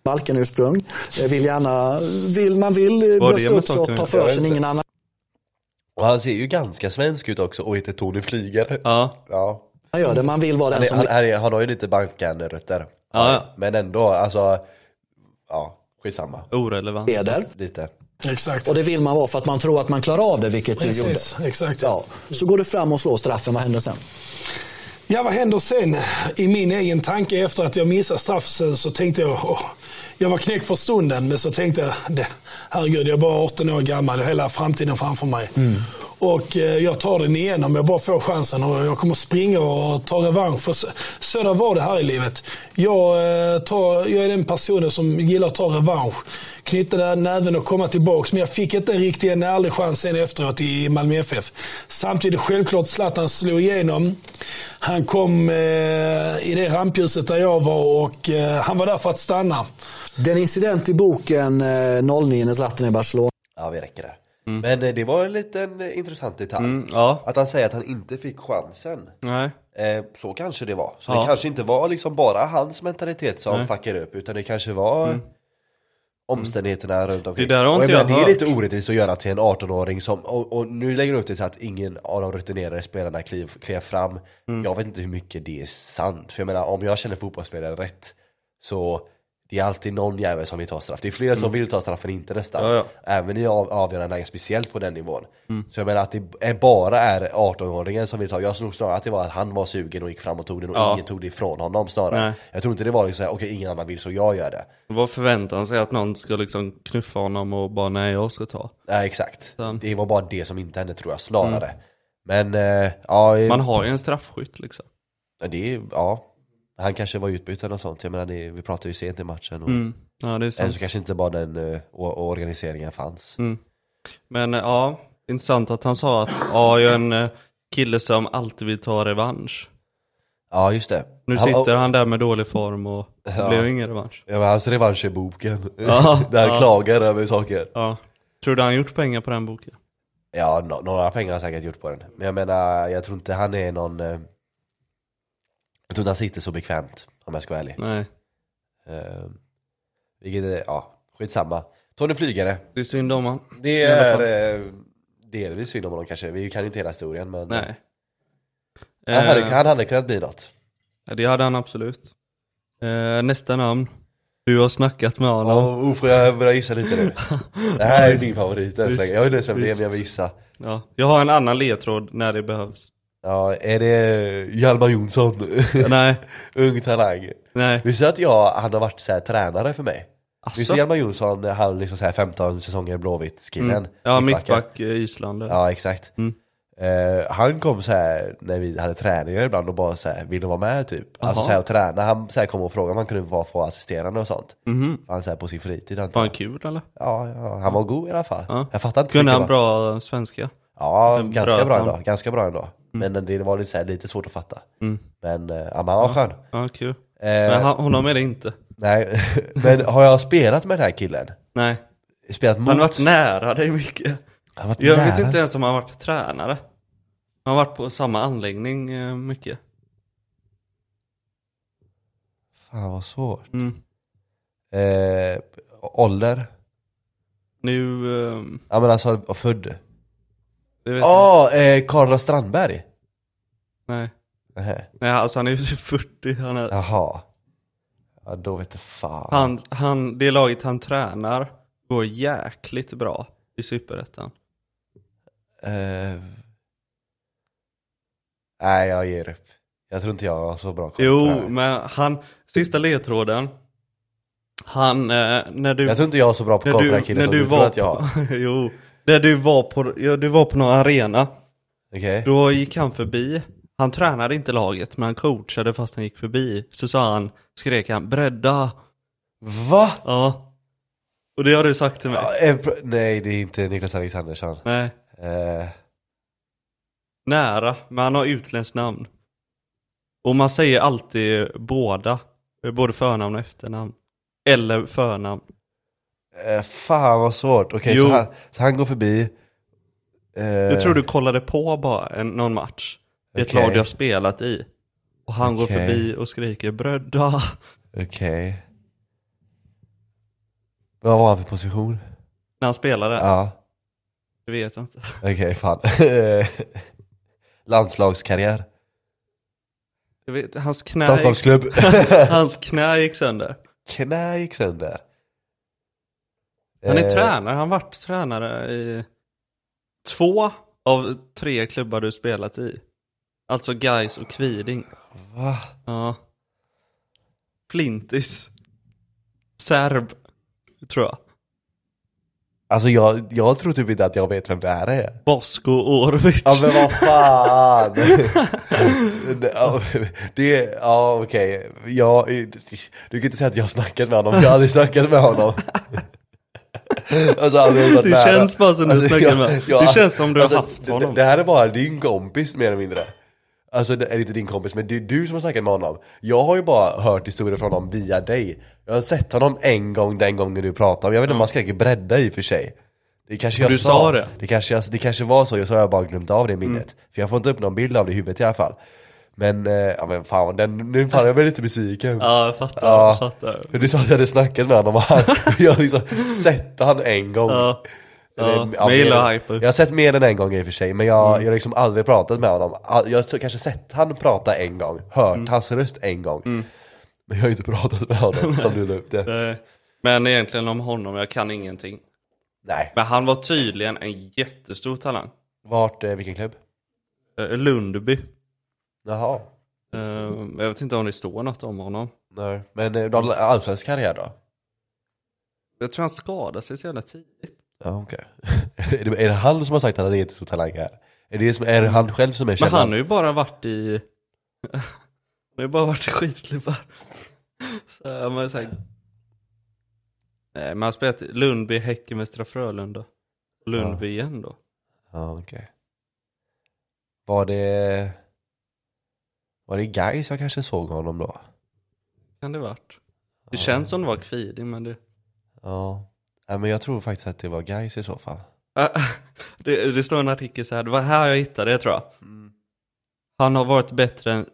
S3: Balkanursprung. Eh, Vill gärna, vill, man vill eh,
S2: Vad är det
S3: brösta
S2: med
S3: upp sig
S2: saker?
S3: och ta för
S1: Jag
S3: sig
S1: vet
S3: när ingen annan
S1: Och han ser ju ganska svensk ut också och heter Tony Flygare.
S2: Ja.
S1: Ja.
S3: gör det. Man vill vara den
S1: Han, är,
S3: som
S1: han, han, är, han har ju lite Balkan-rötter.
S2: Alltså, Ja, ja.
S1: Men ändå, alltså, ja, skitsamma.
S2: Orelevant.
S3: leder.
S1: Lite.
S4: Exakt.
S3: Och det vill man vara för att man tror att man klarar av det, vilket du gjorde.
S4: Precis. Exakt.
S3: Ja. Så går du fram och slår straffen, vad händer sen?
S4: Ja, vad händer sen? I min egen tanke efter att jag missade straffen så tänkte jag, åh, jag var knäck för
S3: Mm.
S4: stunden, men så tänkte jag, det, herregud, jag är bara 18 år gammal, jag har hela framtiden framför mig. Och eh, jag tar den igen om jag bara får chansen. Och jag kommer springa och ta revansch. För Södra var det här i livet. Jag, eh, tar, jag är den personen som gillar att ta revansch. Knyta den näven och komma tillbaka. Men jag fick inte riktigt en ärlig chans sen efteråt i Malmö FF. Samtidigt självklart Zlatan slog igenom. Han kom eh, i det rampljuset där jag var och eh, han var där för att stanna.
S3: Den incident i boken eh, 09 när Zlatan är i Barcelona.
S1: Ja, vi räcker där. Men eh, det var en liten eh, intressant detalj.
S2: Mm, ja,
S1: Att han säger att han inte fick chansen.
S2: nej.
S1: Eh, så kanske det var. Så
S2: Ja.
S1: det kanske inte var liksom bara hans mentalitet som fuckade upp, utan det kanske var omständigheterna runt omkring.
S2: Mm. Det där har
S1: och
S2: inte
S1: jag
S2: jag
S1: menar, det är
S2: hört.
S1: lite orättvist att göra till en 18-åring som, och, och nu lägger de upp det till att ingen av de rutinerade spelarna kliv, klev fram.
S2: Mm.
S1: Jag vet inte hur mycket det är sant, för jag menar om jag känner fotbollsspelare rätt så det är alltid någon jävel som vill ta straff. Det är flera som vill ta straff men inte nästan.
S2: Mm. Ja, ja.
S1: Även i av, avgörande lägen, speciellt på den nivån. Så jag menar att det är- bara är 18-åringen som vill ta, jag tror snarare att det var att han var sugen och gick fram och tog den och
S2: Ja.
S1: ingen tog det ifrån honom snarare.
S2: Nej.
S1: Jag tror inte det var liksom såhär, okej ingen annan vill så jag gör det.
S2: Vad förväntar han sig att någon ska liksom knuffa honom och bara nej jag ska ta?
S1: Nej exakt.
S2: Sant. Mm.
S1: Det var bara det som inte hände tror jag snarare. Men eh, ja, eh,
S2: Man har ju en straffskytt liksom.
S1: det är, ja. Han kanske var utbytt eller något sånt. Jag menar det, vi pratade ju sent i matchen. Och,
S2: Ja det är
S1: Eller
S2: Mm, sant.
S1: så kanske inte bara den eh, o- organiseringen fanns.
S2: Mm. Men eh, ja, intressant att han sa att ja, jag är en eh, kille som alltid vill ta revansch.
S1: Ja just det.
S2: Nu
S1: Han-
S2: sitter han där med dålig form och det
S1: Ja.
S2: blev ingen revansch.
S1: Ja, men hans revansch är boken.
S2: Ja,
S1: Där han
S2: ja.
S1: klagar över saker.
S2: Ja. Tror du han gjort pengar på den boken?
S1: Ja, no- några pengar har han säkert gjort på den. Men jag menar, jag tror inte han är någon... eh, Jag tror inte han sitter så bekvämt, om jag ska vara ärlig.
S2: Nej.
S1: Eh, vilket är, ja, skitsamma. Tony Flygare.
S2: Det är synd om han.
S1: Det
S2: I alla fall.
S1: är eh, delvis synd om honom kanske. Vi kan inte hela historien, men...
S2: Nej.
S1: Han, hade,
S2: Eh,
S1: han hade kunnat bli något.
S2: det hade han absolut. Eh, nästa namn. Du har snackat med honom.
S1: Ja, oh, får jag börja gissa lite nu? det här är min favorit än så länge. Jag vet inte ens vem det är,
S2: visst.
S1: men jag vill gissa.
S2: Ja. Jag har en annan ledtråd när det behövs.
S1: Ja, är det Hjalmar Jonsson?
S2: nej,
S1: Ung talang.
S2: nej.
S1: Visste du att jag, han har varit så här, tränare för mig? Visst är
S2: Asså?
S1: Hjalmar Jonsson, han liksom så här 15 säsonger Blåvitt-killen?
S2: Mm. Ja,
S1: Mittbacken.
S2: mittback eh, Island. Ja.
S1: Ja, exakt.
S2: Mm.
S1: Eh, han kom så här när vi hade träningar ibland och bara så här, vill du vara med typ? Alltså
S2: Jaha.
S1: så här och träna. Han så här kom och frågade om han kunde vara få assisterande och sånt.
S2: Mhm.
S1: Han så här på sin fritid
S2: Var
S1: antar
S2: han
S1: jag.
S2: kul eller?
S1: Ja, ja, han var god i alla fall.
S2: Ja.
S1: Jag fattar inte.
S2: Kunde
S1: vilken
S2: han
S1: var-
S2: bra eh, svenska?
S1: Ja,
S2: en
S1: ganska
S2: bra
S1: bra
S2: plan?
S1: ändå. Ganska bra ändå. Men det var lite, så här, lite svårt att fatta. Men eh, ja, men han var skön.
S2: Mm. Ja, kul.
S1: Eh,
S2: Men han, honom är det inte.
S1: Nej, men har jag spelat med den här killen?
S2: Nej.
S1: Spelat mot?
S2: Han har varit nära dig mycket.
S1: Han har varit
S2: Jag vet
S1: nära.
S2: inte ens om han har varit tränare. Han har varit på samma anläggning eh, mycket.
S1: Fan vad svårt.
S2: Mm.
S1: Eh, ålder?
S2: Nu, ehm,
S1: Ja men alltså född.
S2: det vet jag
S1: Ja, eh, Karla Strandberg.
S2: Nej.
S1: Nähä.
S2: Nej, alltså han är ju 40. Han är,
S1: Jaha. Ja då vet du fan.
S2: han, han, det laget han tränar går jäkligt bra i Superettan.
S1: Eh, nej jag ger upp. Jag tror inte jag har så bra koll på det
S2: Jo,
S1: här.
S2: men han, sista ledtråden. Han, eh, när du...
S1: Jag tror inte jag har så bra på
S2: när
S1: koll på den här
S2: du,
S1: killen
S2: när
S1: som
S2: du
S1: du tror
S2: var
S1: att jag har.
S2: på, jo, när du var på, ja, du var på någon arena,
S1: Okej?
S2: då gick han förbi. Han tränade inte laget, men han coachade fast han gick förbi. Så sa han, skrek han, bredda.
S1: Va?
S2: Ja. Och det har du sagt till mig.
S1: Ja, eh, pr- nej det är inte Niklas Alexandersson.
S2: Nej.
S1: Eh,
S2: Nära, men han har utländskt namn. Och man säger alltid båda. Både förnamn och efternamn. Eller förnamn.
S1: eh, fan vad svårt. Okej så,
S2: Jo.
S1: han, så han går förbi. Eh,
S2: Jag tror du kollade på bara en, någon match. Det är ett
S1: Okej.
S2: lag du har spelat i. Och han går
S1: Okej.
S2: förbi och skriker brödda.
S1: Okej. Vad var han för position?
S2: När han spelade?
S1: Ja.
S2: Det vet jag inte.
S1: Okej, fan. Landslagskarriär.
S2: Jag vet, hans, knä gick,
S1: Stockholmsklubb.
S2: hans knä gick sönder.
S1: Knä gick sönder.
S2: Han är
S1: Eh,
S2: tränare, han har varit tränare i två av tre klubbar du spelat i. Alltså Gais och Kviding.
S1: Eh, Va?
S2: Ja. Flintis. Serb, tror jag.
S1: Alltså jag, jag tror typ inte att jag vet vem det här är.
S2: Bosko Orovic.
S1: Ja men vad fan! Det- ja, det, ja okej, jag, du kan inte säga att jag har snackat med honom, jag har aldrig snackat med honom. Alltså, aldrig varit
S2: Det
S1: nära. Alltså,
S2: känns bara som du snackar med- det känns som du har haft
S1: det-
S2: honom.
S1: Det här är bara din kompis mer eller mindre. Alltså det är inte din kompis, men det är du som har snackat med honom. Jag har ju bara hört historier från honom via dig. Jag har sett honom en gång den gången du pratade om, jag vet inte om man skrek bredda i och för sig. Det kanske jag
S2: Du
S1: sa.
S2: sa det.
S1: Det kanske, jag, det kanske var så, jag så har jag bara glömt av det i minnet.
S2: Mm.
S1: För jag får inte upp någon bild av det i huvudet i alla fall. Men, eh, ja men fan, den, nu fan jag blir lite besviken.
S2: Ja, jag fattar. Jag fattar.
S1: För du sa att jag hade snackat med honom och han, jag har liksom sett han en gång.
S2: Ja.
S1: Eller,
S2: Ja, men jag gillar Mm.
S1: mer-
S2: hyper.
S1: Jag har sett mer än en gång i och för sig, men jag, jag har liksom aldrig pratat med honom. All- Jag har kanske sett han prata en gång, hört
S2: Mm.
S1: hans röst en gång. Men jag har inte pratat med honom som du la upp det.
S2: Eh, Men egentligen om honom, jag kan ingenting.
S1: Nej.
S2: Men han var tydligen en jättestor talang.
S1: Vart, eh, vilken klubb?
S2: Eh, Lundby.
S1: Jaha.
S2: Eh, Jag vet inte om det står något om honom.
S1: Nej. Men eh, du
S2: Mm.
S1: har allsvensk karriär då?
S2: Jag tror han skadade sig så jävla tidigt.
S1: Ja, okej. är, det, är det han som har sagt att han är jättestor talang här? Är det, som, är det han själv som är
S2: Men
S1: källan?
S2: han har ju bara varit i... han har ju bara varit i skitklubbar. Så han var ju såhär... Nej men han har spelat i Lundby, Häcken, Västra Frölunda. Lundby igen då.
S1: Ja, okej. Var det... Var det guys jag kanske såg honom då?
S2: Kan det varit. Det känns som det var Kviding men det...
S1: Ja. Nej, men jag tror faktiskt att det var guys i så fall.
S2: Ah, Det, det står en artikel så här, det var här jag hittade det tror jag. Han har varit bättre än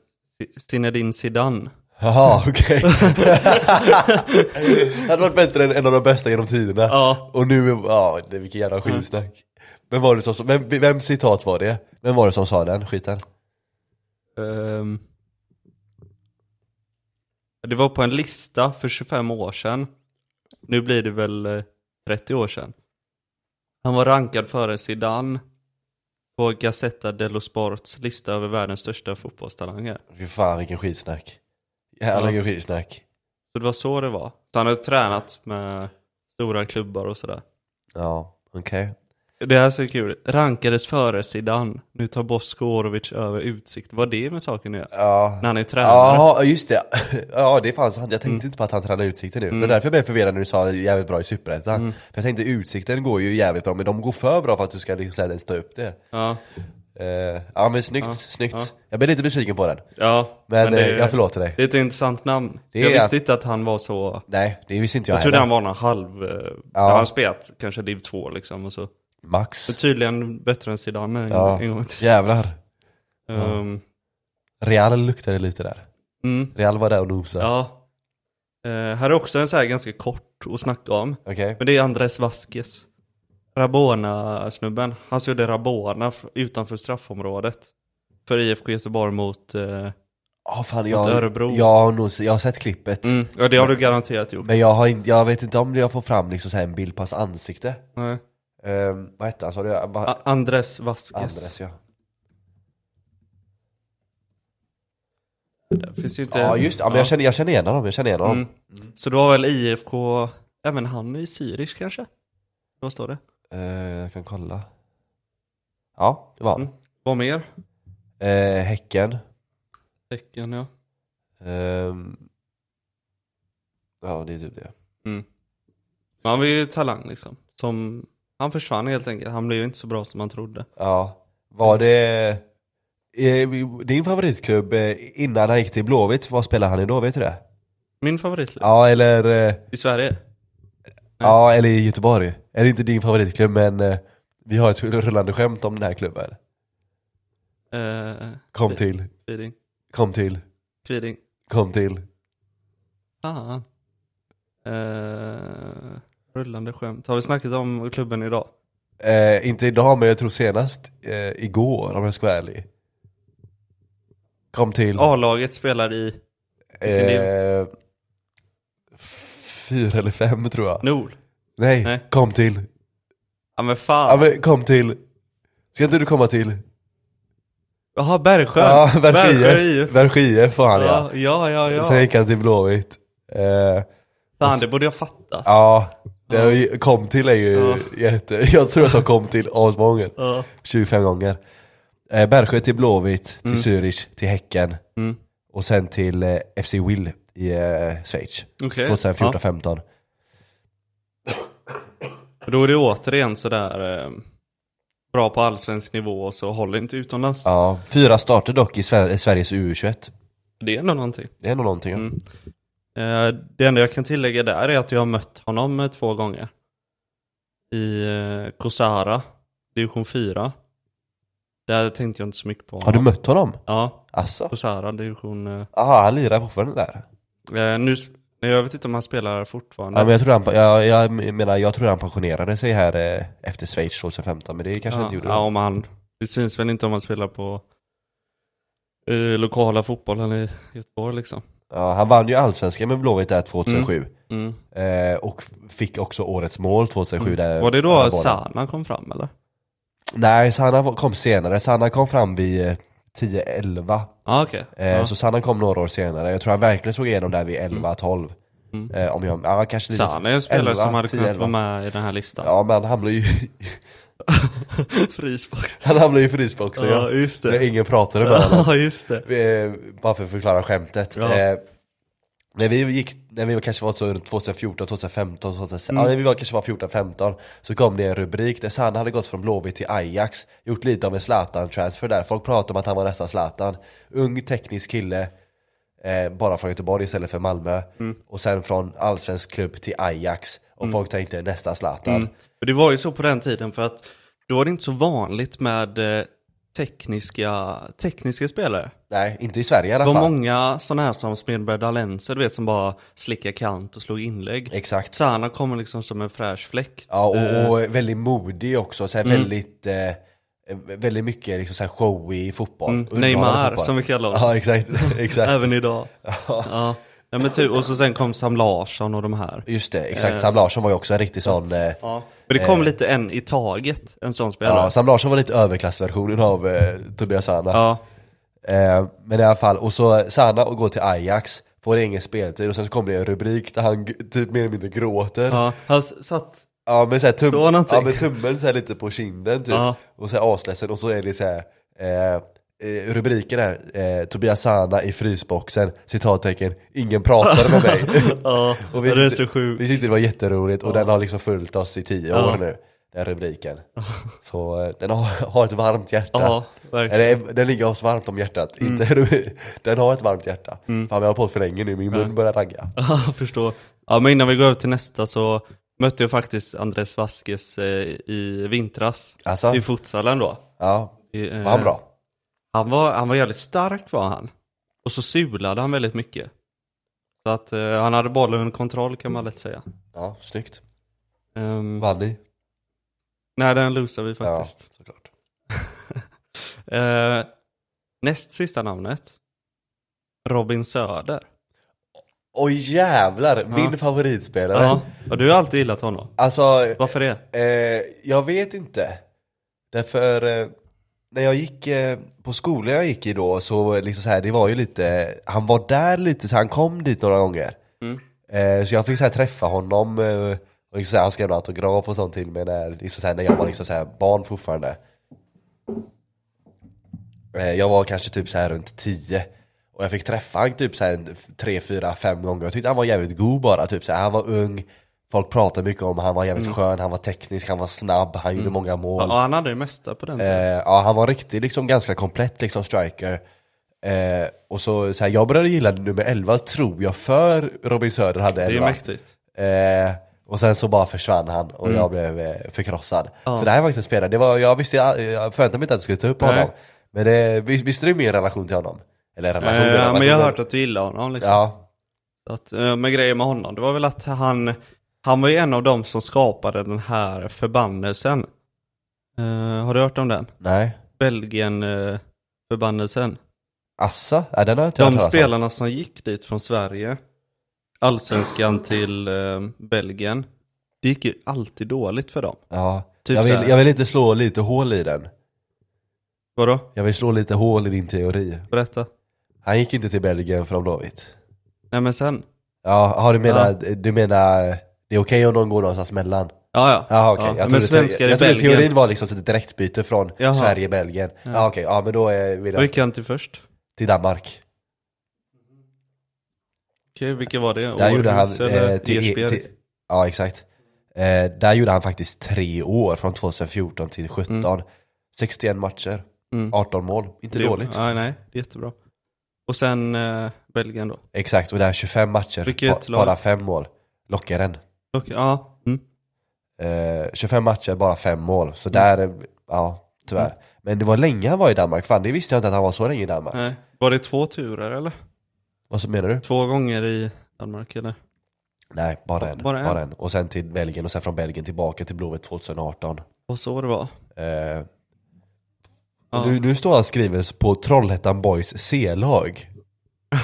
S2: Zinedine Zidane.
S1: Jaha, okej. det hade varit bättre än en av de bästa genom tiderna.
S2: Ja.
S1: Och nu, ja, det, vilken jävla skitsnack. Vem var det som, vem, vem citat var det? Vem var det som sa den skiten?
S2: Ehm. det var på en lista för 25 år sedan. Nu blir det väl eh, 30 år sedan. Han var rankad före Zidane på Gazzetta dello Sports lista över världens största fotbollstalanger.
S1: Fy fan vilken skitsnack. Jävlar
S2: Ja.
S1: vilken skitsnack.
S2: Så det var så det var. Så han har tränat med stora klubbar och sådär.
S1: Ja, okej.
S2: Det här är så kul. Rankades före Zidane. Nu tar Bosko Orovic över utsikt. Vad det med saken nu?
S1: Ja.
S2: När han är tränare.
S1: Jaha, just det. Ja, det fanns han. Jag
S2: Mm.
S1: tänkte inte på att han tränade Utsikten nu. Det var därför jag blev förvirrad när du sa jävligt bra i Superettan.
S2: Mm.
S1: För jag tänkte Utsikten går ju jävligt bra, men de går för bra för att du ska liksom säga den stå upp det.
S2: Ja,
S1: Eh, ja men snyggt, snyggt.
S2: ja.
S1: Jag blev lite besviken på den.
S2: ja.
S1: Men,
S2: det,
S1: eh, jag förlåter dig.
S2: Det är ett intressant namn.
S1: Det
S2: jag
S1: är-
S2: visste inte att han var så...
S1: Nej, det visste inte jag,
S2: Jag trodde
S1: heller.
S2: han var någon halv... eh, När han spelat kanske div 2 liksom och så.
S1: Max.
S2: Men tydligen bättre än Zidane en,
S1: Ja.
S2: en gång till.
S1: Jävlar.
S2: Ehm,
S1: Real luktade lite där.
S2: mm,
S1: Real var där och nosade.
S2: ja. Eh, här är också en så här ganska kort att snacka om.
S1: Okej.
S2: Men det är Andres Vasquez. Rabona-snubben. Han som gjorde Rabona f- utanför straffområdet. För IFK Göteborg mot... Eh,
S1: Ja, fan,
S2: Mot
S1: jag,
S2: Örebro.
S1: jag, har nog, jag har sett klippet.
S2: mm, ja, det har du garanterat gjort.
S1: Men jag, har inte, jag vet inte om jag får fram liksom så här en bild på hans ansikte.
S2: Nej.
S1: Ehm, vad hette han sa du? Vad-
S2: A- Andres Vasquez.
S1: Andres ja.
S2: Det finns ju inte...
S1: Ja just det. ja, men jag känner, jag känner igen honom, jag känner igen honom.
S2: Mm. Så då var väl IFK... Även han är syrisk kanske? Vad står det?
S1: Eh, jag kan kolla. Ja, det var han.
S2: Mm. Vad mer?
S1: Eh, häcken.
S2: Häcken ja.
S1: Ehm, ja, det är typ det.
S2: Men han var ju talang liksom. Som... Han försvann helt enkelt. Han blev ju inte så bra som man trodde.
S1: Ja. Var det... eh, din favoritklubb eh, innan han gick till Blåvitt, vad spelade han i då? Vet du det?
S2: Min favoritklubb
S1: Ja, eller... eh,
S2: i Sverige.
S1: Ja, eller i Göteborg. Är det inte din favoritklubb, men eh, vi har ett rullande skämt om den här klubben.
S2: Eh,
S1: Kom till,
S2: Kviding.
S1: kom till,
S2: Kviding.
S1: kom till.
S2: Fan. Eh, rullande skämt. Har vi snackat om klubben idag?
S1: Eh, inte idag, men jag tror senast eh, igår om jag ska vara ärlig. Kom till
S2: A-laget spelar i
S1: eh, fyra eller fem tror jag.
S2: Nol.
S1: Nej,
S2: Nej.
S1: kom till.
S2: Ja men
S1: Ja,
S2: fan.
S1: men kom till. Ska inte du komma till?
S2: Jaha, Bergsjö.
S1: Ja,
S2: Bergsjö
S1: Bergs
S2: IF.
S1: IF. IF var han ja.
S2: Ja, ja, ja. ja.
S1: Sen gick han till Blåvitt. Eh,
S2: Fan, det borde jag fattat.
S1: ja, Det har ju- kom till är ju jätte... Jag tror jag sa kom till asmånga gånger.
S2: Ja.
S1: 25 gånger. Eh, Bergsjö till Blåvitt,
S2: Mm.
S1: till Zürich, till Häcken. Och sen till eh, FC Will i eh, Schweiz.
S2: Okej.
S1: 2014-15.
S2: Då är det återigen sådär eh, bra på allsvensk nivå och så håller inte utomlands.
S1: Ja. Fyra starter dock i Sver- i Sveriges U21.
S2: Det är ändå någonting.
S1: Det är nog någonting. ja.
S2: Mm. Eh, Det enda jag kan tillägga där är att jag har mött honom eh, två gånger. I eh, Kosara, division 4. Där tänkte jag inte så mycket på
S1: Har
S2: honom.
S1: du mött honom?
S2: Ja,
S1: Asså?
S2: Kosara, division... eh,
S1: Jaha, han lirar fortfarande där?
S2: eh, Nu, sp- nej, jag vet inte om han spelar fortfarande.
S1: Ja, men jag, tror han, jag, jag menar, jag tror han pensionerade sig här eh, efter Schweiz 2015, men det kanske han inte gjorde.
S2: ja, om han, det syns väl inte om han spelar på eh, lokala fotbollen i Göteborg liksom.
S1: Ja, han vann ju allsvenskan med Blåvitt där 2007.
S2: Mm.
S1: Eh, och fick också årets mål 2007. Där
S2: Var det
S1: med
S2: då
S1: bollen.
S2: Sana kom fram eller?
S1: Nej, Sanna var- kom senare. Sanna kom fram vid eh, 10-11.
S2: Ah, okej.
S1: Eh,
S2: ja.
S1: Så Sanna kom några år senare. Jag tror han verkligen såg igenom där vid 11-12.
S2: Mm.
S1: Eh, om jag, ja, kanske lite,
S2: Sana är en spelare
S1: 11,
S2: som hade
S1: 10,
S2: kunnat
S1: 11.
S2: vara med i den här listan.
S1: Ja, men han hamnade ju,
S2: Frisbox.
S1: han hamnade ju i frysboxen.
S2: Ja,
S1: Ja,
S2: just
S1: När
S2: det.
S1: ingen pratade med honom.
S2: Ja, just det.
S1: Eh, bara för att förklara skämtet.
S2: Ja.
S1: Eh, när vi gick, när vi kanske var så runt 2014, 2015, 2016,
S2: Mm.
S1: ja, när vi var, kanske var 14, 15 Så kom det en rubrik där Sanna hade gått från Blåvitt till Ajax Gjort lite av en Zlatan-transfer där, folk pratade om att han var nästan Zlatan Ung teknisk kille eh, Bara från Göteborg istället för Malmö
S2: Mm.
S1: Och sen från allsvensk klubb till Ajax Och folk tänkte nästa Zlatan
S2: Och Det var ju så på den tiden för att då var det inte så vanligt med eh, tekniska, tekniska spelare.
S1: Nej, inte i Sverige i alla
S2: Det var
S1: fall
S2: många sådana här som Smedberg Dalense, du vet som bara slickade kant och slog inlägg.
S1: Exakt
S2: Sana kommer liksom som en fräsch fläkt.
S1: Ja,
S2: Eh, Mm.
S1: och, och väldigt modig också. Så här, väldigt, eh, väldigt mycket liksom, så här, showy i fotboll.
S2: Mm,
S1: Underhållande
S2: Neymar, som vi kallar honom.
S1: Ja, exakt. exakt.
S2: Även idag. ja. Ja, men typ, och så sen kom Sam Larsson och de här.
S1: Just det, exakt. Sam Larsson var ju också en riktig sån... Eh,
S2: Eh. Ja. Men det kom lite en i taget, en sån spelare.
S1: ja, Sam Larsson var lite överklassversionen av eh, Tobias Sana.
S2: Ja.
S1: Eh, men i alla fall, och så Sana och går till Ajax, får ingen speltid och sen så kommer det en rubrik där han g- typ mer eller mindre gråter.
S2: Ja, han s- satt,
S1: Ja men såhär tum-
S2: Det var någonting.
S1: ja, men tummen så här lite på kinden typ,
S2: Ja.
S1: och såhär asledsen och så är det såhär eh, eh, Rubriken här, eh, Tobias Sana i frysboxen, citattecken, ingen pratade med mig.
S2: ja,
S1: och
S2: det är
S1: tyckte-
S2: så sjukt.
S1: Vi tyckte det var jätteroligt och den har liksom följt oss i tio
S2: Ja.
S1: år nu, den rubriken. så eh, den har, har ett varmt hjärta.
S2: Ja, verkligen. Mm.
S1: Eller, eh, den ligger oss varmt om hjärtat, inte, den har ett varmt hjärta. Fan vi har på för länge nu, min mun börjar ragga.
S2: Ja, jag förstår. Ja, men innan vi går över till nästa så mötte jag faktiskt Andres Vasquez eh, i vintras.
S1: Alltså,
S2: I futsalen då.
S1: ja,
S2: I, eh,
S1: var han bra?
S2: Han var, han var jävligt stark var han. Och så sulade han väldigt mycket. Så att eh, han hade bollen under kontroll kan man lätt säga.
S1: Ja, snyggt.
S2: Um,
S1: Vann ni?
S2: nej, den losade vi faktiskt.
S1: Ja, såklart.
S2: Eh, näst sista namnet. Robin Söder.
S1: Oj jävlar, min favoritspelare.
S2: Ja, och du har alltid gillat honom.
S1: Alltså,
S2: Varför det?
S1: eh, jag vet inte. Därför, eh, när jag gick eh, på skolan jag gick i då, så liksom så här, det var ju lite, han var där lite, så han kom dit några gånger. Eh, så jag fick så här, träffa honom, eh, och liksom så här, han skrev en autograf och sånt till mig när, liksom så här, när jag var liksom så här, barn fortfarande. Eh, Jag var kanske typ så här runt 10 och jag fick träffa han typ så här en tre, fyra, fem gånger. Jag tyckte han var jävligt god bara. Typ så här, han var ung, folk pratade mycket om han var jävligt skön, han var teknisk, han var snabb, han gjorde många mål.
S2: Ja, han hade det mesta på den tiden.
S1: Eh, ja, han var riktigt liksom ganska komplett liksom striker. Eh, och så, så här, jag började gilla nummer 11 tror jag för Robin Söder hade 11.
S2: det är mäktigt. Mm.
S1: Eh, och sen så bara försvann han och jag blev eh, förkrossad. Så det här var faktiskt en spelare, det var, jag, visste, jag, jag förväntade mig inte att du skulle ta upp
S2: Nej.
S1: honom. Men det, vis- visste du min relation till honom? Eller relation,
S2: Eh,
S1: relation
S2: men jag har hört att du gillar honom liksom.
S1: Ja,
S2: Så Att, eh, men grejen med honom, det var väl att han, han var ju en av dem som skapade den här förbannelsen. Eh, har du hört om den?
S1: nej.
S2: Belgien-förbannelsen.
S1: Assa? Ja, den har jag inte hört
S2: de
S1: talas om.
S2: spelarna som gick dit från Sverige, allsvenskan till eh, Belgien, det gick ju alltid dåligt för dem.
S1: Ja.
S2: Typ
S1: jag,
S2: så här.
S1: vill, jag vill inte slå lite hål i den.
S2: Vadå?
S1: Jag vill slå lite hål i din teori.
S2: Berätta.
S1: Han gick inte till Belgien från Blåvitt.
S2: Nej men sen.
S1: Ja, har du menar, du menar Det är okej om de går någonstans mellan.
S2: Ja, ja.
S1: Jaha okej,
S2: ja.
S1: jag
S2: Men
S1: trodde,
S2: svenskar
S1: jag,
S2: i
S1: jag trodde teorin
S2: Belgien.
S1: var liksom så ett direktbyte från
S2: Jaha.
S1: Sverige-Belgien. Ja okej, ja men då är vi
S2: Vad
S1: där,
S2: gick han till först?
S1: till Danmark.
S2: Okej, vilka var det?
S1: Där gjorde han,
S2: Århus
S1: eh,
S2: eller
S1: till,
S2: Esbjerg?
S1: till, ja exakt. Eh, där gjorde han faktiskt tre år, från 2014 till 17. 61 matcher,
S2: Mm.
S1: 18 mål, inte dåligt.
S2: Ja, nej, det är jättebra. Och sen eh, Belgien då.
S1: Exakt, och där 25 matcher,
S2: Vilket
S1: ba-
S2: lag?
S1: bara 5 mål. Lockaren.
S2: Okej, ja. Mm.
S1: Eh, 25 matcher, bara 5 mål. Så där, eh, ja tyvärr.
S2: Mm.
S1: Men det var länge han var i Danmark, fan det visste jag inte att han var så länge i Danmark.
S2: Nej. Var det två turer eller?
S1: Vad så menar du?
S2: Två gånger i Danmark eller?
S1: Nej, bara en.
S2: Bara en.
S1: Bara en. Och sen till Belgien och sen från Belgien tillbaka till Blåvitt 2018.
S2: Och så det var.
S1: Eh,
S2: Ja.
S1: nu, nu står han skriven på Trollhättan Boys C-lag.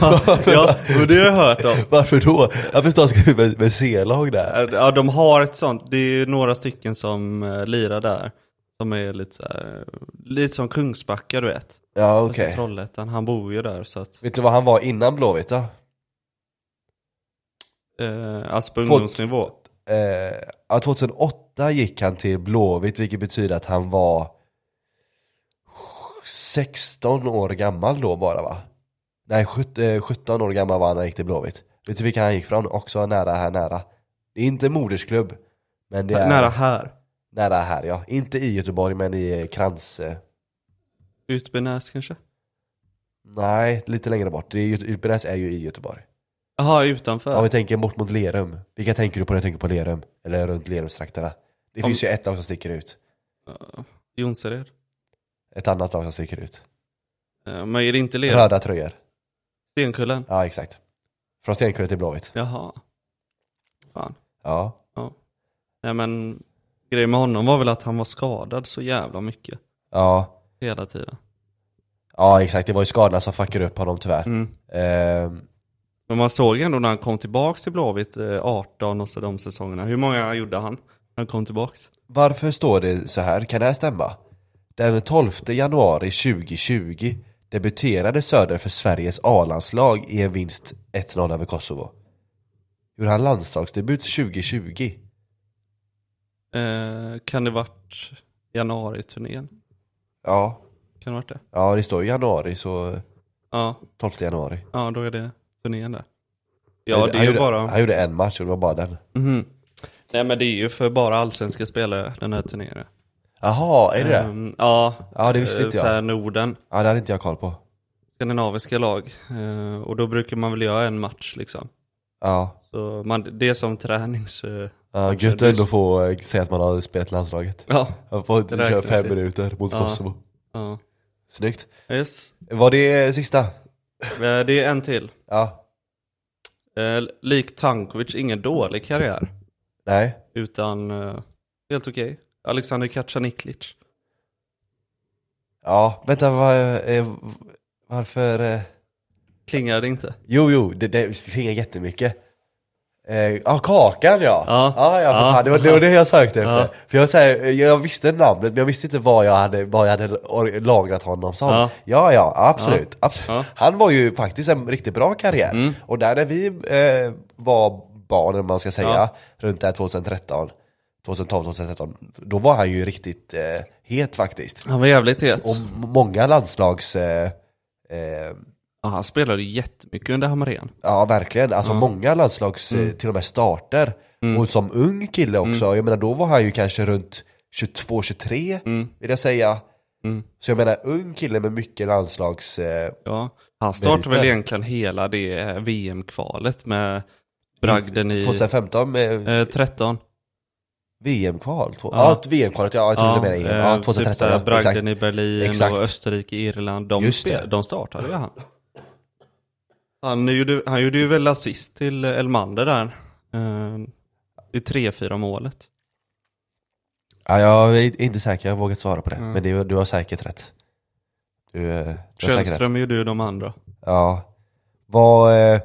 S2: ja, och det har jag hört om.
S1: Varför då? Varför står han skriven med, med C-lag där?
S2: Ja, de har ett sånt. Det är ju några stycken som eh, lirar där. Som är lite så här, lite som Kungsbacka du vet.
S1: Ja
S2: Fast i
S1: okej.
S2: Alltså Trollhättan, han bor ju där så att,
S1: Vet du vad han var innan Blåvitt då?
S2: eh, alltså på
S1: Fått-
S2: ungdomsnivå.
S1: Eh, ja, 2008 gick han till Blåvitt vilket betyder att han var 16 år gammal då bara va? Nej sjut- eh, 17 år gammal var han när han gick till Blåvitt. Vet du vilka han gick från? Också nära här nära. Det är inte modersklubb. Men det är
S2: Nära här.
S1: nära här ja. Inte i Göteborg men i eh, Krans. Eh,
S2: Utbynäs kanske?
S1: nej, lite längre bort. Det är, Göte- Utbynäs är ju i Göteborg.
S2: Jaha, utanför.
S1: Om vi tänker bort mot Lerum. Vilka tänker du på när du tänker på Lerum? Eller runt Lerumstrakterna? Det
S2: Om-
S1: finns ju ett lag som sticker ut.
S2: Eh, Jonsered.
S1: Ett annat lag som sticker ut.
S2: Eh, Men är det inte Lerum?
S1: Röda tröjor.
S2: Stenkullen?
S1: Ja, exakt. Från Stenkullen till Blåvitt.
S2: Jaha. Fan.
S1: Ja.
S2: Nej men grejen med honom var väl att han var skadad så jävla mycket
S1: Ja.
S2: hela tiden.
S1: Ja, exakt. Det var ju skadorna som fuckade upp honom tyvärr.
S2: Mm.
S1: Ehm,
S2: Men man såg ändå när han kom tillbaks till Blåvitt, eh, 18 och så de säsongerna. Hur många gjorde han när han kom tillbaks?
S1: varför står det så här? Kan det här stämma? Den 12 januari 2020 debuterade Söder för Sveriges A-landslag i en vinst 1-0 över Kosovo. Gjorde han landslagsdebut 2020?
S2: Eh, kan det varit januari-turnén?
S1: Ja.
S2: Kan det varit det?
S1: Ja, det står ju januari så
S2: Ja,
S1: 12 januari.
S2: ja då är det turnén där. Ja, det
S1: han,
S2: är ju
S1: gjorde,
S2: bara...
S1: han gjorde en match och det var bara den.
S2: Mhm. Nej men det är ju för bara allsvenska spelare, den här turneringen.
S1: Jaha, är det det?
S2: Ehm, ja,
S1: Ja, det visste
S2: eh,
S1: inte
S2: Så
S1: jag.
S2: här Norden.
S1: Ja, det hade inte jag koll på.
S2: skandinaviska lag. Eh, och då brukar man väl göra en match liksom.
S1: Ja.
S2: Så man, det är som tränings... Eh,
S1: Ja, gött
S2: det är
S1: ändå
S2: så-
S1: få eh, säga att man har spelat landslaget.
S2: ja.
S1: Man får inte
S2: Det
S1: köra
S2: räknas
S1: fem
S2: ju.
S1: minuter mot
S2: Ja.
S1: Kosovo.
S2: ja.
S1: Snyggt.
S2: Yes.
S1: Var det eh, sista?
S2: Eh, det är en till.
S1: Ja.
S2: Eh, lik Tankovic, ingen dålig karriär.
S1: Nej.
S2: Utan eh, helt okej. Alexander Kacaniklic.
S1: Ja, vänta var, eh, varför? Eh...
S2: Klingar det inte?
S1: Jo, jo, det, det klingar jättemycket. Eh, Ja, Kakan ja!
S2: Ja.
S1: ja, ja, för
S2: Ja.
S1: Fan, det, var, det var det jag sökte efter.
S2: Ja.
S1: För jag, säger, jag visste namnet men jag visste inte vad jag hade, vad jag hade or- lagrat honom som. Ja,
S2: Ja.
S1: ja, absolut. absolut.
S2: Ja.
S1: Han var ju faktiskt en riktigt bra karriär.
S2: Mm.
S1: Och där när vi eh, var barn, om man ska säga,
S2: Ja.
S1: runt där 2013, 2012, 2013, då var han ju riktigt eh, het faktiskt.
S2: Han var jävligt het.
S1: Och m- många landslags... Eh, eh,
S2: Ja, han spelade ju jättemycket under Hamrén.
S1: Ja verkligen, alltså många landslags, eh, till och med starter. Och som ung kille också, jag menar då var han ju kanske runt 22-23 vill jag säga. Så jag menar ung kille med mycket landslags... Eh,
S2: Ja. Han startade
S1: Meriter.
S2: väl egentligen hela det eh, VM-kvalet med bragden i...
S1: 2015 med
S2: Eh, 13.
S1: VM-kval? Två, ja,
S2: Ja.
S1: ett VM-kvalet, ja jag trodde det menade
S2: eh,
S1: Ja,
S2: typ såhär,
S1: 2013 ja,
S2: Bragden
S1: exakt.
S2: i Berlin
S1: Exakt.
S2: och Österrike, Irland. De,
S1: Just
S2: spe-
S1: det.
S2: de startade ju han. Han gjorde, han gjorde ju väl assist till Elmander där. Eh, I 3-4 målet.
S1: Ja, jag är inte säker, jag vågar inte svara på det. Men det, du har säkert rätt. Du, eh, du har säkert rätt.
S2: Källström gjorde ju de andra.
S1: Ja. Vad... Eh,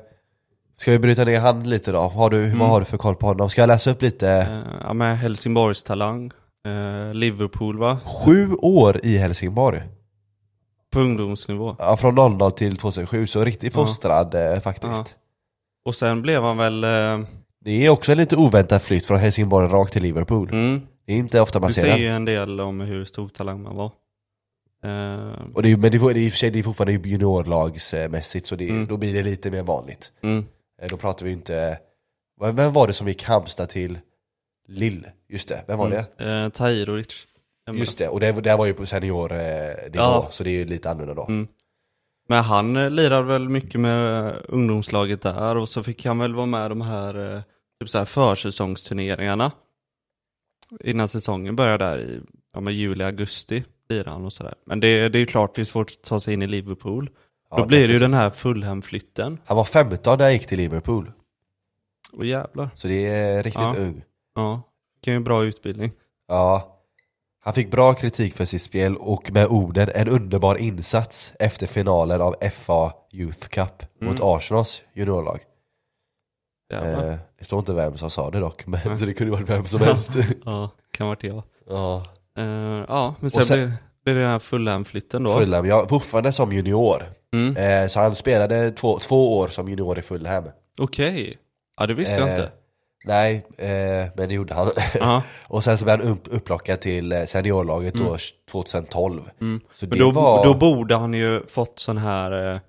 S1: ska vi bryta ner han lite då? Har du, Vad har du för koll på honom? Ska jag läsa upp lite?
S2: Eh, ja, med Helsingborgs talang. Eh, Liverpool va?
S1: Sju år i Helsingborg.
S2: På ungdomsnivå.
S1: Ja, från 00 till 2007, så riktigt fostrad eh, faktiskt.
S2: Och sen blev han väl... Eh,
S1: Det är också en lite oväntad flytt från Helsingborg rakt till Liverpool.
S2: Mm.
S1: Det är inte ofta man
S2: Du
S1: ser
S2: ser
S1: den.
S2: ju en del om hur stor talang man var. Eh,
S1: Och det är, ju- men det är, det är i och för sig det är fortfarande juniorlagsmässigt så det, då blir det lite mer vanligt.
S2: mm.
S1: Eh, Då pratar vi inte, vad- vem var det som gick Halmstad till Lill? Just det, vem var det?
S2: Eh, Tahirovic.
S1: Just det, och det, det här var ju på seniornivå
S2: Ja. Mm.
S1: så det är ju lite annorlunda då.
S2: Men han eh, lirade väl mycket med eh, ungdomslaget där och så fick han väl vara med i de här, eh, typ så här försäsongsturneringarna. Innan säsongen började där i ja, men juli, augusti lirade han och sådär. Men det, det är ju klart det är svårt att ta sig in i Liverpool.
S1: Ja,
S2: Då blir det ju
S1: definitivt.
S2: den här Fulham-flytten.
S1: Han var 15 när han gick till Liverpool,
S2: Åh jävlar.
S1: så det är riktigt
S2: Ja.
S1: ung.
S2: Ja, vilken bra utbildning.
S1: Ja. Han fick bra kritik för sitt spel och med orden en underbar insats efter finalen av FA Youth Cup
S2: Mm.
S1: mot Arsenals juniorlag.
S2: Jävlar.
S1: Eh, det står inte vem som sa det dock, men så det kunde varit vem som helst.
S2: Ja, kan varit jag.
S1: ja.
S2: Eh, ja, men sen,
S1: sen-
S2: blir, blir det den här Fulham-flytten då.
S1: Fulham, jag fortfarande som junior.
S2: Mm.
S1: Eh, så han spelade två, två år som junior i Fulham.
S2: Okej. Ja, det visste jag
S1: Eh,
S2: inte.
S1: Nej, eh, men det gjorde han.
S2: Ja.
S1: och sen så blev han upp, upplockad till eh, seniorlaget då 2012. Så det
S2: Mm. Men då,
S1: var...
S2: då borde han ju fått sån här eh,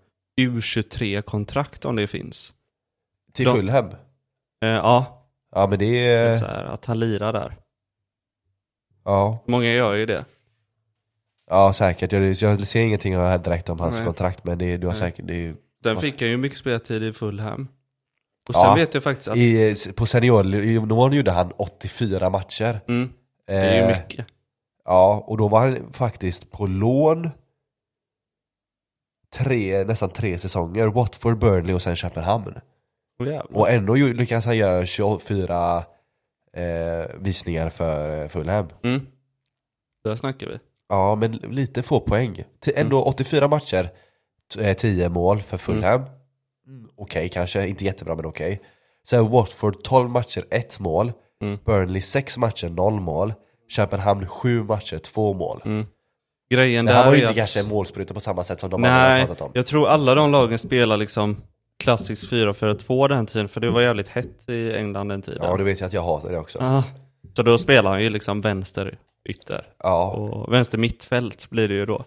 S2: U23-kontrakt om det finns.
S1: till
S2: de-
S1: Fulham.
S2: Eh, ja,
S1: Ja men det
S2: det är
S1: är...
S2: så här, att han lirar där.
S1: Ja.
S2: Många gör ju det.
S1: Ja säkert, jag, jag ser ingenting här direkt om hans
S2: Nej.
S1: kontrakt men det, du har
S2: Nej.
S1: säkert, det är ju,
S2: Sen
S1: Vad-
S2: fick han ju mycket speltid i Fulham. Och sen
S1: Ja.
S2: vet jag faktiskt att
S1: i, eh, På seniornivån gjorde han 84 matcher
S2: mm, det är ju
S1: Eh,
S2: mycket.
S1: Ja, och då var han faktiskt på lån tre, nästan tre säsonger, Watford, Burnley och sen Köpenhamn
S2: Åh, jävlar.
S1: Och ändå ju- lyckas han göra 24 eh, visningar för eh, Fulham
S2: Mm. Där snackar vi.
S1: Ja, men lite få poäng. T-
S2: Mm.
S1: ändå 84 matcher, t- eh, 10 mål för Fulham. Mm. Okej kanske, inte jättebra men okej. Sen Watford 12 matcher, 1 mål.
S2: Mm.
S1: Burnley 6 matcher, 0 mål. Köpenhamn 7 matcher, 2 mål.
S2: Mm. Grejen
S1: Det
S2: där
S1: här var ju
S2: är
S1: inte
S2: att-
S1: kanske en målspruta på samma sätt som de andra har
S2: Nej,
S1: pratat om.
S2: jag tror alla de lagen spelar liksom klassiskt 4-4-2 den tiden, för det var jävligt hett i England den tiden.
S1: Ja, du vet ju att jag hatar det också. Ja,
S2: Ah, så då spelar han ju liksom vänster ytter.
S1: ja.
S2: Och vänster mittfält blir det ju då.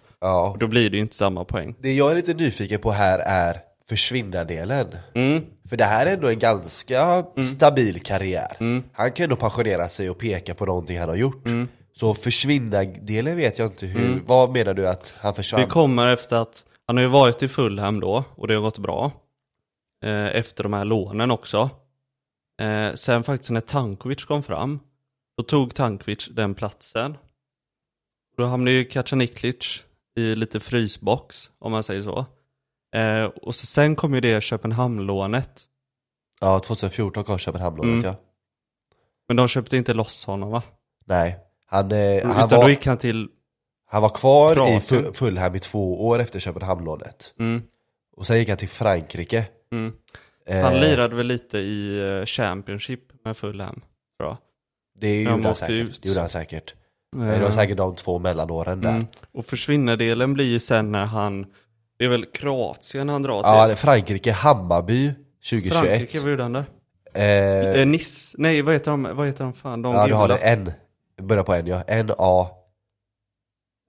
S2: Och då blir det ju inte samma poäng.
S1: Det jag är lite nyfiken på här är försvinnardelen.
S2: Mm.
S1: För det här är ändå en ganska stabil karriär.
S2: Mm.
S1: Han kan ändå pensionera sig och peka på någonting han har gjort. Så försvinnardelen vet jag inte hur, vad menar du att han
S2: Mm. Vi
S1: försvann?
S2: kommer efter att, han har ju varit i Fulham då och det har gått bra. Eh, efter de här lånen också. Eh, sen faktiskt när Tankovic kom fram, då tog Tankovic den platsen. Då hamnade ju Kacaniklic i lite frysbox, om man säger så. Eh, och så sen kom ju det Köpenhamn-lånet.
S1: Ja, 2014 kom Köpenhamnlånet
S2: Mm.
S1: ja.
S2: Men de köpte inte loss honom va?
S1: Nej, han, eh, han,
S2: Mm, Utan
S1: var,
S2: då gick han till...
S1: han var kvar i
S2: Kroatien.
S1: Fu- Fulham i två år efter Köpenhamnlånet.
S2: Mm,
S1: Och sen gick han till Frankrike.
S2: mm.
S1: Eh,
S2: Han lirade väl lite i eh, Championship med Fulham. Tror jag.
S1: det,
S2: han
S1: gjorde han
S2: åkte
S1: säkert.
S2: ut.
S1: det gjorde han säkert. Eh, Det var säkert de två mellanåren där.
S2: Mm. Och försvinnardelen blir ju sen när han, det är väl Kroatien han drar
S1: Ja, det
S2: till?
S1: är Frankrike, Hammarby 2021.
S2: Frankrike, vad gjorde han där?
S1: Eh,
S2: Eh, Nice, nej vad heter de, vad heter de fan, de
S1: Ja du har
S2: gula?
S1: det, en. Börja på en ja. En A,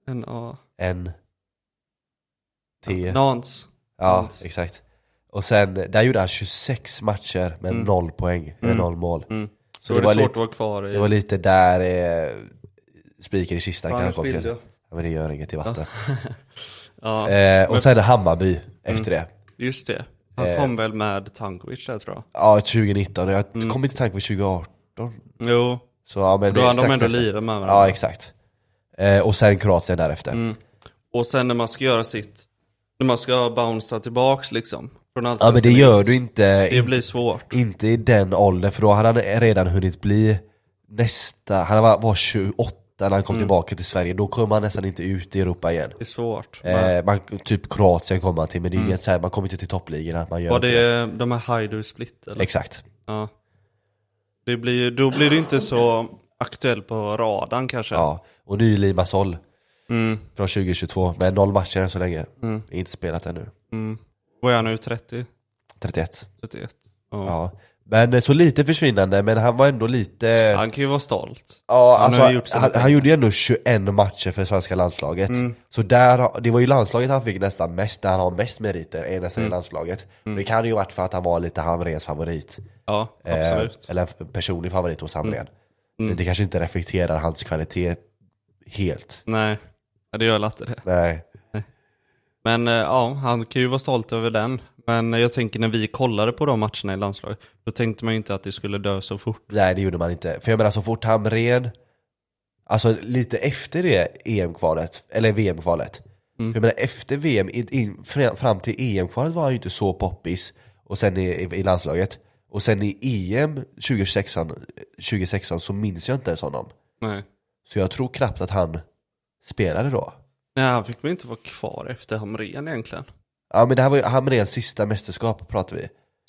S2: En, ja.
S1: en T.
S2: Nans.
S1: Ja, exakt. Och sen, där gjorde han 26 matcher med noll poäng, eller noll mål.
S2: Mm.
S1: Så
S2: Då
S1: det
S2: är det,
S1: var
S2: svårt att
S1: lite,
S2: vara kvar i...
S1: det var lite där eh, spiken i kistan
S2: Fan,
S1: kanske.
S2: jag
S1: om
S2: spillde.
S1: det- Ja, men det gör inget i vatten.
S2: ja,
S1: Eh, och sen Hammarby
S2: Mm.
S1: efter det.
S2: just det. Han
S1: Eh.
S2: kom väl med Tankovic där tror jag.
S1: Ja, 2019. Jag kom inte till tanke på 2018.
S2: Jo,
S1: Så, ja, men
S2: Mm. då
S1: Mm. det är
S2: hann de
S1: strax
S2: ändå
S1: efter.
S2: lirat med varandra. Mm.
S1: Ja, exakt. Eh, och sen Kroatien därefter.
S2: Och sen när man ska göra sitt, när man ska bouncea tillbaks liksom. Från allt
S1: Ja men det gör du inte,
S2: Det blir svårt.
S1: Inte i den åldern, för då hade han redan hunnit bli nästa, han var, var 28 när han
S2: Mm.
S1: kom tillbaka till Sverige, då kom han nästan inte ut i Europa igen.
S2: Det är svårt. Men
S1: Eh, man, typ Kroatien kom han till, men det är inget så här, man kommer inte till toppligorna. att Man gör
S2: Mm. var
S1: inte det.
S2: det de här Haidu Split eller?
S1: Exakt.
S2: Ja. Det blir, ju- då blir det inte så aktuell på radarn kanske.
S1: Ja. Och ny Limassol
S2: Mm,
S1: från 2022, men noll matcher än så länge. Inte spelat ännu.
S2: mm. Vad är han nu? 30?
S1: 31.
S2: 31? Ja.
S1: Ja. Men eh, så lite försvinnande, men han var ändå lite...
S2: Han kan ju vara stolt.
S1: Ja,
S2: Han
S1: alltså,
S2: har
S1: han,
S2: ju gjort sina
S1: han,
S2: pengar. Mm.
S1: gjorde ju ändå 21 matcher för svenska landslaget. Så där, har- det var ju landslaget han fick nästan mest, där han har mest meriter, är
S2: Mm.
S1: nästan i landslaget. Men det kan ju ha varit för att han var lite Hamrens favorit.
S2: Ja,
S1: Eh,
S2: absolut. Mm.
S1: eller en personlig favorit hos Hamrén. Men det kanske inte reflekterar hans kvalitet helt.
S2: Nej, Ja, det gör väl alltid det.
S1: Nej.
S2: Men eh, ja, han kan ju vara stolt över den. Men jag tänker när vi kollade på de matcherna i landslaget, då tänkte man ju inte att det skulle dö så fort.
S1: Nej, det gjorde man inte. För jag menar, så fort Hamrén, alltså lite efter det EM-kvalet, eller VM-kvalet. För jag menar, efter VM, in, in, fram- fram till EM-kvalet var han ju inte så poppis. Och sen i, i, i landslaget. Och sen i E EM 2016, 2016 så minns jag inte ens honom.
S2: Nej.
S1: Så jag tror knappt att han spelade då.
S2: Nej, han fick väl inte vara kvar efter Hamrén egentligen.
S1: Ja men det här var ju Hamréns sista mästerskap pratar vi.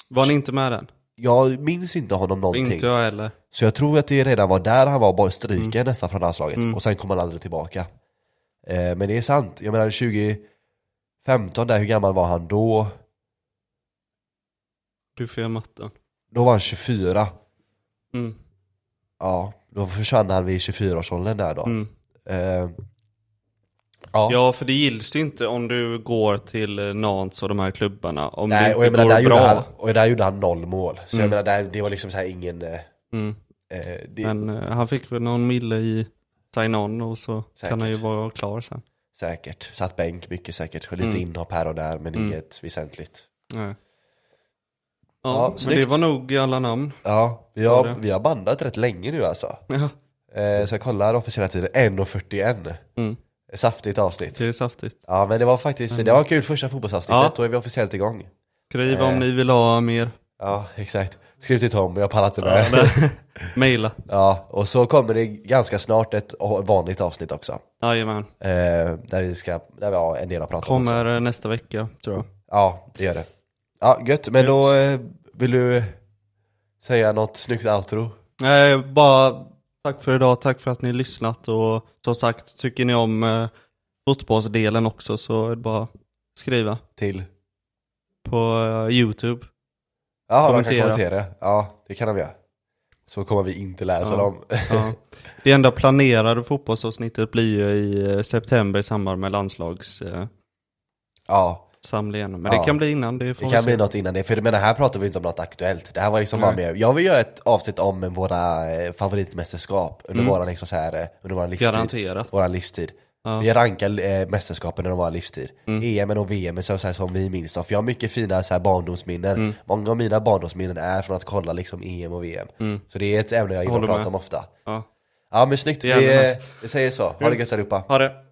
S2: Var han inte med den?
S1: Jag minns inte honom någonting.
S2: Inte jag heller.
S1: Så jag tror att det redan var där han var bara stryken
S2: Mm.
S1: nästan från landslaget och sen kom han aldrig tillbaka. Eh, men det är sant, jag menar 2015 där, hur gammal var han då?
S2: Du får göra matten.
S1: Då var han 24.
S2: Mm.
S1: Ja, då försvann han vid 24-årsåldern där då.
S2: Mm.
S1: Eh, ja.
S2: Ja, för det gills ju inte om du går till eh, Nantes och de här klubbarna. Om det
S1: Nej,
S2: inte
S1: och jag menar, där
S2: går
S1: gjorde,
S2: bra.
S1: han, och där gjorde han noll mål. Så jag menar, där, det var liksom så här ingen... eh,
S2: Mm.
S1: Eh, det,
S2: Men eh, han fick väl någon mille i sign-on och så
S1: Säkert.
S2: kan han ju vara klar sen.
S1: Säkert. Satt bänk mycket säkert. Lite
S2: Mm.
S1: inhopp här och där men inget väsentligt.
S2: Nej.
S1: Ja,
S2: Ja, men det
S1: snyggt.
S2: var nog alla namn.
S1: Ja, vi
S2: Ja, det.
S1: har, vi har bandat rätt länge nu alltså.
S2: Ja,
S1: Eh, så jag kollar officiella tiden, 1.41.
S2: Mm.
S1: Saftigt avsnitt.
S2: det är saftigt.
S1: Ja men det var faktiskt, det var kul första fotbollsavsnittet,
S2: Ja.
S1: då är vi officiellt igång.
S2: Skriv
S1: Eh.
S2: om ni vill ha mer.
S1: Ja, exakt. Skriv till Tom, jag pallar inte med. Ja,
S2: Eller mejla.
S1: och så kommer det ganska snart ett vanligt avsnitt också.
S2: Jajamän.
S1: Eh, där vi ska, där vi har en del att prata om. också.
S2: Kommer eh, nästa vecka tror jag.
S1: Ja, det gör det. Ja, gött. Men då eh, vill du säga något snyggt outro?
S2: Nej, bara tack för idag, tack för att ni har lyssnat och som sagt, tycker ni om eh, fotbollsdelen också så är det bara att skriva
S1: Till?
S2: på eh, Youtube.
S1: Ja,
S2: Kommentera.
S1: de kan kommentera. Ja, det kan de göra. Så kommer vi inte läsa
S2: Ja.
S1: dem.
S2: Ja. Det enda planerade fotbollsavsnittet blir ju i eh, september i samband med landslagssamlingen.
S1: ja.
S2: Men
S1: Ja.
S2: det kan bli innan, det får
S1: Det
S2: vi
S1: kan
S2: se.
S1: bli något innan det, för men här pratar vi inte om något aktuellt. Det här var liksom bara
S2: Nej.
S1: mer, jag vill göra ett avsnitt om våra eh, favoritmästerskap under
S2: Mm.
S1: våran liksom så här, eh, under våran livstid.
S2: Garanterat.
S1: Våran livstid.
S2: Ja. Mm.
S1: Vi rankar eh, mästerskapen under våran livstid. EM och VM så, så här, som vi minns dem. För jag har mycket fina så här, barndomsminnen.
S2: Mm.
S1: Många av mina barndomsminnen är från att kolla liksom EM och VM. Så det är ett ämne jag gillar att
S2: Mm. Håller
S1: prata
S2: med.
S1: om ofta.
S2: Ja.
S1: Ja men snyggt,
S2: Jävla
S1: vi, eh,
S2: nice.
S1: vi säger så. Ha det gött allihopa.
S2: Ha det.